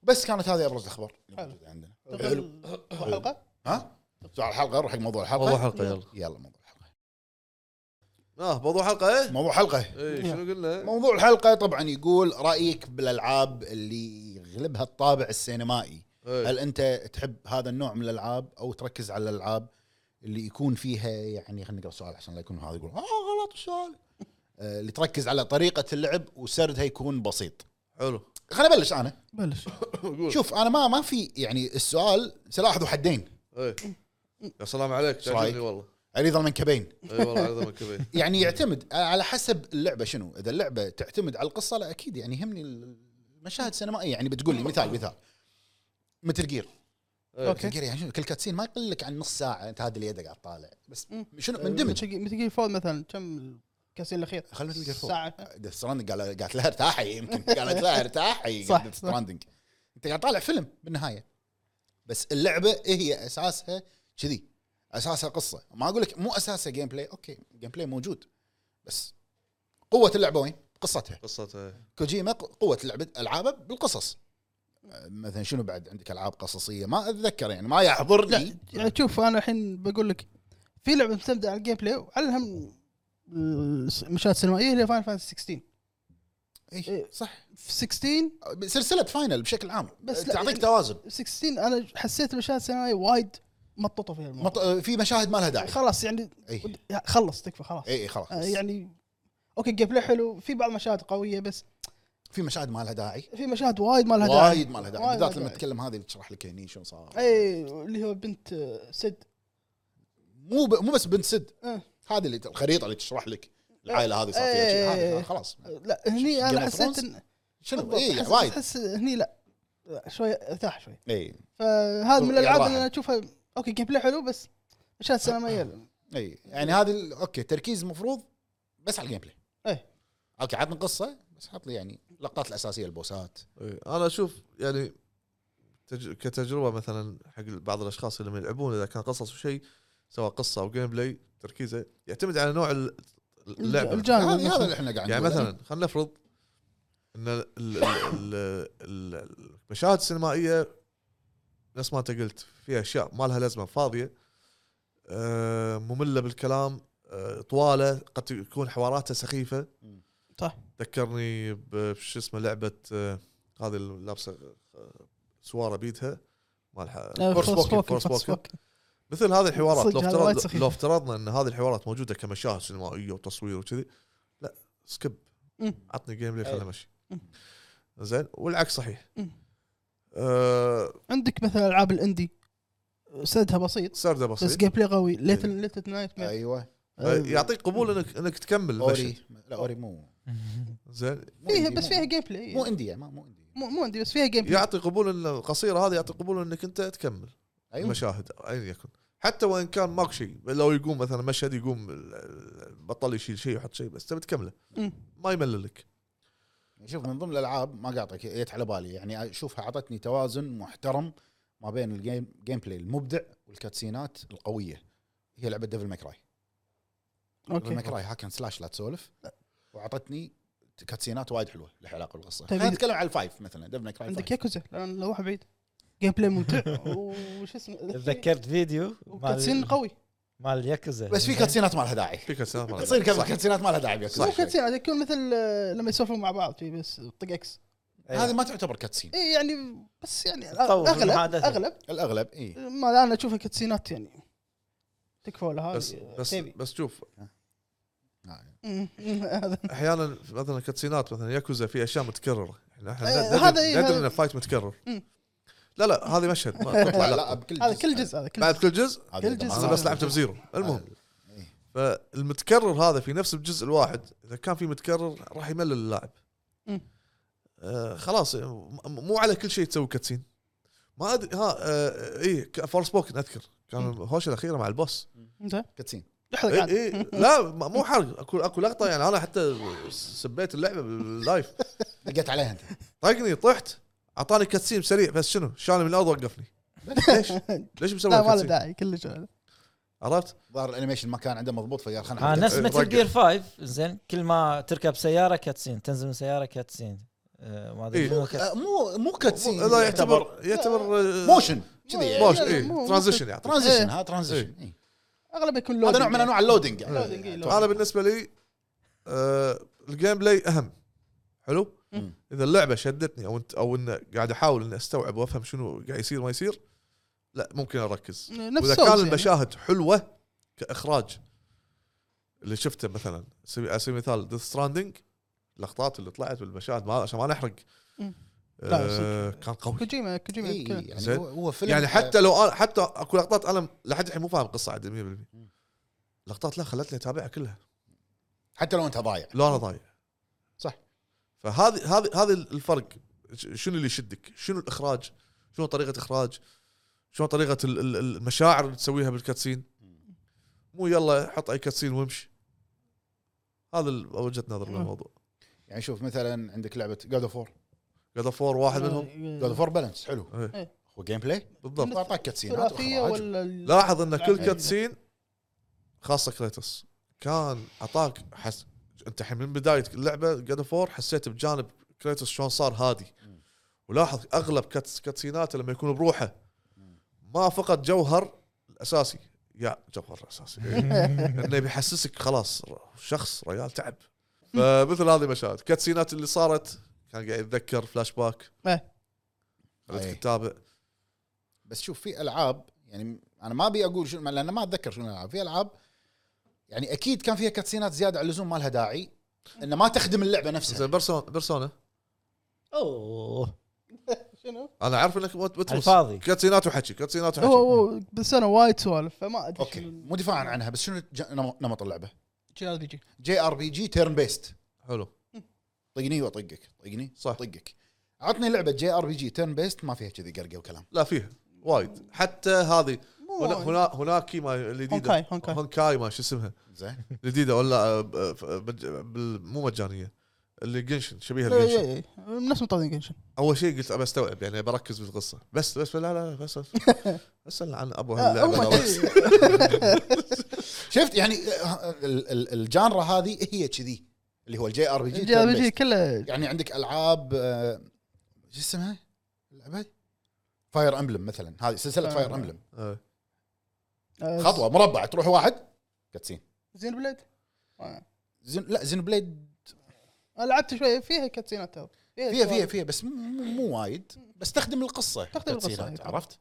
A: بس كانت هذه ابرز الاخبار اللي
D: حلو.
A: موجودة عندنا حلو
D: قبل حلقه
A: ها سؤال الحلقه نروح حق موضوع الحلقه
C: موضوع حلقه يلا
A: يلا موضوع الحلقه
C: اه موضوع حلقه ايه
A: موضوع حلقه
C: إيه، شنو قلنا؟
A: موضوع الحلقه طبعا يقول رايك بالالعاب اللي يغلبها الطابع السينمائي
C: إيه.
A: هل انت تحب هذا النوع من الالعاب او تركز على الالعاب اللي يكون فيها يعني خلينا نقرا السؤال عشان لا يكون هذا يقول اه غلط السؤال آه، اللي تركز على طريقه اللعب وسردها يكون بسيط *laughs*
C: حلو
A: خليني ابلش انا
D: بلش
C: قول
A: شوف انا ما ما في يعني السؤال سلاح ذو حدين
C: إيه. يا سلام عليك
A: شو رأيك؟
C: تعجبني والله
A: عريض المنكبين
C: اي والله على دمك كبير
A: يعني يعتمد على حسب اللعبه شنو اذا اللعبه تعتمد على القصه لا اكيد يعني يهمني المشاهد السينمائيه يعني بتقول لي مثال مثال متل جير
C: إيه.
D: أوكي.
A: متل جير يعني شنو كل كاتسين ما يقول لك عن نص ساعه انت هذا اللي يده قاعد طالع بس
D: مم.
A: شنو مندمج
D: مثل جير فول مثلا كم الكاسين الاخير
A: خلنا مثل جير فوق
D: ساعه
A: ديث ستراندنج قال قالت لها ارتاحي
D: *laughs*
A: يمكن قالت لها ارتاحي
D: صح،
A: ديث
D: صح.
A: ستراندنج انت قاعد طالع فيلم بالنهايه بس اللعبه إيه هي اساسها كذي اساسها قصه ما اقول لك مو اساسها جيم بلاي اوكي جيم بلاي موجود بس قوه اللعبه وين؟ قصتها
C: قصته إيه.
A: كوجيما ق- قوه لعبه العابه بالقصص أه، مثلا شنو بعد عندك العاب قصصيه ما اتذكر يعني ما
D: لا
A: يحضرني
D: يعني شوف انا الحين بقول لك في لعبه معتمده على الجيم بلاي وعلى هم المشاهد السينمائيه اللي فاين فانتسي 16
A: إيه
D: إيه.
A: صح
D: في 16
A: سلسله فاينل بشكل عام
D: بس
A: بس
D: لا،
A: تعطيك
D: يعني-
A: توازن
D: 16 انا حسيت المشاهد السينمائيه وايد مططوا فيها الموضوع
A: مط- أه، في مشاهد ما لها داعي إيه،
D: خلاص يعني
A: اي
D: خلص تكفى خلاص
A: اي إيه، خلاص
D: يعني، آه، يعني اوكي الجيم بلاي حلو في بعض مشاهد قويه بس
A: في مشاهد ما لها داعي
D: في مشاهد وايد ما لها داعي
A: وايد ما لها داعي
D: وايد
A: بالذات لما
D: داعي. إيه.
A: تتكلم هذه اللي تشرح لك هني شنو صار
D: اي اللي هو بنت آه، سد
A: مو ب... مو بس بنت سد
D: آه.
A: هذه اللي الخريطه اللي تشرح لك العائله هذه صار فيها
D: إيه.
A: شيء. هذه خلاص
D: لا هني انا
A: Game of
D: حسيت
A: Thrones؟
D: إن-
A: شنو
D: بالضبط،
A: اي
D: حس-
A: وايد إيه.
D: احس هني لا لا، شوي ارتاح شوي
A: اي
D: فهذا من
A: يعني
D: الالعاب
A: راحة.
D: اللي انا اشوفها اوكي جيم بلاي حلو بس مشاهد سينمائيه
A: اي يعني هذه ال- اوكي تركيز المفروض بس على الجيم بلاي
D: إيه.
A: اوكي عطني قصه بس حط لي يعني اللقطات الاساسيه البوسات
C: إيه، انا اشوف يعني تج... كتجربه مثلا حق بعض الاشخاص اللي لما يلعبون اذا كان قصص وشيء سواء قصه او جيم بلاي تركيزه يعتمد على نوع ال- اللعبه
D: الجانب
A: هذه هذا
D: نفسه.
A: اللي احنا قاعد
C: يعني
A: نقوله.
C: مثلا خلينا نفرض ان ال- ال- ال- ال- المشاهد السينمائيه نفس ما انت قلت في اشياء ما لها لازمه فاضيه آه، ممله بالكلام آه، طواله قد تكون حواراتها سخيفه
D: صح.
C: تذكرني ب- بش اسمه لعبه آه، هذه اللي لابسه آه، سواره بيدها مال ح- Forspoken- Forspoken. مثل هذه الحوارات
D: صدق
C: لو
D: هذا وايد
C: افترض
D: سخيف.
C: لو افترضنا ان هذه الحوارات موجوده كمشاهد سينمائيه وتصوير وكذي لا سكيب
D: مم.
C: عطني جيم بلاي
B: أي.
C: خلنا مشي
D: مم.
C: زين والعكس صحيح
D: مم.
C: آه
D: عندك مثلا العاب الاندي سردها بسيط
C: سرده
D: بس
C: بسيط
D: جيم بلاي قوي
A: إيه.
D: ليتل ليتل نايت مير
A: ايوه
C: آه، يعطيك قبول انك انك تكمل المشي.
A: اوري لا اوري مو
C: زين
A: مو
D: فيها
A: إندي،
D: بس
A: مو-
D: فيها جيم بلاي
A: مو انديه ما مو انديه
D: مو مو عندي بس فيها جيم بلاي
C: يعطي قبول ان القصيره هذه يعطي قبول انك انت تكمل
D: أيوه.
A: ايوه
C: المشاهد اين يكن حتى وان كان ماكو شيء لو يقوم مثلا مشهد يقوم ال- ال- بطل يشيل شيء ويحط شيء بس تبي تكمله
D: مم.
C: ما يمللك
A: شوف من ضمن الالعاب ما قاطعك جت على بالي يعني اشوفها اعطتني توازن محترم ما بين الجيم جيم بلاي المبدع والكاتسينات القويه هي لعبه ديفل ماكراي ديفل
D: اوكي
A: ماكراي هاك أند سلاش لا تسولف واعطتني كاتسينات وايد حلوه لها علاقه بالقصه
D: تبي-
A: خلينا نتكلم على الفايف مثلا ديفل ماكراي
D: طيب، عندك
A: عندك
D: ياكوزا لان لو واحد بعيد جيم بلاي ممتع
B: *laughs*
D: وش اسمه
B: تذكرت فيديو
D: وكاتسين
B: مال
D: قوي
B: مال إيه. ياكوزا
A: بس في
D: إيه.
A: كاتسينات ما لها داعي
D: طيب،
C: في كاتسينات ما
A: تصير
C: لها-
A: كذا كاتسينات ما لها داعي بياكوزا.
D: مو كاتسين عاد يكون مثل آه، لما يسولفون مع بعض في بس طق اكس أيوه.
B: آه،
A: هذه ما تعتبر كاتسين
D: اي يعني بس يعني
B: تطور
D: اغلب
B: المحادثة.
D: اغلب
A: الاغلب
D: *laughs*
A: اي
D: ما الان اشوفها كاتسينات يعني تكفى لها
C: بس بس بس شوف
A: نعم.
D: *laughs* هذا
C: احيانا مثلا كاتسينات مثلا ياكوزا في اشياء متكرره احنا
D: إيه،
C: احنا ندري-
D: هذا إيه،
C: ندري
D: هذا-
C: ان الفايت متكرر
D: مم.
C: لا لا هذه مشهد ما تطلع
D: *laughs*
A: لا لا
C: لا
A: بكل
D: هذا كل جزء هذا كل
C: بعد كل جزء
A: هذه
D: كل
A: دمار.
D: جزء.
C: انا بس لعبته بزيرو المهم
A: إيه.
C: فالمتكرر هذا في نفس الجزء الواحد اذا كان في متكرر راح يملل اللاعب
D: مم.
C: آه خلاص م- مو على كل شيء تسوي كاتسين ما ادري ها آه اي فورس بوكن اذكر كان
D: مم.
C: الهوشه الاخيره مع
D: *laughs*
C: البوس
D: زين
A: كاتسين
D: لحظه
C: اي
D: قاعد
C: اي لا ما- مو حرق اكو اكو لقطه يعني انا حتى سبيت اللعبه باللايف
A: دقيت عليها انت
C: طقني طحت اعطاني كاتسين سريع بس شنو شالني من الارض
D: *laughs*
C: وقفني ليش؟ ليش مسوي
D: لا ما له
C: كاتسين؟
D: داعي كلش ما له داعي.
C: عرفت؟
A: ظهر الانيميشن ما كان عنده مضبوط فقال خلنا
B: آه
A: نحط-
B: نفس مثل
C: رجع.
B: جير 5 زين كل ما تركب سياره كاتسين تنزل من سياره كاتسين آه، ما ادري
C: إيه.
B: شنو كات-
A: آه، مو مو كاتسين
C: لا يعتبر يعتبر آه،
A: موشن كذي يعني.
C: موشن
D: لا، لا،
C: اي
D: مو-
C: ترانزيشن يعني
A: ترانزيشن ها ترانزيشن إيه.
D: اغلب يكون
A: هذا
D: loading
A: نوع من انواع اللودنج يعني
D: loading، إي، loading.
C: انا بالنسبه لي آه الجيم بلاي اهم حلو
A: مم.
C: اذا اللعبه شدتني او انت او ان قاعد احاول اني استوعب وافهم شنو قاعد يصير ما يصير لا ممكن اركز
D: نفس
C: واذا
D: Souls
C: كان
D: يعني.
C: المشاهد حلوه كاخراج اللي شفته مثلا سبي- على سبيل المثال ديث ستراندنج اللقطات اللي طلعت بالمشاهد ما عشان ما نحرق
D: مم. لا،
C: آه كان قوي
D: كوجيما كوجيما
C: إيه،
A: إي،
D: كل-
A: يعني
C: زين.
A: هو- هو فيلم
C: يعني حتى لو أنا حتى اكو لقطات انا لحد الحين مو فاهم القصه عاد 100% لقطات لا خلتني اتابعها كلها
A: حتى لو انت ضايع
C: لو انا ضايع
A: صح.
C: فهذه هذه هذا الفرق ش- شنو اللي يشدك؟ شنو الاخراج؟ شنو طريقه اخراج؟ شنو طريقه ال- ال- المشاعر اللي تسويها بالكاتسين؟ مو يلا حط اي كاتسين وامشي هذا ال- وجهه نظر
D: مم.
C: للموضوع
A: يعني شوف مثلا عندك لعبه جود اوف وور
C: جاد اوف واحد منهم
D: آه،
A: جود اوف وور بالانس حلو
C: إيه.
D: إيه.
A: هو جيم بلاي
C: بالضبط
A: اعطاك كاتسينات
D: ثلاثيه
A: وإخراج.
D: ولا
C: لاحظ ان كل
D: إيه.
C: كاتسين خاصه كريتوس كان اعطاك حس... انت الحين من بدايه اللعبه جاد اوف حسيت بجانب كريتوس شلون صار هادي ولاحظ اغلب كاتس كاتسيناته لما يكون بروحه ما فقد جوهر الاساسي يا جوهر الاساسي انه بيحسسك خلاص شخص ريال تعب فمثل هذه المشاهد كاتسينات اللي صارت كان قاعد يتذكر فلاش باك
D: إيه.
A: أي.
C: خلتك تتابع
A: بس شوف في العاب يعني انا ما ابي اقول شنو لان ما اتذكر شنو الالعاب في العاب يعني اكيد كان فيها كاتسينات زياده على اللزوم ما لها داعي انه ما تخدم اللعبه نفسها
C: زين بيرسونا بيرسونا
B: اوه
D: شنو؟
C: انا عارف انك بت- بترس
B: الفاضي.
C: كاتسينات وحكي كاتسينات
D: هو
C: وحكي
D: هو بس انا وايد سوالف فما ادري
A: اوكي مو دفاعا عنها بس شنو ج- نمط نمط اللعبه؟
D: شنو ار بي جي
A: جي ار بي جي تيرن بيست
C: حلو
A: طقني واطقك طقني
C: صح.
A: طقك عطني لعبه جي ار بي جي تيرن بيست ما فيها كذي قرقه وكلام
C: لا فيها وايد حتى هذه
D: مو
C: هنا
D: وايد.
C: هنا- هناك ما الجديده
D: هونكاي- هونكاي.
C: هونكاي ما شو اسمها
A: زين
C: الجديده ولا آه، آه، آه، مج- بال- مو مجانيه اللي جنشن شبيهه
D: إي-
C: لجنشن
D: إي- إي. إيه، نفس مطارين جنشن
C: اول شيء قلت ابى استوعب يعني بركز بالقصه بس بس لا لا
D: *laughs*
C: بس اسال عن ابو
D: آه، هم
C: هاللعبه
D: كذي.
A: شفت يعني آه، ال- ال- الجانرا هذه هي كذي اللي هو الجي ار بي جي
D: الجي ار بي جي كله
A: يعني عندك العاب آه، شو اسمها؟ لعبه فاير امبلم مثلا هذه سلسله
D: Fire
A: فاير امبلم
C: *laughs* آه.
D: آه،
A: خطوه مربع تروح واحد كاتسين
D: زين بلاد
A: زين لا زين بليد
D: أنا لعبت شوي فيها كاتسينات ترى
A: فيها فيها فيها بس م- م- مو وايد بس تخدم القصه
D: تخدم القصة، إيه.
A: كاتسينات،
D: أي.
A: عرفت؟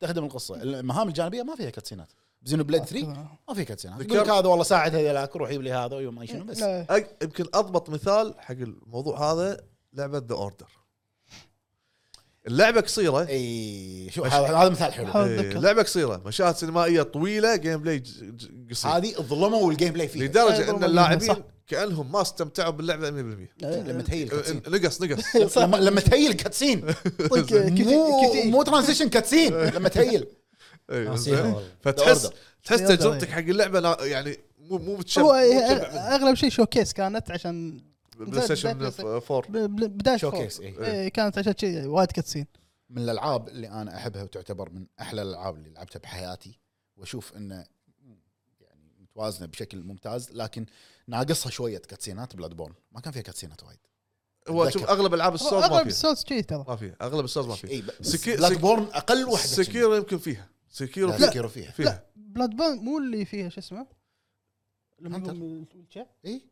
A: تخدم القصه المهام الجانبيه ما فيها كاتسينات زين بليد
D: آه.
A: 3 ما في كاتسينات يقول لك
C: ذكرت-
A: هذا والله ساعد هذاك روح يجيب لي هذا ويوم ما شنو بس
D: إيه،
A: *laughs*
D: لا.
C: أك- يمكن اضبط مثال حق الموضوع هذا لعبه ذا اوردر اللعبه قصيره
A: اي شو هذا هذا مثال حلو
D: حلو.
C: إيه، لعبه قصيره مشاهد سينمائيه طويله جيم بلاي ج- ج- قصير
A: هذه ظلموا الجيم بلاي فيها
C: لدرجه
D: أيضاً
C: ان
D: والله صح.
C: اللاعبين كانهم ما استمتعوا باللعبه 100%
A: لما تهيل
C: إيه،
A: الكاتسين
C: نقص
A: *laughs*
C: نقص
A: لما لما تهيل كاتسين
D: طق
A: مو
D: كتي
A: مو ترانزيشن كاتسين
D: *laughs*
A: لما تهيل
C: إيه،
B: ناسيها
C: زين.
B: والله
C: فتحس
A: The Order.
C: تحس
D: The Order،
C: تجربتك
D: إيه.
C: حق اللعبه نا- يعني مو مو بتشبع
D: هو
C: مو
D: أه-
C: بتشبع
D: اغلب شيء شوكيس كانت عشان
C: بلاي ستيشن
D: بداية-
C: 4
D: ب- ب- بدايه
A: شوكيس
D: فور.
A: اي
D: إيه، كانت عشان شيء وايد كاتسين
A: من الالعاب اللي انا احبها وتعتبر من احلى الالعاب اللي لعبتها بحياتي واشوف انه يعني متوازنه بشكل ممتاز لكن ناقصها شويه كاتسينات بلاد بورن ما كان فيها كاتسينات وايد
C: هو
A: أتذكر.
C: شوف اغلب العاب
D: هو
C: السولز ما
D: اغلب
C: فيها
D: السولز شيء ترى
C: ما فيها اغلب السولز ما فيها
A: اي
C: سكي-
A: بلاد
C: سك-
A: بورن اقل واحده
C: سكيرو يمكن فيها سكيرو
A: لا سكيرو فيها
C: فيها
D: بلاد بان مو اللي فيها شو اسمه لما
A: هانتر.
D: يقوم الويلشير.
A: اي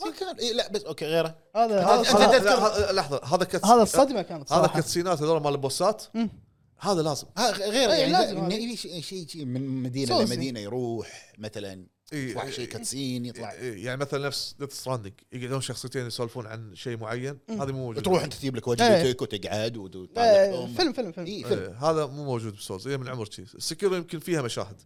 A: ما كان إيه لا بس اوكي غيره
D: هذا
A: أنت-
D: هذا
A: أنت
D: الصدمة-
A: تذكر-
C: لا، ه- لحظه هذا كت
D: هذا الصدمه كانت
C: هذا
D: صراحة.
C: كاتسينات هذول مال البوسات
D: مم.
C: هذا لازم
A: ها غير
D: إيه،
A: يعني
D: لازم
A: إنه
D: هذه.
A: يبي شيء شيء شيء من مدينه
D: سوسي.
A: لمدينه يروح مثلا
C: إيه،
A: يطلع شيء
C: إيه،
A: كاتسين يطلع
C: إيه، يعني مثلا نفس ديث ستراندنج يقعدون شخصيتين يسولفون عن شيء معين
D: مم.
C: هذه مو موجود
A: تروح انت تجيب لك
D: إيه.
A: وجبتك وتقعد وت-
D: آه،
A: وتطالع
D: فيلم فيلم فيلم
A: اي فيلم
C: إيه، هذا مو موجود بالسولز هي من عمر شيء السكيرو يمكن فيها مشاهد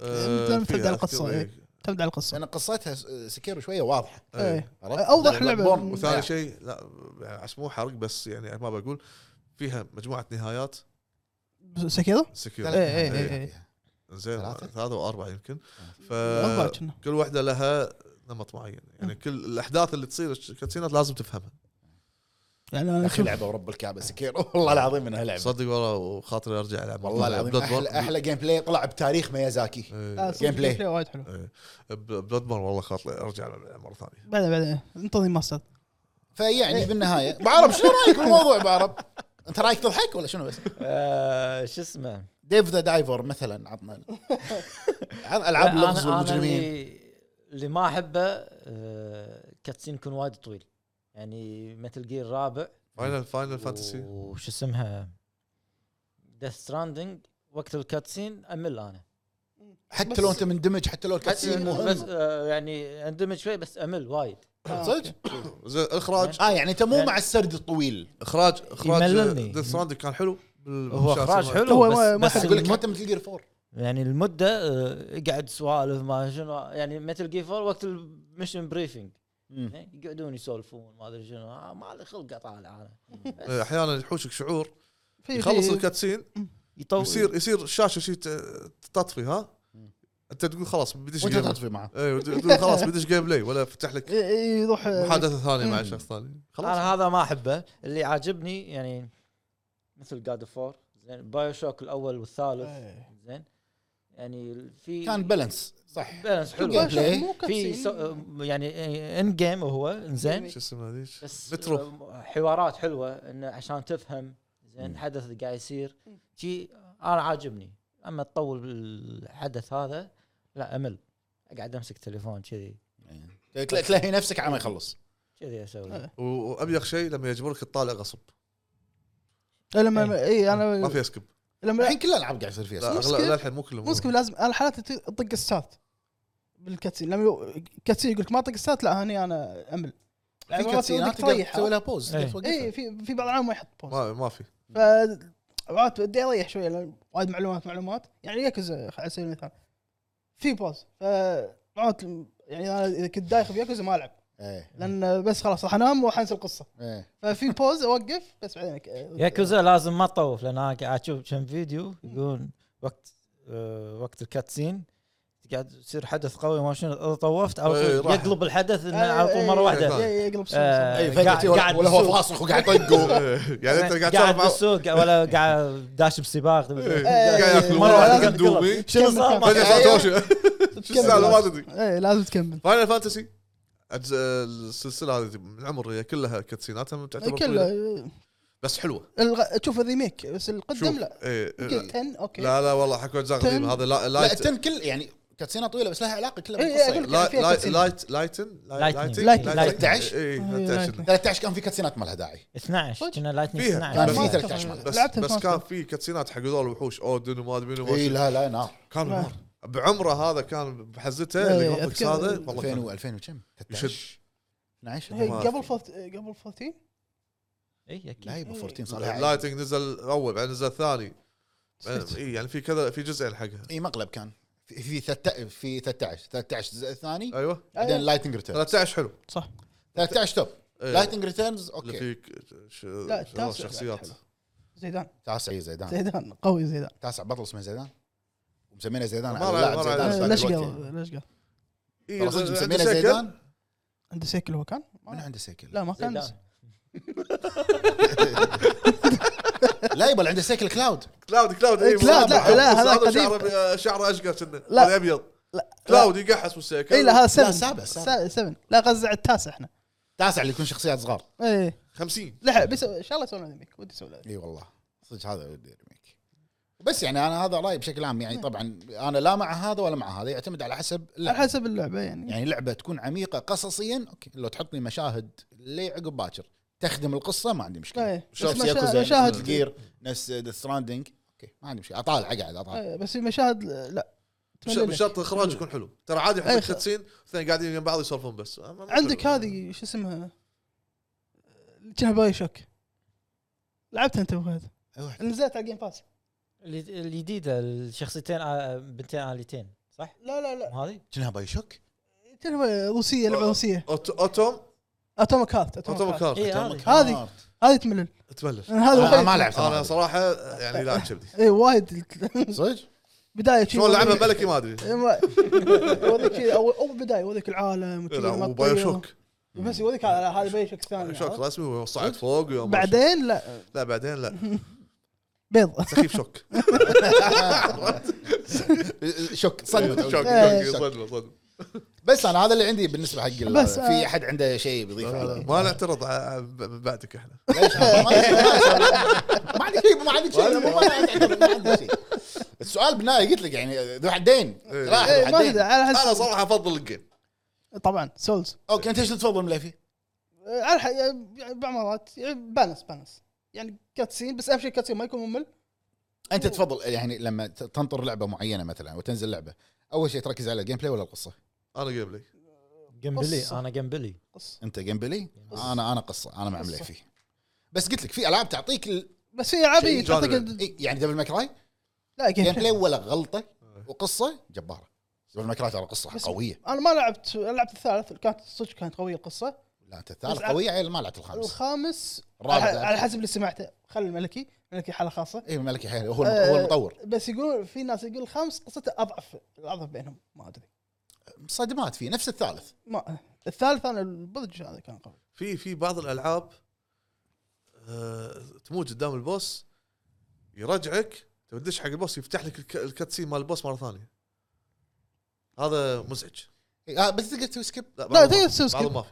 C: آه،
D: تم- تبدأ
C: فيها
D: القصة،
C: أذكر،
D: إيه.
C: إيه،
D: تبدا على القصه
A: انا قصتها س- سكيرو شويه واضحه
C: إيه.
D: إيه.
A: عرفت؟
D: أوضح
A: Bloodborne
D: لعبة.
C: وثاني
A: لا.
C: شيء لا يعني عشان مو حرق بس يعني ما بقول فيها مجموعه نهايات
D: سكيرو
C: سكيورتي
D: إيه، إيه، إيه،
A: ثلاث
D: إيه.
A: نهايات.
C: زين
A: ثلاثة؟
C: ثلاثة وأربعة يمكن ف
A: آه،
D: أربعة كنا.
C: كل واحدة لها نمط معين يعني كل الأحداث اللي تصير الكاتسينات لازم تفهمها
D: يعني انا
A: اخي
D: أشوف-
A: لعبه ورب الكعبه سكيرو *laughs* والله العظيم انها لعبه
C: صدق والله وخاطري أرجع ألعب مرة
A: نعم. والله
C: ثانية.
A: العظيم
C: Bloodborne-
A: احلى احلى جيم بلاي طلع بتاريخ ميازاكي
D: لا،
C: إيه،
D: صدق
A: Gameplay.
D: الجيم بلاي آه، وايد حلو
C: ب- Bloodborne والله خاطري أرجع ألعب مرة ثانية
D: بعدين بعدين انتظر ماستر
A: فيعني بالنهايه *laughs* أبو عرب إيه. شنو رايك بالموضوع أبو عرب؟ *laughs* انت رايك تضحك ولا شنو بس؟
B: آه، شو اسمه
A: ديف ذا دايفر مثلا *laughs* عطنا عن العاب
B: لا، أنا-
A: اللغز
B: أنا يعني
A: والمجرمين
B: اللي- اللي ما احبه آه، كاتسين يكون وايد طويل يعني مثل جير رابع
C: فاينل فاينل فانتسي
B: وش اسمها ديث ستراندنج وقت الكاتسين امل انا
A: حتى لو انت مندمج حتى لو الكاتسين
B: بس-
A: مهم
B: بس آه، يعني اندمج شوي بس امل وايد
A: صدق؟
C: زين إخراج
A: اه يعني انت مو
B: يعني-
A: مع السرد الطويل
C: إخراج إخراج
B: يمللني.
C: ديث ستراندنج كان حلو بال-
B: هو اخراج
C: بالمشاهد.
B: حلو
D: هو ما-
B: بس,
D: ما
B: بس
D: حد
A: اقول لك
B: المد...
A: حتى مثل جير 4
B: يعني المده آه، قاعد سوالف ما شنو يعني مثل جير فور وقت المشن بريفنج يعني يقعدون يسولفون ما ادري شنو آه، ما لي خلق اطالع انا بس
C: إيه، أحيانا يحوشك شعور
D: في
C: يخلص
D: في-
C: الكاتسين
B: يطول
C: يصير يصير الشاشه شي ت- تطفي ها
A: مم.
C: انت تقول خلاص بدش
A: وانت
C: جيم
A: تطفي معه
C: اي إيه، تقول خلاص بدش جيم بلاي ولا فتح لك
D: إيه، إيه، يروح
C: محادثه ثانيه مع
D: مم.
C: شخص ثاني خلاص
B: انا هذا ما احبه اللي عاجبني يعني مثل جاد فور زين بايو شوك الاول والثالث
D: إيه.
B: زين يعني في
A: كان بالانس صح
B: بالانس
A: جيم
B: حلو
A: بلاي.
B: في سو... يعني ان جيم هو زين
C: شو اسمها هذيك
B: بس
C: مترو.
B: آه، حوارات حلوه انه عشان تفهم زين
A: مم.
B: الحدث اللي قاعد يصير شي انا عاجبني اما تطول الحدث هذا لا امل اقعد امسك تليفون كذي
A: إيه. تلا- تلاهي نفسك على ما يخلص
B: كذي اسوي
D: إيه.
C: و- وابيغ شيء لما يجبرك تطالع غصب
B: إيه.
D: لما اي
C: ما
D: انا
C: في اسكب
D: لما
A: الحين كل الالعاب قاعد يصير فيها
C: لا
A: صح.
D: مو
C: اغلب
D: سكيب.
C: لا الحين مو كلهم
D: مو مشكلة لازم انا حالات ت- طق ستارت بالكاتسين لما يو- الكاتسين يقول لك يعني ما طق ستارت لا هني انا امل
A: في
D: مرات
A: كاتسينات
D: ودك
A: تقدر
D: تريح،
A: تسوي لها بوز
B: إيه.
A: تقدر توقفها.
D: اي في في بعض العالم ما يحط بوز
C: ما ما في
D: ف مرات بدي اريح شويه لان وايد معلومات معلومات يعني ياكوزا على سبيل المثال في بوز ف مرات يعني انا اذا كنت دايخ بياكوزا ما العب
A: ايه
D: لان بس خلاص راح انام وحنسى القصه
A: ايه
D: ففي بوز اوقف بس بعدين أك-
B: ياكوزا لازم ما تطوف لان انا قاعد اشوف كم فيديو يقولون وقت آه، وقت الكاتسين قاعد يصير حدث قوي ما شنو اذا طوفت او
C: إيه، راح.
B: يقلب الحدث انه
D: آه،
B: على طول
D: إيه،
B: مره واحده
C: إيه.
D: إيه، يقلب صوت-
B: آه،
D: صوت.
A: اي فجاه
B: قاعد-
A: تي ولا
B: قاعد
A: ولا هو
B: بالسوق.
A: فاصخ وقاعد *laughs* يطقه
C: *laughs* يعني انت قاعد
B: قاعد
C: تلعب مع-
B: بالسوق ولا قاعد داش بسباق
C: إيه،
D: إيه،
C: قاعد ياكلون
D: ياكل
B: مره واحده
D: لازم
B: قاعد تقلب.
C: قدومي
B: شنو
D: كمل،
B: صار
D: كمل.
C: فجاه
B: ما-
C: صار توشه شو
D: تكمل.
C: السالفه ما تدري
D: ايه لازم تكمل
C: فاينل فانتسي أجز- السلسله هذه من العمر هي كلها كاتسيناتها تعتبر
D: كله
C: طويلة، بس حلوه
D: الغ- تشوف الريميك بس القدم
C: شوف،
D: لا
C: إيه،
D: يمكن
C: لا
D: 10 اوكي
C: لا لا والله حكوا اجزاء قديمه هذا لا-
A: لا
C: لايت
A: التن كل يعني كاتسينه طويله بس لها علاقه كلها
D: إيه،
A: بالقصه يعني.
D: أقول لك.
C: لا-
D: فيها
C: لا-
D: كاتسين.
C: لايتن لايتن
B: لايتن.
D: لايتن.
A: 13.
C: اي
D: إيه،
C: 13
D: لايتن.
A: 13 كان في كاتسينات ما لها داعي
B: 12 كنا لايتنج
C: فيها.
A: كان
B: 12
A: في
D: ما-
A: 13 مرة.
C: بس
D: لعبت
C: بس
D: Advanced.
C: كان في كاتسينات حق هذول الوحوش اودن وما ادري منو
A: اي
C: وما
A: إيه، لا نعم. لا نار
C: كان
D: إيه، لا.
C: نار بعمره هذا كان بحزته
D: لا، لا،
C: الجرافكس
D: أذكر
C: هذا والله
A: 2000
C: كان-
A: و 2000 وكم؟
C: يشد.
A: 13 12
D: هي
C: ما
D: قبل
C: أذكر.
D: فلت- قبل 14
B: اي
A: لا
B: اكيد
A: يبا 14 صار لها عيب.
C: لايتنج نزل اول بعدين نزل ثاني اي يعني في كذا في جزئين حقها
D: يعني
A: اي إيه، مقلب كان في في ثت- في 13 13 الجزء الثاني
C: ايوه
A: بعدين
D: أيوة.
A: لايتنج ريتيرنز
C: 13 حلو
A: 13 توب
C: إيه.
A: لايتنج ريتيرنز
C: اللي
A: اوكي
C: فيك ش-
D: لا، التاسع
C: شخصيات
D: بعد حلو. زيدان
A: تاسع إي زيدان
D: زيدان قوي زيدان
A: تاسع بطل اسمه زيدان ومسمينه زيدان
C: ما
A: على
C: رأي-
A: اللاعب
C: ما رأي-
A: زيدان
D: آه،
A: ذاك
D: ليش
A: الوقت
D: قال
A: يعني.
D: ليش قال
C: إيه،
A: ترى صدق
C: عنده
A: مسمينه
C: سيكل.
A: زيدان
D: عنده سيكل هو كان؟ ما-
A: من عنده سيكل؟
D: لا ما كان
B: زيدان.
D: عنده
A: لا يبا اللي عنده سيكل كلاود
C: كلاود كلاود إيه،
D: كلاود، لا،
C: مربع.
D: لا،
C: بس
D: هذا
C: هذا
D: قديم.
C: شعره شعره اشقر كنا
D: لا.
C: هذا ابيض
D: لا
C: كلاود يقحس والسيكل
D: اي لا هذا 7
A: سابع، سابع.
D: 7 لا غزة على التاسع احنا
A: تاسع اللي يكون شخصيات صغار
D: ايه
C: 50
D: لحق بس ان شاء الله يسوون ريميك ودي يسوون ريميك
A: اي والله صدق هذا ودي ريميك بس يعني انا هذا رايي بشكل عام
D: نعم.
A: يعني طبعا انا لا مع هذا ولا مع هذا يعتمد على حسب
D: على
A: اللعبه
D: حسب اللعبه يعني
A: يعني لعبه تكون عميقه قصصيا اوكي لو تحط لي مشاهد لي عقب باكر تخدم القصه ما عندي مشكله
D: إيه. بس
A: شوف ياكوزا
D: مشا-
A: مشاهد
D: مشاهد
A: جير نفس ذا ستراندنج اوكي ما عندي مشكله اطالع اقعد اطالع
D: إيه، بس المشاهد لا
C: بش-
D: تملي لك.
C: بشرط الاخراج يكون حلو ترى عادي
D: إيه،
C: يحط
D: خ-
C: كاتسين اثنين قاعدين جنب بعض يسولفون بس ما- ما-
D: عندك
C: حلو.
D: هذه شو اسمها اللي كانها باي شوك لعبتها انت وهذا نزلت على الجيم باس
B: اللي- الجديده الشخصيتين آه، بنتين اليتين صح؟
D: لا لا لا
B: مو هذه؟
A: كانها باي شوك
D: كانها روسيه
A: أه.
D: لعبه روسيه
C: أوت- اوتوم
D: اتوميك هارت
C: اوتوم
D: اتوميك هارت
C: كارت
B: اي إيه، هذه
A: Atomic
D: هذه.
A: Heart.
D: هذه تملل
C: تبلش
D: لأن هذا
A: انا
D: وايد-
A: آه، ما لعبت
C: انا
A: انا
C: صراحه يعني لاعب كبدي
D: اي إيه، وايد *laughs*
A: صدق
D: بدايه شي-
C: شلون لعبها ملكي ما ادري
D: إيه، ما- *laughs* وذيك شي- اول اول بدايه وذيك العالم وشي لما
C: وبايو
D: تطير.
C: شوك
D: بس وذيك على هذا باي شوك الثاني
C: شوك
D: آه، عرفت؟
C: رسمي وصعد فوق وما-
D: بعدين لا
C: لا بعدين *laughs* لا
D: بيض *laughs*
C: سخيف *laughs* شوك
A: شوك
C: *laughs*
A: *laughs*
C: أيوة، شوك
A: صدمه
C: شوك
D: إيه.
C: صدمه صدمه
A: بس انا هذا اللي عندي بالنسبه حق ال-
D: بس، آه.
A: في احد عنده شيء
C: إيه،
A: بيضيفه على-
C: ما آه، نعترض ع- من بعدك احنا *laughs*
A: ليش؟ ما- ما- ما عندي شيء ما عندي شيء أنا ما ما عندي شيء السؤال بالنهايه قلت لك يعني ذو حدين سلاح
D: إيه،
A: ذو
D: ما أدري،
A: حدين
D: على
C: انا
D: حسب
C: صراحه افضل الجيم
D: طبعا سولز
A: اوكي انت ايش تفضل مليفي؟
D: آه، على الح- يعني بعض المرات يعني بالانس بالانس يعني كاتسين بس اهم شيء كاتسين ما يكون ممل
A: انت تفضل يعني لما ت- تنطر لعبه معينه مثلا وتنزل لعبه اول شيء تركز على الجيم بلاي ولا القصه؟
C: انا جيم بلاي
B: جنبلي
D: قصة.
B: انا جنبلي
D: قص
A: انت جيم بلاي انا انا قصه انا مع
D: قصة.
A: مليفي بس قلت لك في العاب تعطيك ال-
D: بس في العاب
C: شيء
D: هي تعطيك
C: جانري.
A: إي، يعني دبل ماكراي
D: لا
A: جيم
D: جيم
A: بلاي
D: بلاي
A: ولا غلطه وقصه جباره دبل ماكراي ترى قصه
D: بس-
A: قويه
D: انا ما لعبت لعبت الثالث كانت صدق كانت قويه القصه
A: لا انت الثالث
D: بس على-
A: قويه عيل ما لعبت الخامس
D: الخامس
A: الرابع
D: على على
A: لعبت.
D: حسب اللي سمعته خلي الملكي الملكي حاله خاصه
A: اي إيه، ملكي حيل هو
D: آه.
A: هو المطور
D: بس يقولون في ناس يقول الخامس قصته اضعف الاضعف بينهم ما ادري
A: صدمات فيه نفس الثالث
D: ما الثالث انا البضج هذا كان قوي
C: في في بعض الالعاب آه، تموت قدام البوس يرجعك تبي تدش حق البوس يفتح لك الك- الكاتسين مال البوس مره ثانيه هذا مزعج
A: إي، آه بس تقدر تسوي سكيب
C: لا
D: لا
C: بعضهم ما
D: تقدر
C: في.
D: تسوي
C: بعضهم
D: سكيب
C: ما في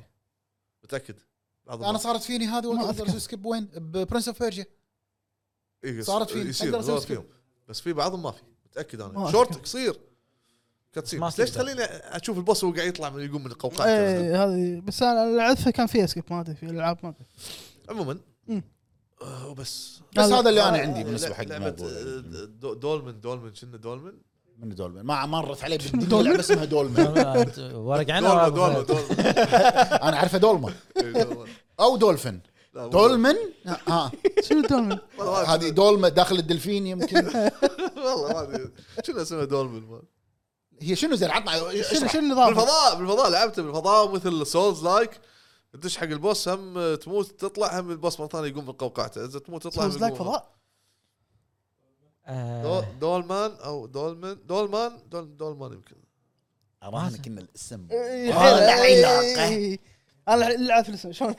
C: متاكد بعضهم
A: انا
C: ما في.
A: صارت فيني هذه
D: ما
A: والله
D: أذكر.
A: اقدر اسوي سكيب وين؟ ببرنس اوف بيرجيا
C: إيه،
A: صارت فيني.
C: يصير
A: أقدر أسوي
C: غلط
A: سكيب.
C: فيهم بس في بعضهم ما في متاكد
D: ما
C: انا
D: أذكر.
C: شورت قصير كاتسين
B: ما
C: بس ليش
B: تقدر.
C: تخليني اشوف البوس وهو قاعد يطلع من يقوم من
A: إيه.
C: القوقعه
D: ايه هذه بس انا لعبتها كان فيها سكيب ما ادري في الالعاب ما ادري
C: عموما
D: مم.
C: آه، وبس
A: بس
D: لا،
A: هذا اللي انا
D: آه،
A: عندي
D: آه،
A: بالنسبه
C: لع-
A: حق
C: لعبه
A: الموضوع
C: آه،
A: يعني.
C: دو- دولمن دولمن شنو دولمن
A: من دولمن ما ما مرت *laughs* علي بدي لعبه اسمها *laughs* دولمن
B: ورق
C: دولمة
B: عنا ولا
C: دولمة
B: أبو فهد؟
C: دولمة
A: انا اعرفه دولمه
C: إي، دولمة.
A: او دولفن
C: إيه، لا، والله.
A: دولمن
D: *laughs*
A: ها
D: شنو دولمن؟
A: آه. هذه دولمه داخل الدلفين يمكن
D: *laughs*
C: والله ما ادري شنو اسمها دولمن ما
A: آه. هي شنو زين عطنا
D: شنو
A: اشرح.
D: شنو النظام؟
C: بالفضاء بالفضاء لعبته بالفضاء مثل سولز لايك تدش حق البوس هم تموت تطلع هم البوس مره ثانيه يقوم من قوقعته اذا تموت تطلع هم
D: سولز لايك
C: يقوم.
D: فضاء
B: آه،
C: دول- دولمان او دولمن دولمان دول دولمان يمكن
A: اراهنك ان الاسم
D: إيه،
A: آه، لا
D: إيه،
A: علاقة.
D: إيه. انا العب في الاسم شلون؟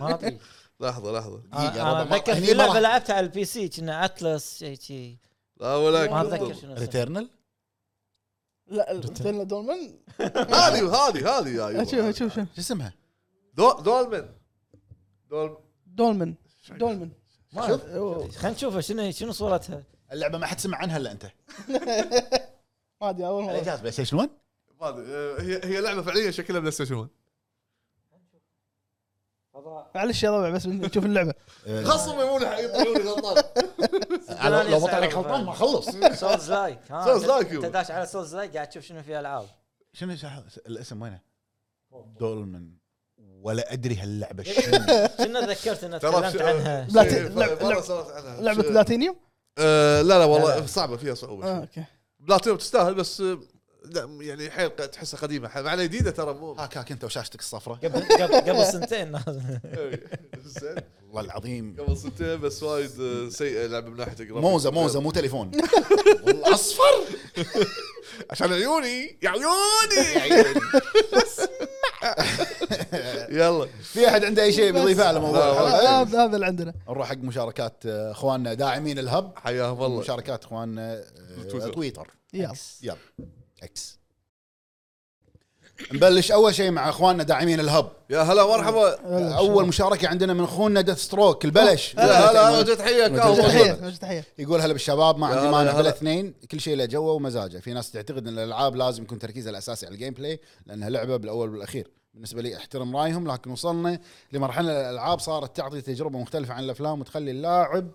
B: ما ادري
C: لحظه لحظه
A: دقيقة،
B: انا
A: ربع مرة.
B: اتذكر
A: هني
B: في لعبه
A: مرة.
B: لعبتها على البي سي كنا اتلس شيء شيء
C: لا ولا
B: ما اتذكر شنو
D: إيه.
B: اسمها.
A: ريتيرنال
D: لا دولمن- دولمن
C: هذه هذه هذه يا أيوة.
D: شوف شوف شوف
A: شو اسمها؟
C: دول دولمن دول
D: دولمن دولمن
B: ما أدري. خلينا نشوفها شنو شنو صورتها
A: اللعبه ما حد سمع عنها الا انت
D: ما ادري اول مره
A: جهاز بلاي ستيشن 1
C: ما ادري آه، هي هي لعبه فعليا شكلها بلاي ستيشن 1
D: معلش يا ربع بس نشوف اللعبه
C: خصم يبون يطلعون غلطان
A: أنا لو بطلع لك غلطان ما اخلص
D: إيه.
B: سولز لايك ها
C: Souls like.
B: انت داش على سولز لايك قاعد تشوف شنو في العاب
A: شنو شح- الاسم وينه؟ دولمن ولا ادري *laughs* هاللعبه شنو
B: كنا تذكرت ان
C: ترى
B: تكلمت عنها
D: لا ت- لعب- لعب- لعبه
C: لا
D: بلاتينيوم
C: آه، لا لا
B: لا، لا.
C: والله صعبه فيها صعوبه
D: آه،
C: شوي.
D: اوكي
C: بلاتينيوم تستاهل بس آه، لا، يعني حيل ق- تحسها قديمه ح- مع إنها جديده ترى مو
D: آه.
C: *laughs*
A: هاك هاك انت وشاشتك الصفراء
B: قبل قبل قبل سنتين
C: إيه. زين.
A: والله العظيم
C: قبل سنتين بس وايد آه، سيئه لعبه من ناحيه الجرافيك.
A: موزه موزه مو *laughs* تليفون والله اصفر
C: *laughs* عشان عيوني يا عيوني *laughs* يلا
A: في احد عنده اي شيء بيضيفه على موضوع
C: لا،
A: الحلقة؟
C: والله.
D: هذا هذا اللي عندنا
A: نروح حق مشاركات آه، اخواننا داعمين الهب
C: حياهم الله
A: مشاركات اخواننا آه،
C: تويتر.
A: تويتر
D: يلا
A: يلا اكس نبلش اول شيء مع اخواننا داعمين الهب
C: يا هلا مرحبا
D: يلا،
A: اول مشاركه عندنا من اخونا ديث ستروك البلش
C: يا هلا وجه تحيه
A: وجه
D: وجه
A: تحية.
C: كاو
D: تحيه وجه تحيه
A: يقول هلا بالشباب ما
C: يا
A: عندي
C: هلا،
A: مانع
C: يا
A: بلا
C: هلا.
A: اثنين كل شيء له جوه ومزاجه في ناس تعتقد ان الالعاب لازم يكون تركيزها الاساسي على الجيم بلاي لانها لعبه بالاول والاخير بالنسبه لي احترم رايهم لكن وصلنا لمرحله الالعاب صارت تعطي تجربه مختلفه عن الافلام وتخلي اللاعب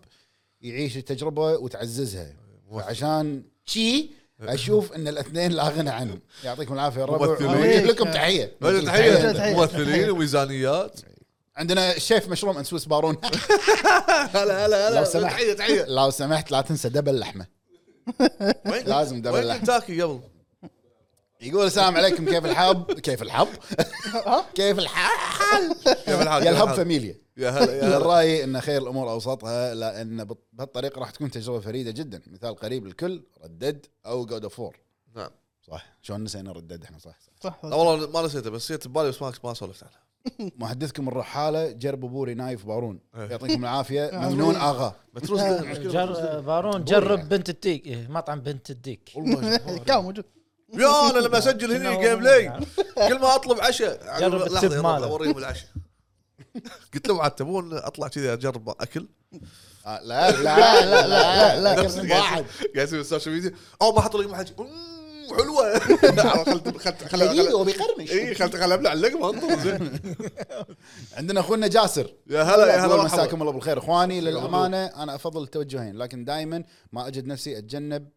A: يعيش التجربه وتعززها وعشان شي اشوف ان الاثنين لا غنى عنهم يعطيكم العافيه يا الربع
C: ممثلين.
A: وجه لكم تحيه
C: وجه
D: وجه
C: تحيه
D: تحية.
C: ممثلين وميزانيات
A: عندنا الشيف مشروم انسوس بارون
C: هلا هلا
A: لو
C: هلا
A: سمحت.
C: تحيه تحيه
A: لو سمحت لا تنسى دبل لحمه
C: وين-
A: لازم دبل
C: وين
A: لحم.
C: كنتاكي قبل
A: يقول السلام عليكم كيف الحب كيف الحب كيف الحال
C: يا بالحال،
A: يا
C: يا
A: الهب
C: بالحال.
A: فاميليا
C: يا هلا يا
A: أنا
C: هلا
A: رأيي أن خير الأمور أوسطها لأن بط- بهالطريقة راح تكون تجربة فريدة جدا مثال قريب للكل ردد أو جود أوف فور
C: *laughs* نعم
A: صح شلون نسينا ردد احنا صح, صح.
D: صح
C: لا والله ما نسيته بس جت ببالي بس ما ما سولفت عنها
A: محدثكم الرحالة جربوا بوري نايف بارون
C: إيه.
A: يعطيكم العافية
D: آمين.
A: ممنون آغا
C: متروس
B: جر بارون جرب بنت الديك إيه، مطعم بنت الديك
D: كاو موجود
C: يا انا لما اسجل هني جيم بلاي كل ما اطلب عشاء يعني
B: جرب
C: لحظة،
B: التب
C: يلا
B: ماله.
C: اوريهم العشاء قلت لهم عاد تبون اطلع كذي اجرب اكل
A: آه لا لا لا لا لا
C: نفس
A: كرسي
C: قاعد-
A: واحد
C: قاعد يسوي السوشيال ميديا او ما حط لقمه حجي أمم، *laughs* حلوه خلت خلت
A: دقيقة
C: خلت
A: وبيقرمش
C: اي خلت خلت ابلع اللقمه انطر زين
A: عندنا أخونا جاسر
C: يا هلا يا هلا
A: أقول
C: مرحبا.
A: مساكم الله بالخير اخواني للامانه انا افضل التوجهين لكن دائما ما اجد نفسي اتجنب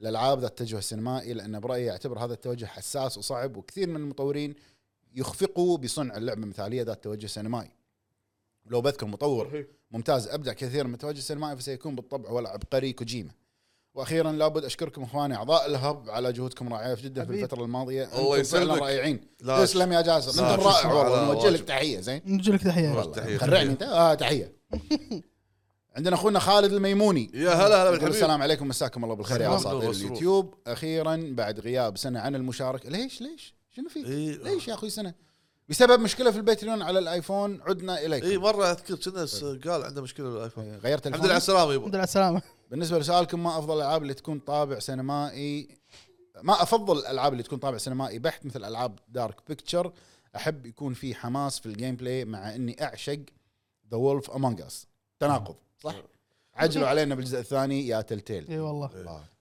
A: الالعاب ذات التوجه السينمائي لان برايي اعتبر هذا التوجه حساس وصعب وكثير من المطورين يخفقوا بصنع اللعبه مثاليه ذات توجه سينمائي لو بذكر مطور ممتاز ابدع كثير من التوجه السينمائي فسيكون بالطبع ولا عبقري كوجيما واخيرا لابد اشكركم اخواني اعضاء الهب على جهودكم الرائعه جدا في
D: حبيب.
A: الفتره الماضيه
C: الله
A: أنتم فعلا
C: يسلمك.
A: رائعين
C: *laughs* لا،
A: تسلم يا جاسر
C: لا،
A: انت رائع
C: تسلم.
A: والله
C: لا،
A: نوجه لك
C: واجب.
A: تحيه زين
D: نجي لك تحيه
C: تحية.
A: خرعني انت اه تحيه *laughs* عندنا اخونا خالد الميموني
C: يا هلا هلا
A: يقول
C: بالحبيب
A: السلام عليكم مساكم الله بالخير يا
C: صباح
A: اساطير
C: النور والسرور.
A: اليوتيوب اخيرا بعد غياب سنه عن المشاركه ليش ليش شنو فيك
C: إيه.
A: ليش يا اخوي سنه بسبب مشكله في الباتريون على الايفون عدنا
C: اي
A: اليكم
C: مره اذكر إيه، كنا س- قال عنده مشكله بالايفون
A: غيرت
C: الحمد لله على
A: تلفوني
C: السلامه يبا
D: الحمد لله على السلامه
A: بالنسبه لسؤالكم ما افضل الالعاب اللي تكون طابع سينمائي ما افضل الالعاب اللي تكون طابع سينمائي بحت مثل العاب دارك بيكتشر احب يكون في حماس في الجيم بلاي مع اني اعشق ذا وولف امونج اس تناقض صح عجلوا علينا بالجزء الثاني يا
D: اي
A: تلتيل
D: والله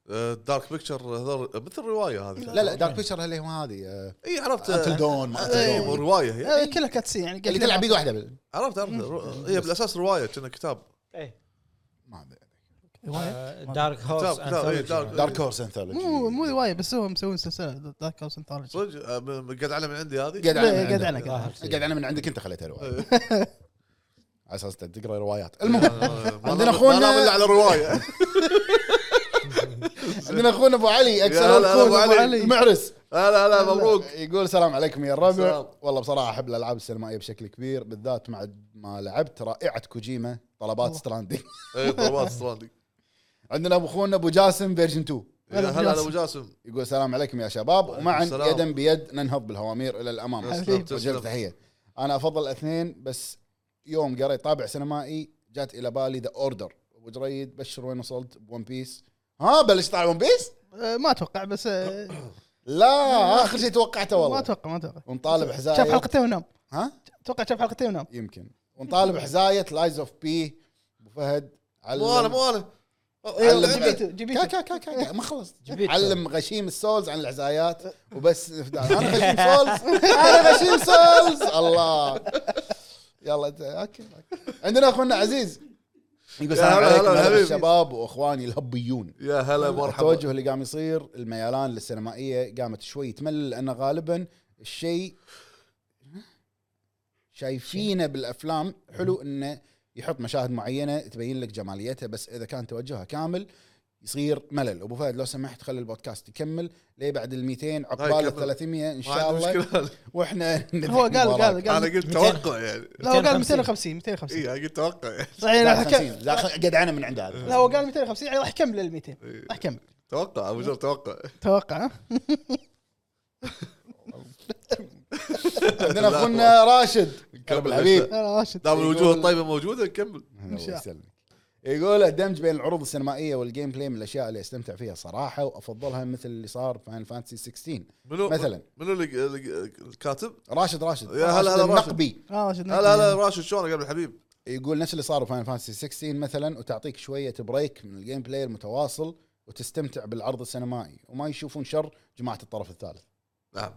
C: آه، دارك بيكتشر هذول مثل روايه هذه
A: لا لا دارك بيكتشر اللي هو هذه
C: اي عرفت
A: انتل دون ما
C: آه،
A: Until Dawn.
C: روايه هي
D: آه، كلها كاتسين يعني
A: اللي تلعب بيد واحده بال-
C: إيه، عرفت عرفت رو- هي بالاساس روايه كنا كتاب
B: إيه.
A: ما أدري.
D: روايه
B: دارك هورس
C: كتاب- كتاب، إيه،
B: Anthology.
A: دارك هورس انثولوجي
D: مو مو روايه بس هو مسوي سلسله دارك هاوس انثولوجي
C: صدق آه، م- قد على من عندي هذه
A: قاعد
D: لا، إيه، قاعد
A: انا
D: أنا،
A: من عندك.
D: قاعد
B: آه،
A: قاعد انا من عندك انت خليتها روايه
D: *laughs*
C: إيه.
A: على اساس أنت تقرا روايات المهم
C: آه، ما
A: عندنا
C: نام-
A: أخونا-
C: ما نام الا على الروايه *laughs*
A: عندنا اخونا ابو علي
C: يا
A: اكثر
C: هلا،
A: الكون ابو
C: أبو علي.
A: علي المعرس
C: هلا هلا مبروك
A: يقول السلام عليكم يا
C: سلام.
A: الربع والله بصراحه احب الالعاب السينمائيه بشكل كبير بالذات مع ما لعبت رائعه كوجيما طلبات
D: والله.
A: ستراندي
C: اي طلبات ستراندي
A: *laughs* عندنا ابو اخونا ابو جاسم فيرجن 2
D: هلا
C: هلا
D: أبو
C: هلا
D: جاسم.
C: ابو جاسم
A: يقول السلام عليكم يا شباب ومعا
C: السلام.
A: يدا بيد ننهض بالهوامير الى الامام
D: حبيبي.
C: تسلم،
A: رجل
C: تسلم.
A: تحيه انا افضل الاثنين بس يوم قريت طابع سينمائي جات الى بالي ذا اوردر ابو جريد بشر وين وصلت بون بيس ها بلشت على ون بيس؟
D: آه، ما اتوقع بس آه،
A: لا اخر شيء توقعته
D: ما
A: والله
D: اتوقع ما اتوقع
A: ونطالب حزايه
D: شاف حلقتين ونام
A: ها؟
D: اتوقع شاف حلقتين ونام
A: يمكن ونطالب حزايه لايز اوف بي ابو فهد علم
C: مو انا مو انا
A: علم.
C: علم.
D: جبيته
A: كا
D: جبيته
A: كا كا كا كا ما خلص
B: جبيت.
A: علم غشيم السولز عن الحزايات وبس انا غشيم سولز انا غشيم سولز الله يلا ت- اوكي أوكي. عندنا اخونا عزيز يقول
C: يا
A: السلام
C: هلا،
A: عليكم
C: هلا،
A: هلا
C: حبيبي.
A: الشباب واخواني الهبيون
C: يا هلا مرحبا
A: التوجه اللي قام يصير الميلان للسينمائيه قامت شوي تمل لان غالبا الشيء شايفينه بالافلام حلو انه يحط مشاهد معينه تبين لك جماليتها بس اذا كان توجهها كامل يصير ملل ابو فهد لو سمحت خلي البودكاست يكمل ليه بعد ال 200 عقبال
C: كمل.
A: ال 300 ان
C: ما
A: شاء
C: عندي
A: الله
C: مشكله
A: واحنا
D: هو قال قال
C: *laughs* انا
D: قال
C: قلت
B: 200.
C: توقع يعني
D: لا هو قال
B: 250.
D: 250 250
C: اي قلت توقع يعني
D: صحيح لا حكم-
A: قد انا من عند هذا
D: لا هو قال 250 يعني راح يكمل ال 200
C: إيه.
D: راح يكمل
C: توقع ابو جر توقع
D: توقع ها؟
A: عندنا اخونا راشد
C: نكمل.
A: الحبيب
D: يا راشد
C: دام
A: يقول-
C: الوجوه الطيبه موجوده نكمل
A: الله
D: شاء الله.
A: يسلمك يقول الدمج بين العروض السينمائيه والجيم بلاي من الاشياء اللي استمتع فيها صراحه وافضلها مثل اللي صار فاين فانتسي 16
C: منو
A: مثلا
C: منو اللي اللي- الكاتب؟
A: راشد راشد
C: يا هلا هلا راشد.
A: النقبي
D: راشد
C: هلا هلا راشد شلونك يا ابن الحبيب؟
A: يقول نفس اللي صار فاين فانتسي 16 مثلا وتعطيك شويه بريك من الجيم بلاي المتواصل وتستمتع بالعرض السينمائي وما يشوفون شر جماعه الطرف الثالث
C: نعم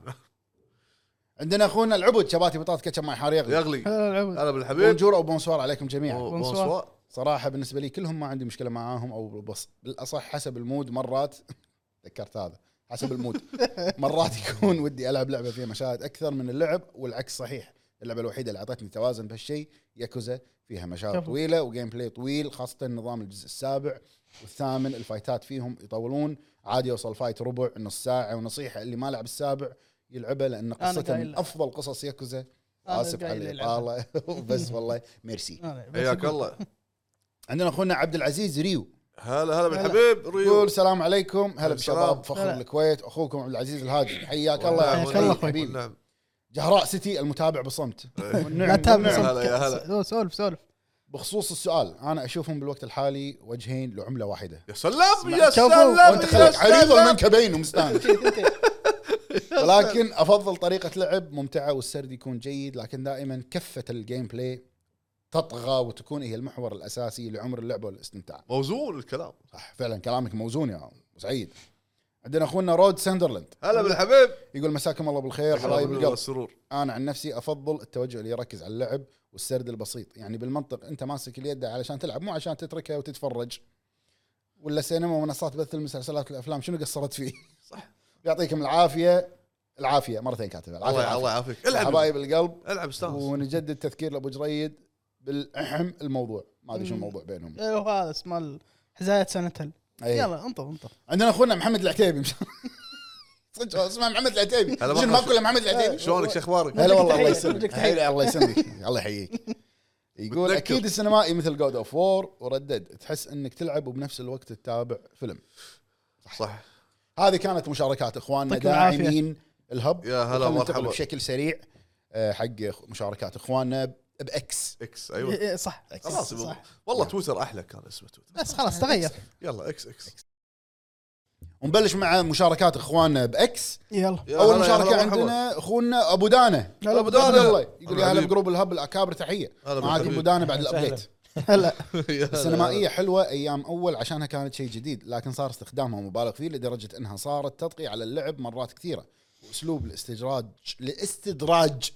A: عندنا اخونا العبد شباتي بطاطا كاتشب ماي حار يغلي
C: يغلي
D: هلا العبد
C: هلا بالحبيب
A: بونجور او بونسوار عليكم جميعا
C: بونسوا
A: صراحه بالنسبه لي كلهم ما عندي مشكله معاهم او بص بالاصح حسب المود مرات *laughs* تذكرت هذا حسب
D: *laughs*
A: المود مرات يكون ودي العب لعبه فيها مشاهد اكثر من اللعب والعكس صحيح اللعبه الوحيده اللي اعطتني توازن بهالشيء ياكوزا فيها مشاهد
D: شوفوا.
A: طويله وجيم بلاي طويل خاصه نظام الجزء السابع والثامن الفايتات فيهم يطولون عادي يوصل فايت ربع نص ساعه ونصيحه اللي ما لعب السابع يلعبه لان
D: أنا
A: قصته
D: قايل
A: من
D: له.
A: افضل قصص ياكوزا
D: أنا
A: اسف
D: قايل
A: على
D: له يلعبها.
A: الاطاله *laughs* بس
D: *laughs*
A: والله ميرسي
D: هلا، بس
C: حياك
A: *laughs*
D: يقول-
C: الله
A: عندنا اخونا عبد العزيز ريو
C: هلا هلا بالحبيب
A: يقول
C: ريو
A: السلام عليكم هلا
C: السلام.
A: بشباب فخر
D: هلا.
A: الكويت اخوكم عبد العزيز الهادي حياك الله يا
D: حياك
A: أخوي. إيه.
D: الله
A: حبيبي.
D: أخوي.
C: نعم
A: جهراء سيتي المتابع *laughs* بصمت
D: لا
A: والنعم
D: تتابع
A: والنعم.
C: صمت. هلا، يا هلا.
D: صوت- سولف سولف
A: بخصوص السؤال انا اشوفهم بالوقت الحالي وجهين لعمله واحده
C: يا سلام
D: شوفوا،
C: يا سلام
A: وانت خليك عريض
C: يا
A: منك بين *laughs* ومستانس ولكن افضل طريقه لعب ممتعه والسرد يكون جيد لكن دائما كفه الجيم بلاي تطغى وتكون هي المحور الاساسي لعمر اللعبه والاستمتاع
C: موزون الكلام
A: صح فعلا كلامك موزون يا أبو سعيد عندنا اخونا رود ساندرلاند
C: هلا بالحبيب
A: يقول مساكم الله بالخير حبايب القلب
C: السرور
A: انا عن نفسي افضل التوجه اللي يركز على اللعب والسرد البسيط يعني بالمنطق انت ماسك اليد علشان تلعب مو عشان تتركها وتتفرج ولا سينما ومنصات بث المسلسلات والافلام شنو قصرت فيه *laughs*
C: صح.
A: يعطيكم العافيه العافيه مرتين كاتبه العافيه,
C: الله الله
A: العافية.
C: يعافيك العب
A: حبايب القلب
C: العب استانس
A: ونجدد تذكير لابو جريد بالاهم الموضوع ما ادري شنو الموضوع بينهم
D: إيه، هو هذا اسمه حزايه سنتل
A: أي.
D: يلا انطر انطر
A: عندنا اخونا محمد العتيبي *laughs* صدق هو اسمه محمد العتيبي شنو
C: هلا مرحبا.
A: ماكو الا محمد العتيبي
C: إيه، شلونك شو اخبارك؟
A: هلا والله الله
D: تحية،
A: يسلمك
D: بدك تحية.
A: هلا الله يسلمك الله
C: *laughs*
A: يحييك يقول
C: متنكر.
A: اكيد السينمائي مثل جود اوف وور وردد تحس انك تلعب وبنفس الوقت تتابع فيلم
C: صح
A: هذه كانت مشاركات اخواننا
D: يعطيكم العافية.
A: داعمين الهب
C: يا هلا
A: خلنا
C: مرحبا.
A: ننتقل بشكل سريع آه، حق مشاركات اخواننا باكس
C: اكس ايوه
D: إيه، صح
C: خلاص
D: صح
C: والله تويتر احلى كان اسمه تويتر
D: بس خلاص تغير
C: يلا اكس اكس
A: ونبلش مع مشاركات اخواننا باكس
D: يلا
C: يا هلا،
A: اول
C: يا
A: مشاركه
C: هلا مرحبا.
A: عندنا اخونا ابو دانا
C: هلا أبو
A: عبد
C: دانا.
A: الله يقول يا هلا
C: حبيبي.
A: بجروب الهب الاكابر تحيه
C: هلا
A: معاك
C: بالحبيب.
A: ابو دانا بعد
B: أهلا وسهلا.
A: الابديت
D: هلا
C: *laughs* يا هلا.
A: السينمائية حلوة أيام أول عشانها كانت شيء جديد لكن صار استخدامها مبالغ فيه لدرجة أنها صارت تطغي على اللعب مرات كثيرة وأسلوب الاستدراج لاستدراج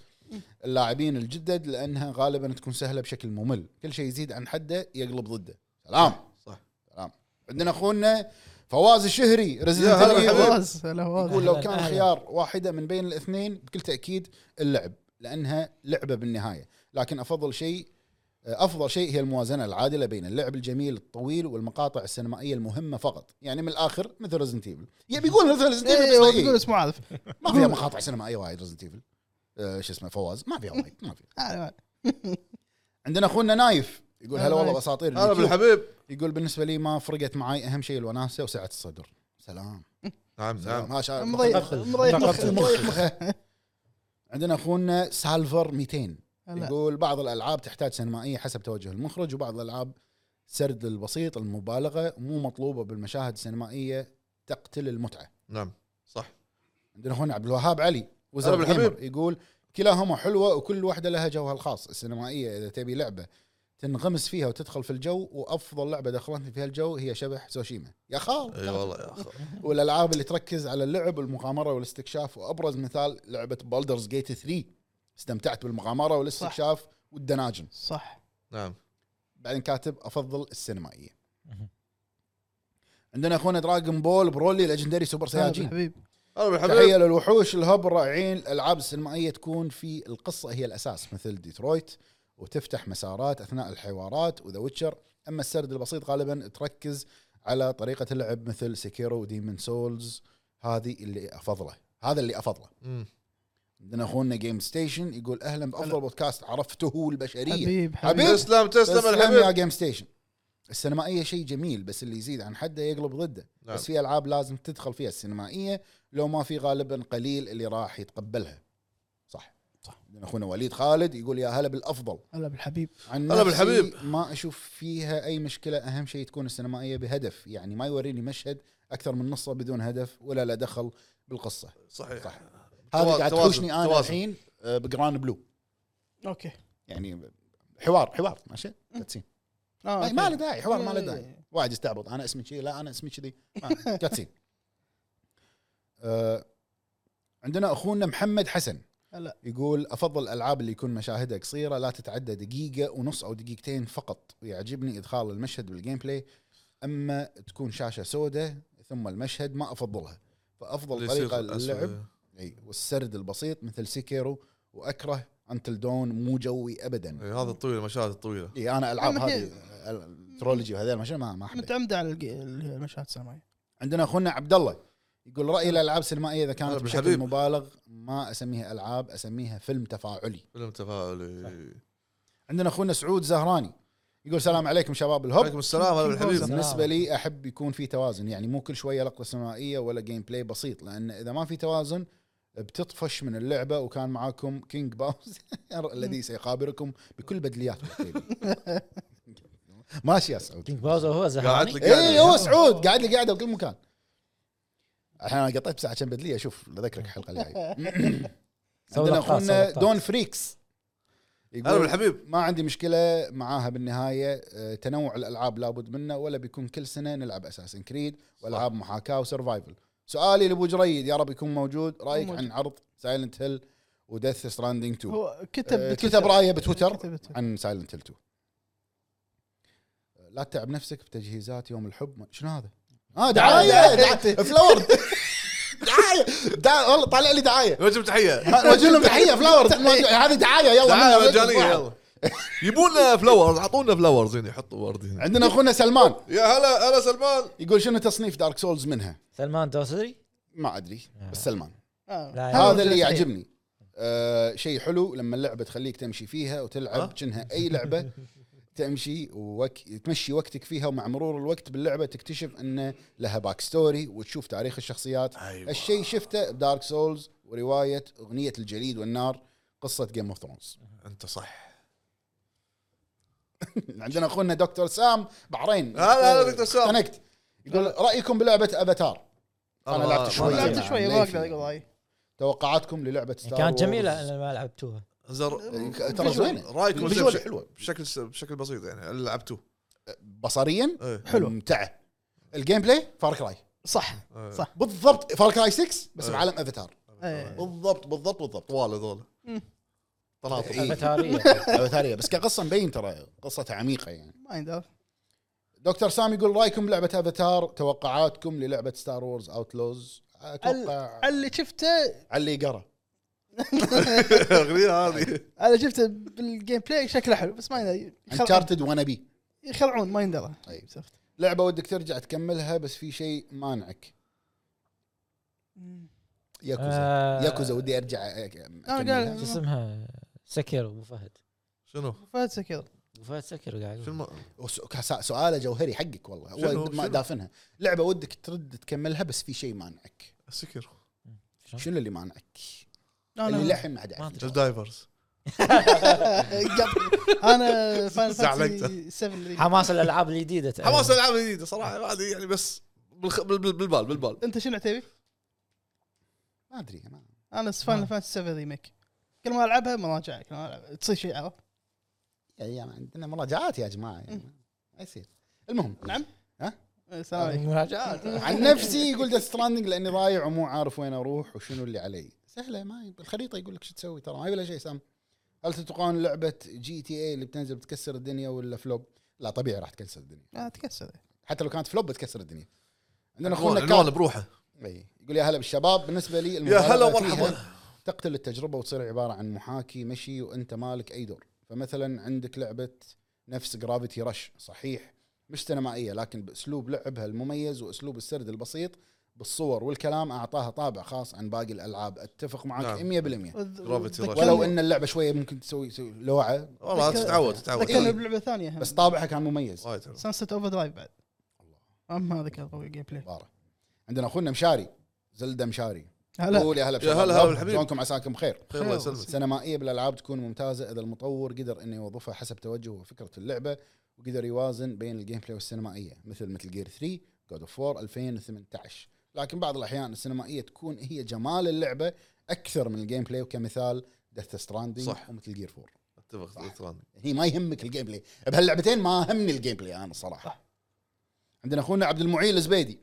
A: اللاعبين الجدد لأنها غالبا تكون سهلة بشكل ممل كل شيء يزيد عن حده يقلب ضده سلام
C: صح.
A: سلام عندنا اخونا فواز الشهري
C: يا هلا
A: ريزدنت
D: إيه،
C: بالحبيب.
D: فواز هلا
A: يقول
D: فواز
A: لو
B: أهلاً،
A: كان
B: أهلاً.
A: خيار واحده من بين الاثنين بكل تاكيد اللعب لانها لعبه بالنهايه لكن افضل شيء افضل شيء هي الموازنه العادله بين اللعب الجميل الطويل والمقاطع السينمائيه المهمه فقط يعني من الاخر مثل ريزنت ايفل يبي يقول مثل ريزنت
D: إيه، هو بيقول
A: ايفل
D: اسمه عارف
A: ما فيها مقاطع سينمائيه وايد ريزنت ايفل شو اسمه فواز ما فيها وايد ما فيها
D: أنا-
A: عندنا اخونا نايف يقول
D: هلا
A: هلا والله
D: آه، نايف.
A: اساطير
C: هلا
A: اليوتيوب.
C: بالحبيب
A: يقول بالنسبه لي ما فرقت معي اهم شيء الوناسه وسعه الصدر سلام
C: نعم
A: سلام
C: نعم
A: ما شاء الله
D: مريح مريح مخ
B: مخ.
A: مخ مخه. *laughs* عندنا اخونا سالفر 200
D: هلا.
A: يقول بعض الالعاب تحتاج سينمائيه حسب توجه المخرج وبعض الالعاب سرد البسيط المبالغه مو مطلوبه بالمشاهد السينمائيه تقتل المتعه
C: نعم صح
A: عندنا اخونا عبد الوهاب علي وزير
C: هلا بالحبيب.
A: الجيمر يقول كلاهما حلوه وكل واحده لها جوها الخاص السينمائيه اذا تبي لعبه تنغمس فيها وتدخل في الجو وافضل لعبه دخلتني فيها الجو هي شبح سوشيما يا خال
C: اي والله يا اخي
A: والالعاب اللي تركز على اللعب والمغامره والاستكشاف وابرز مثال لعبه بالدرز جيت 3 استمتعت بالمغامره والاستكشاف والدناجن
D: صح
C: نعم
A: بعدين كاتب افضل السينمائيه عندنا اخونا دراجون بول برولي ليجندري سوبر سياجين
D: حبيب
C: هلا بالحبيب
A: تخيل الوحوش الهب الرائعين الالعاب السينمائيه تكون في القصه هي الاساس مثل ديترويت وتفتح مسارات اثناء الحوارات وذا ويتشر اما السرد البسيط غالبا تركز على طريقه اللعب مثل سكيرو وديمن سولز هذه اللي افضله هذا اللي افضله
C: مم.
A: عندنا اخونا جيم ستيشن يقول اهلا بافضل بودكاست عرفته البشريه حبيب.
D: حبيب حبيب
C: تسلم تسلم
A: تسلم يا
C: الحبيب
A: جيم ستيشن السينمائيه شيء جميل بس اللي يزيد عن حده يقلب ضده
C: نعم.
A: بس في العاب لازم تدخل فيها السينمائيه لو ما في غالبا قليل اللي راح يتقبلها صح صح اخونا وليد خالد يقول يا هلا بالافضل
D: هلا بالحبيب
A: عن
C: هلا
A: نفسي
C: بالحبيب.
A: ما اشوف فيها اي مشكله اهم شيء تكون السينمائيه بهدف يعني ما يوريني مشهد اكثر من نصه بدون هدف ولا له دخل بالقصه
C: صحيح
A: صح. هذا
C: توا-
A: قاعد
C: توازن-
A: تحوشني انا
C: توازن.
A: الحين آه، بجران بلو
D: اوكي
A: يعني حوار حوار ماشي كاتسين
D: آه،
A: ما
D: أوكي.
A: ما له داعي حوار ما له
D: إيه.
A: داعي واحد يستعبط انا اسمي كذي لا انا اسمي كذي
D: *laughs*
A: ما- كاتسين آه، عندنا اخونا محمد حسن
D: هلا.
A: يقول افضل الالعاب اللي يكون مشاهدها قصيره لا تتعدى دقيقه ونص او دقيقتين فقط ويعجبني ادخال المشهد بالجيم بلاي اما تكون شاشه سوداء ثم المشهد ما افضلها فافضل
C: اللي يصير
A: طريقه
C: الأسود.
A: للعب اي والسرد البسيط مثل سيكيرو واكره انتل دون مو جوي ابدا
C: إي، إيه، هذا الطويل المشاهد الطويله
A: اي انا العاب
D: أما هي-
A: إيه، هذه ترولوجي وهذول ما ما ما احبها
D: متعمده على الج- المشاهد السينمائيه
A: عندنا اخونا عبد الله يقول رايي الالعاب السينمائيه اذا كانت
C: هلا
A: بشكل
C: بالحبيب.
A: مبالغ ما اسميها العاب اسميها فيلم تفاعلي
C: فيلم تفاعلي
A: عندنا اخونا سعود زهراني يقول السلام عليكم شباب
C: عليكم
A: الهب
C: السلام هلا بالحبيب
B: السلام.
A: بالنسبه لي احب يكون في توازن يعني مو كل شويه لقطه سينمائيه ولا جيم بلاي بسيط لان اذا ما في توازن بتطفش من اللعبه وكان معاكم كينج باوز *laughs* الذي سيخابركم بكل بدلياته ماشي يا سعود
B: كينج باوزر هو
C: قاعد
B: زهراني
C: لك
A: اي
C: قاعد
A: إيه، هو سعود قاعد لي قاعده بكل مكان الحين انا قطيت بس عشان بدليه اشوف اذكرك الحلقه
D: *laughs*
A: الجايه
B: سوي
A: عندنا
B: لقطات، سوي
A: اخونا
B: لقطات.
A: دون فريكس
C: هلا
A: يقول
C: بالحبيب
A: ما عندي مشكله معاها بالنهايه أه، تنوع الالعاب لابد منه ولا بيكون كل سنه نلعب اساسن كريد والعاب محاكاه وسرفايفل سؤالي لابو جريد يا رب يكون موجود رايك
D: موجود.
A: عن عرض سايلنت هيل وديث ستراندينج 2
D: هو كتب
A: أه،
D: بتويتر.
A: كتب رايه بتويتر
D: كتب بتويتر.
A: عن سايلنت هيل 2 لا تتعب نفسك بتجهيزات يوم الحب ما- شنو هذا؟ اه دعايه دعايه فلاور دعايه دع- والله طالع لي دعايه
C: نوجه *laughs* تحيه
A: وجه لهم تحيه فلاور هذه دعايه يلا
C: دعايه
A: منها
C: مجانيه
A: واحد.
C: يلا *laughs* يبون فلاورز اعطونا فلاورز هنا حطوا ورد هنا
A: عندنا اخونا سلمان
C: يا هلا هلا سلمان
A: يقول شنو تصنيف دارك سولز منها؟
B: سلمان دوسري
A: ما ادري بس سلمان
D: آه.
B: لا،
D: هذا
A: هذا اللي
D: الجزء.
A: يعجبني آه شيء حلو لما اللعبه تخليك تمشي فيها
C: ها؟
A: وتلعب كأنها
C: *laughs*
A: اي لعبه تمشي ووك... تمشي وقتك فيها ومع مرور الوقت باللعبه تكتشف ان لها باك ستوري وتشوف تاريخ الشخصيات
C: أيوة.
A: الشيء شفته بدارك سولز وروايه اغنيه الجليد والنار قصه جيم اوف ثرونز
C: انت صح
A: *laughs* عندنا اخونا دكتور سام بحرين
C: هلا هلا دكتور سام.
A: كونكت يقول رايكم بلعبه افاتار أنا لعبت شوي.
D: لعبت
A: يعني
D: شوي ما
A: ليه في-
D: اقدر اقول رايي
A: توقعاتكم للعبه ستار
B: كانت
A: وورز.
B: جميله انا ما لعبتوها
C: زر
A: ترى زوينه
C: رايكم
A: فيجوال
C: بشكل-
A: حلوه
C: بشكل بشكل بسيط يعني لعبتوه
A: بصريا
C: إيه.
D: حلو.
A: ممتعه الجيم بلاي فار كراي
D: صح
C: إيه.
D: صح.
A: بالضبط فار كراي 6 بس
C: أه.
A: بعالم افاتار
D: إيه.
A: بالضبط بالضبط بالضبط
C: طوال *laughs* هذول
D: مم.
C: تناطح
A: إيه.
B: افاتاريه
A: افاتاريه بس كقصه مبين ترى قصتها عميقه يعني
D: ما يندر
A: دكتور سام يقول رايكم بلعبه افاتار توقعاتكم للعبه ستار وورز اوتلوز اتوقع على
D: اللي شفته
A: اللي قرا
C: الاغنيه هذه
D: انا شفته بالجيم بلاي شكله حلو بس ما يندرى. يخلعون-
A: انشارتد وانا بي
D: يخلعون ما يندرى
A: طيب.
D: عرفت؟
A: لعبه ودك ترجع تكملها بس في شيء مانعك ياكوزا
B: آه،
A: ياكوزا ودي ارجع
D: قال-
B: شو
A: أكملها.
B: اسمها سكر ابو فهد
C: *laughs* شنو؟
D: فاتسه كذا
B: ابو فهد سكر قاعد يقول.
C: شنو
A: وس- كس- سؤال جوهري حقك والله
C: شنو-
A: هو ما
C: شنو؟
A: دافنها لعبه ودك ترد تكملها بس في شيء مانعك
C: سكر
A: شنو اللي مانعك؟ اللي
D: انا
A: للحين ما حد إيه،
B: ما
A: عارف
B: أدري.
C: جيف دايفرز
D: *laughs* انا
C: *laughs*
D: فاين
C: زعلت.
D: فانتسي 7 ريميك.
B: حماس الالعاب الجديده تعرف.
C: حماس العاب جديده صراحه هذه يعني بس بالخ... بال- بال- بالبال بالبال
D: انت شنو عتيبي؟
A: ما ادري ما
D: انا فاين
A: آه.
D: فانتسي 7 ريميك كل ما العبها مراجعه كل ما العبها تصير شيء عرفت؟
A: يعني عندنا مراجعات يا جماعه يعني ما يصير المهم
D: نعم؟
A: ها؟
D: السلام
A: آه.
D: عليكم
B: مراجعات
A: عن نفسي يقول ديث ستراندنج لاني ضايع ومو عارف وين اروح وشنو اللي علي سهله ما الخريطه يقول لك شو تسوي ترى ما يبي شيء سام هل تتوقعون لعبه جي تي اي اللي بتنزل بتكسر الدنيا ولا فلوب؟ لا طبيعي راح تكسر الدنيا
D: آه، تكسر
A: حتى لو كانت فلوب بتكسر الدنيا عندنا
C: عنوان
A: اخونا
C: عنوان
A: كاظم
C: بروحه
A: أي. يقول يا هلا بالشباب بالنسبه لي
C: يا هلا
A: المبالغة فيها
C: ومرحبا
A: تقتل التجربه وتصير عباره عن محاكي مشي وانت مالك اي دور فمثلا عندك لعبه نفس جرافيتي رش صحيح مش سينمائيه لكن باسلوب لعبها المميز واسلوب السرد البسيط بالصور والكلام اعطاها طابع خاص عن باقي الالعاب اتفق معك
C: نعم.
A: 100%
C: Gravity Rush.
A: ولو ان اللعبه شويه ممكن تسوي تسوي لوعه
C: والله
D: ذكر-
C: تتعود تتعود
D: ذكرني
A: إيه.
D: بلعبه ثانيه هم.
A: بس طابعها كان مميز
C: وايد حلو.
D: سانست اوفر درايف بعد
A: الله.
D: اما ذكر قوي جيم بلاي
A: بارة. عندنا اخونا مشاري زلده مشاري
D: هلا
A: قول يا هلا
C: يا
A: بشباب.
C: هلا هلا بالحبيب.
A: شلونكم عساكم بخير
C: خير الله يسلمك
A: سينمائيه بالالعاب إيه تكون ممتازه اذا المطور قدر انه يوظفها حسب توجهه وفكره اللعبه وقدر يوازن بين الجيم بلاي والسينمائيه مثل مثل جير 3 جود اوف 4 2018 لكن بعض الاحيان السينمائيه تكون هي جمال اللعبه اكثر من الجيم بلاي وكمثال ديث ستراندينج
C: صح.
A: ومثل جير 4
C: اتفق اتفق.
A: هني ما يهمك الجيم بلاي بهاللعبتين ما همني الجيم بلاي انا صراحه عندنا اخونا عبد المعين الزبيدي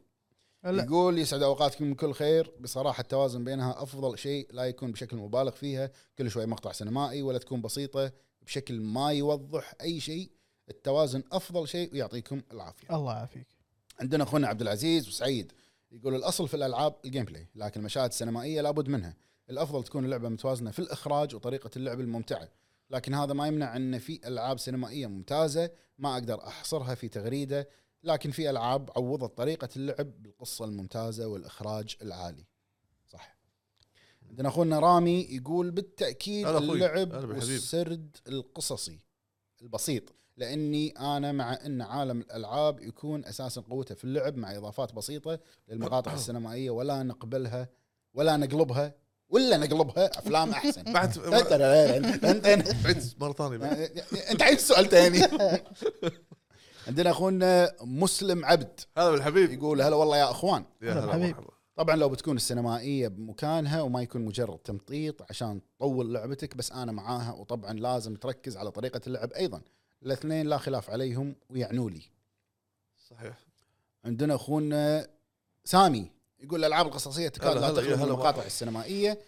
D: هلا.
A: يقول يسعد اوقاتكم من كل خير بصراحه التوازن بينها افضل شيء لا يكون بشكل مبالغ فيها كل شوي مقطع سينمائي ولا تكون بسيطه بشكل ما يوضح اي شيء التوازن افضل شيء ويعطيكم العافيه
D: الله يعافيك
A: عندنا اخونا عبد العزيز وسعيد يقول الاصل في الالعاب الجيم بلاي لكن المشاهد السينمائيه لابد منها الافضل تكون اللعبه متوازنه في الاخراج وطريقه اللعب الممتعه لكن هذا ما يمنع ان في العاب سينمائيه ممتازه ما اقدر احصرها في تغريده لكن في العاب عوضت طريقه اللعب بالقصه الممتازه والاخراج العالي صح عندنا اخونا رامي يقول بالتاكيد
C: هلا أخوي.
A: اللعب
C: هلا بالحبيب.
A: والسرد القصصي البسيط لاني انا مع ان عالم الالعاب يكون اساسا قوته في اللعب مع اضافات بسيطه للمقاطع السينمائيه ولا نقبلها ولا نقلبها ولا نقلبها افلام احسن *laughs*
C: بعد عدت مره ثانيه
A: يعني
C: بعد.
A: انت عيد سؤال ثاني عندنا اخونا مسلم عبد
C: هلا بالحبيب
A: يقول هلا والله يا اخوان
C: يا
D: هلا
C: هلا
D: بالحبيب.
C: مرحبا
A: طبعا لو بتكون السينمائيه بمكانها وما يكون مجرد تمطيط عشان تطول لعبتك بس انا معاها وطبعا لازم تركز على طريقه اللعب ايضا الاثنين لا خلاف عليهم ويعنوا لي
C: صحيح
A: عندنا اخونا سامي يقول الالعاب القصصيه تكاد
C: هلا
A: لا
C: هلا يا
A: تخلو من
C: هلا
A: المقاطع
C: مرحبا.
A: السينمائيه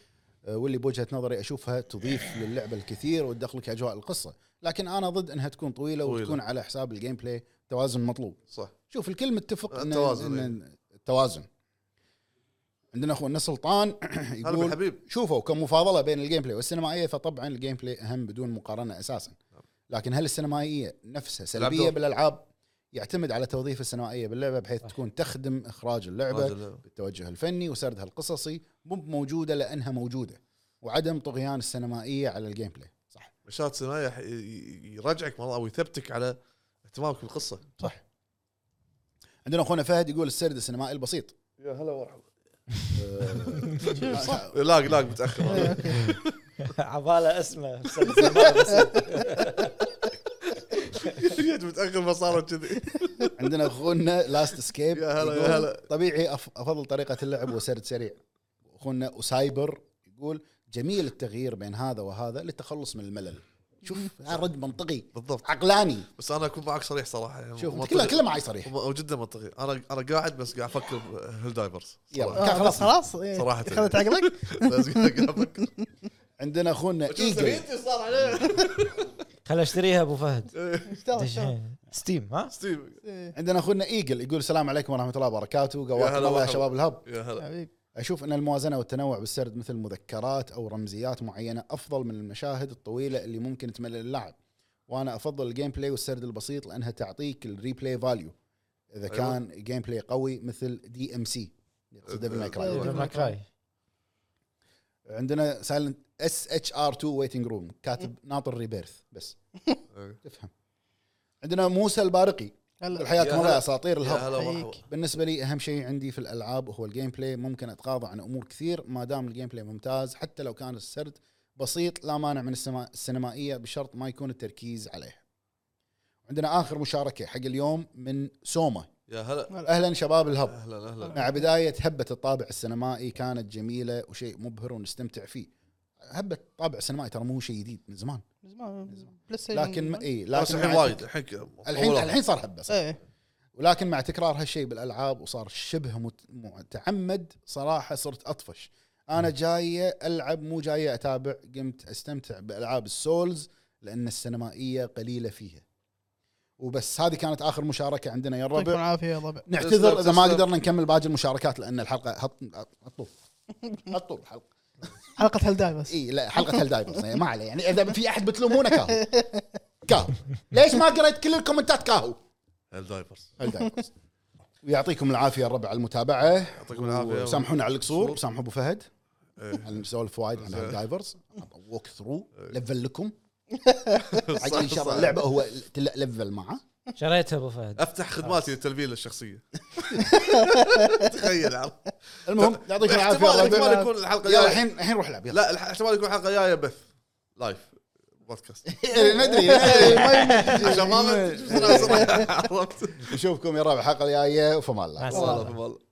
A: آه، واللي بوجهه نظري اشوفها تضيف
C: إيه.
A: للعبه الكثير وتدخلك اجواء القصه لكن انا ضد انها تكون طويله,
C: طويلة.
A: وتكون على حساب الجيم بلاي توازن مطلوب
C: صح
A: شوف الكل متفق إن-
C: التوازن، إيه.
A: إن التوازن عندنا اخونا سلطان *clears throat*
C: هلا
A: يقول
C: بالحبيب
A: شوفوا كمفاضله بين الجيم بلاي والسينمائيه فطبعا الجيم بلاي اهم بدون مقارنه اساسا لكن هل السينمائيه نفسها
C: تلعب
A: سلبيه
C: دور.
A: بالالعاب يعتمد على توظيف السينمائيه باللعبه بحيث تكون تخدم اخراج اللعبه
C: راجل.
A: بالتوجه الفني وسردها القصصي مو موجوده لانها موجوده وعدم طغيان السينمائيه على الجيم بلاي صح
C: مشاهد سينمائية يح- ي- يرجعك مره او يثبتك على اهتمامك بالقصه
A: صح عندنا اخونا فهد يقول السرد السينمائي البسيط *laughs*
C: يا هلا مرحبا
A: آه،
C: لاق لاق
A: *laughs*
C: متاخر
D: إيه،
C: *laughs*
D: أوكي.
B: عباله اسمه
C: جيت متاخر فصارت كذي
A: عندنا اخونا لاست اسكيب
C: يا هلا، يا هلا.
A: طبيعي أف- افضل طريقه اللعب وسرد سريع اخونا اسايبر يقول جميل التغيير بين هذا وهذا للتخلص من الملل شوف هذا رد منطقي
C: بالضبط
A: عقلاني
C: بس انا اكون معك صريح صراحه يعني
A: شوف
C: منطقي.
A: كله كله معي صريح
C: او جدا منطقي انا انا قاعد بس قاعد افكر بهيل دايفرز
A: يلا.
C: صراحة. *laughs*
D: آه، بس خلاص إيه.
C: صراحة.
A: *laughs*
D: اخذت عقلك
C: بس قاعد افكر
A: عندنا اخونا
C: شو *laughs*
A: ايجل
C: سويت صار عليه
B: خل اشتريها ابو فهد
D: اشتغل، اشتغل
B: دشين. ستيم ها
C: ستيف
D: إيه،
A: عندنا اخونا ايجل يقول السلام عليكم ورحمه الله وبركاته
C: يا
A: قواكم
C: هلا
A: الله يا
C: مرحبا.
A: شباب الهب
C: يا هلا
D: حبيب
A: اشوف ان الموازنه والتنوع بالسرد مثل مذكرات او رمزيات معينه افضل من المشاهد الطويله اللي ممكن تملل اللاعب وانا افضل الجيم بلاي والسرد البسيط لانها تعطيك الريبلاي فاليو اذا
C: أيوة.
A: كان جيم بلاي قوي مثل دي ام سي ديفل ماي كراي
D: أيوة.
B: ديفل ماي كراي
A: عندنا سايلنت اس اتش ار 2 ويتنج روم كاتب ناطر ريبيرث بس
C: إيه.
A: تفهم عندنا موسى البارقي
D: هلا
A: حياكم
C: يا
A: الله يا
C: هلا.
A: اساطير
C: يا
A: الهب
C: هلا
D: حيك.
C: مرحبا
A: بالنسبه لي اهم شيء عندي في الالعاب هو الجيم بلاي ممكن اتغاضى عن امور كثير ما دام الجيم بلاي ممتاز حتى لو كان السرد بسيط لا مانع من السما- السينمائيه بشرط ما يكون التركيز عليه عندنا اخر مشاركه حق اليوم من سوما
C: يا هلا
A: اهلا شباب الهب
C: اهلا اهلا
A: مع بداية هبة الطابع السينمائي كانت جميلة وشيء مبهر ونستمتع فيه هبة الطابع السينمائي ترى مو شيء جديد من زمان
D: من زمان إيه. بلاي ستيشن
A: لكن
D: من
A: اي
C: بس
A: لكن
C: الحين
A: مع-
C: وايد الحين
A: الحين الحين صار هبة صح.
D: زمان. ايه
A: ولكن مع تكرار هالشيء بالالعاب وصار شبه مت- متعمد صراحة صرت اطفش انا جاية العب مو جاية اتابع قمت استمتع بالعاب السولز لان السينمائية قليلة فيها وبس هذه كانت اخر مشاركة عندنا يا
D: يعطيكم
A: الربع
D: العافيه يا ربع
A: نعتذر اذا ما
C: تسلم.
A: قدرنا نكمل باقي المشاركات لان الحلقة هط- هطول هطول الحلقة
D: حلقه هل داي بس
A: اي لا حلقه هل دايفرز يعني ما عليه يعني اذا في احد بتلومونه كاهو كاهو ليش ما قريت كل الكومنتات كاهو
C: الدايفرز
A: هل دايفرز ويعطيكم العافيه يا الربع على المتابعه
C: يعطيكم العافيه
A: وسامحونا على القصور سامحوا ابو فهد
C: إيه.
A: على نسولف وايد عن
C: زين.
A: الدايفرز ووك ثرو
C: إيه.
A: لفل
C: *laughs*
A: لكم
C: صح،
A: عجل ان شاء الله
C: صح.
A: اللعبه هو تل- لفل معه
B: شريتها ابو فهد
C: افتح خدماتي التلفيل
A: *laughs*
C: الشخصيه تخيل عرفت؟
A: المهم يعطيكم العافيه
C: احتمال
A: يا
C: احتمال
A: الربع.
C: يكون الحلقه
A: يلا
C: جايه
A: الحين الحين روح لعب *laughs* يلا
C: لا الح- احتمال يكون الحلقه جايه بث لايف بودكاست
A: *laughs* إيه، ندري ندري إيه.
C: عشان ما بسرعه بسرعه عرفت؟
A: نشوفكم يا ربع الحلقه الجايه فما الله
B: مع السلامة.
C: والله والله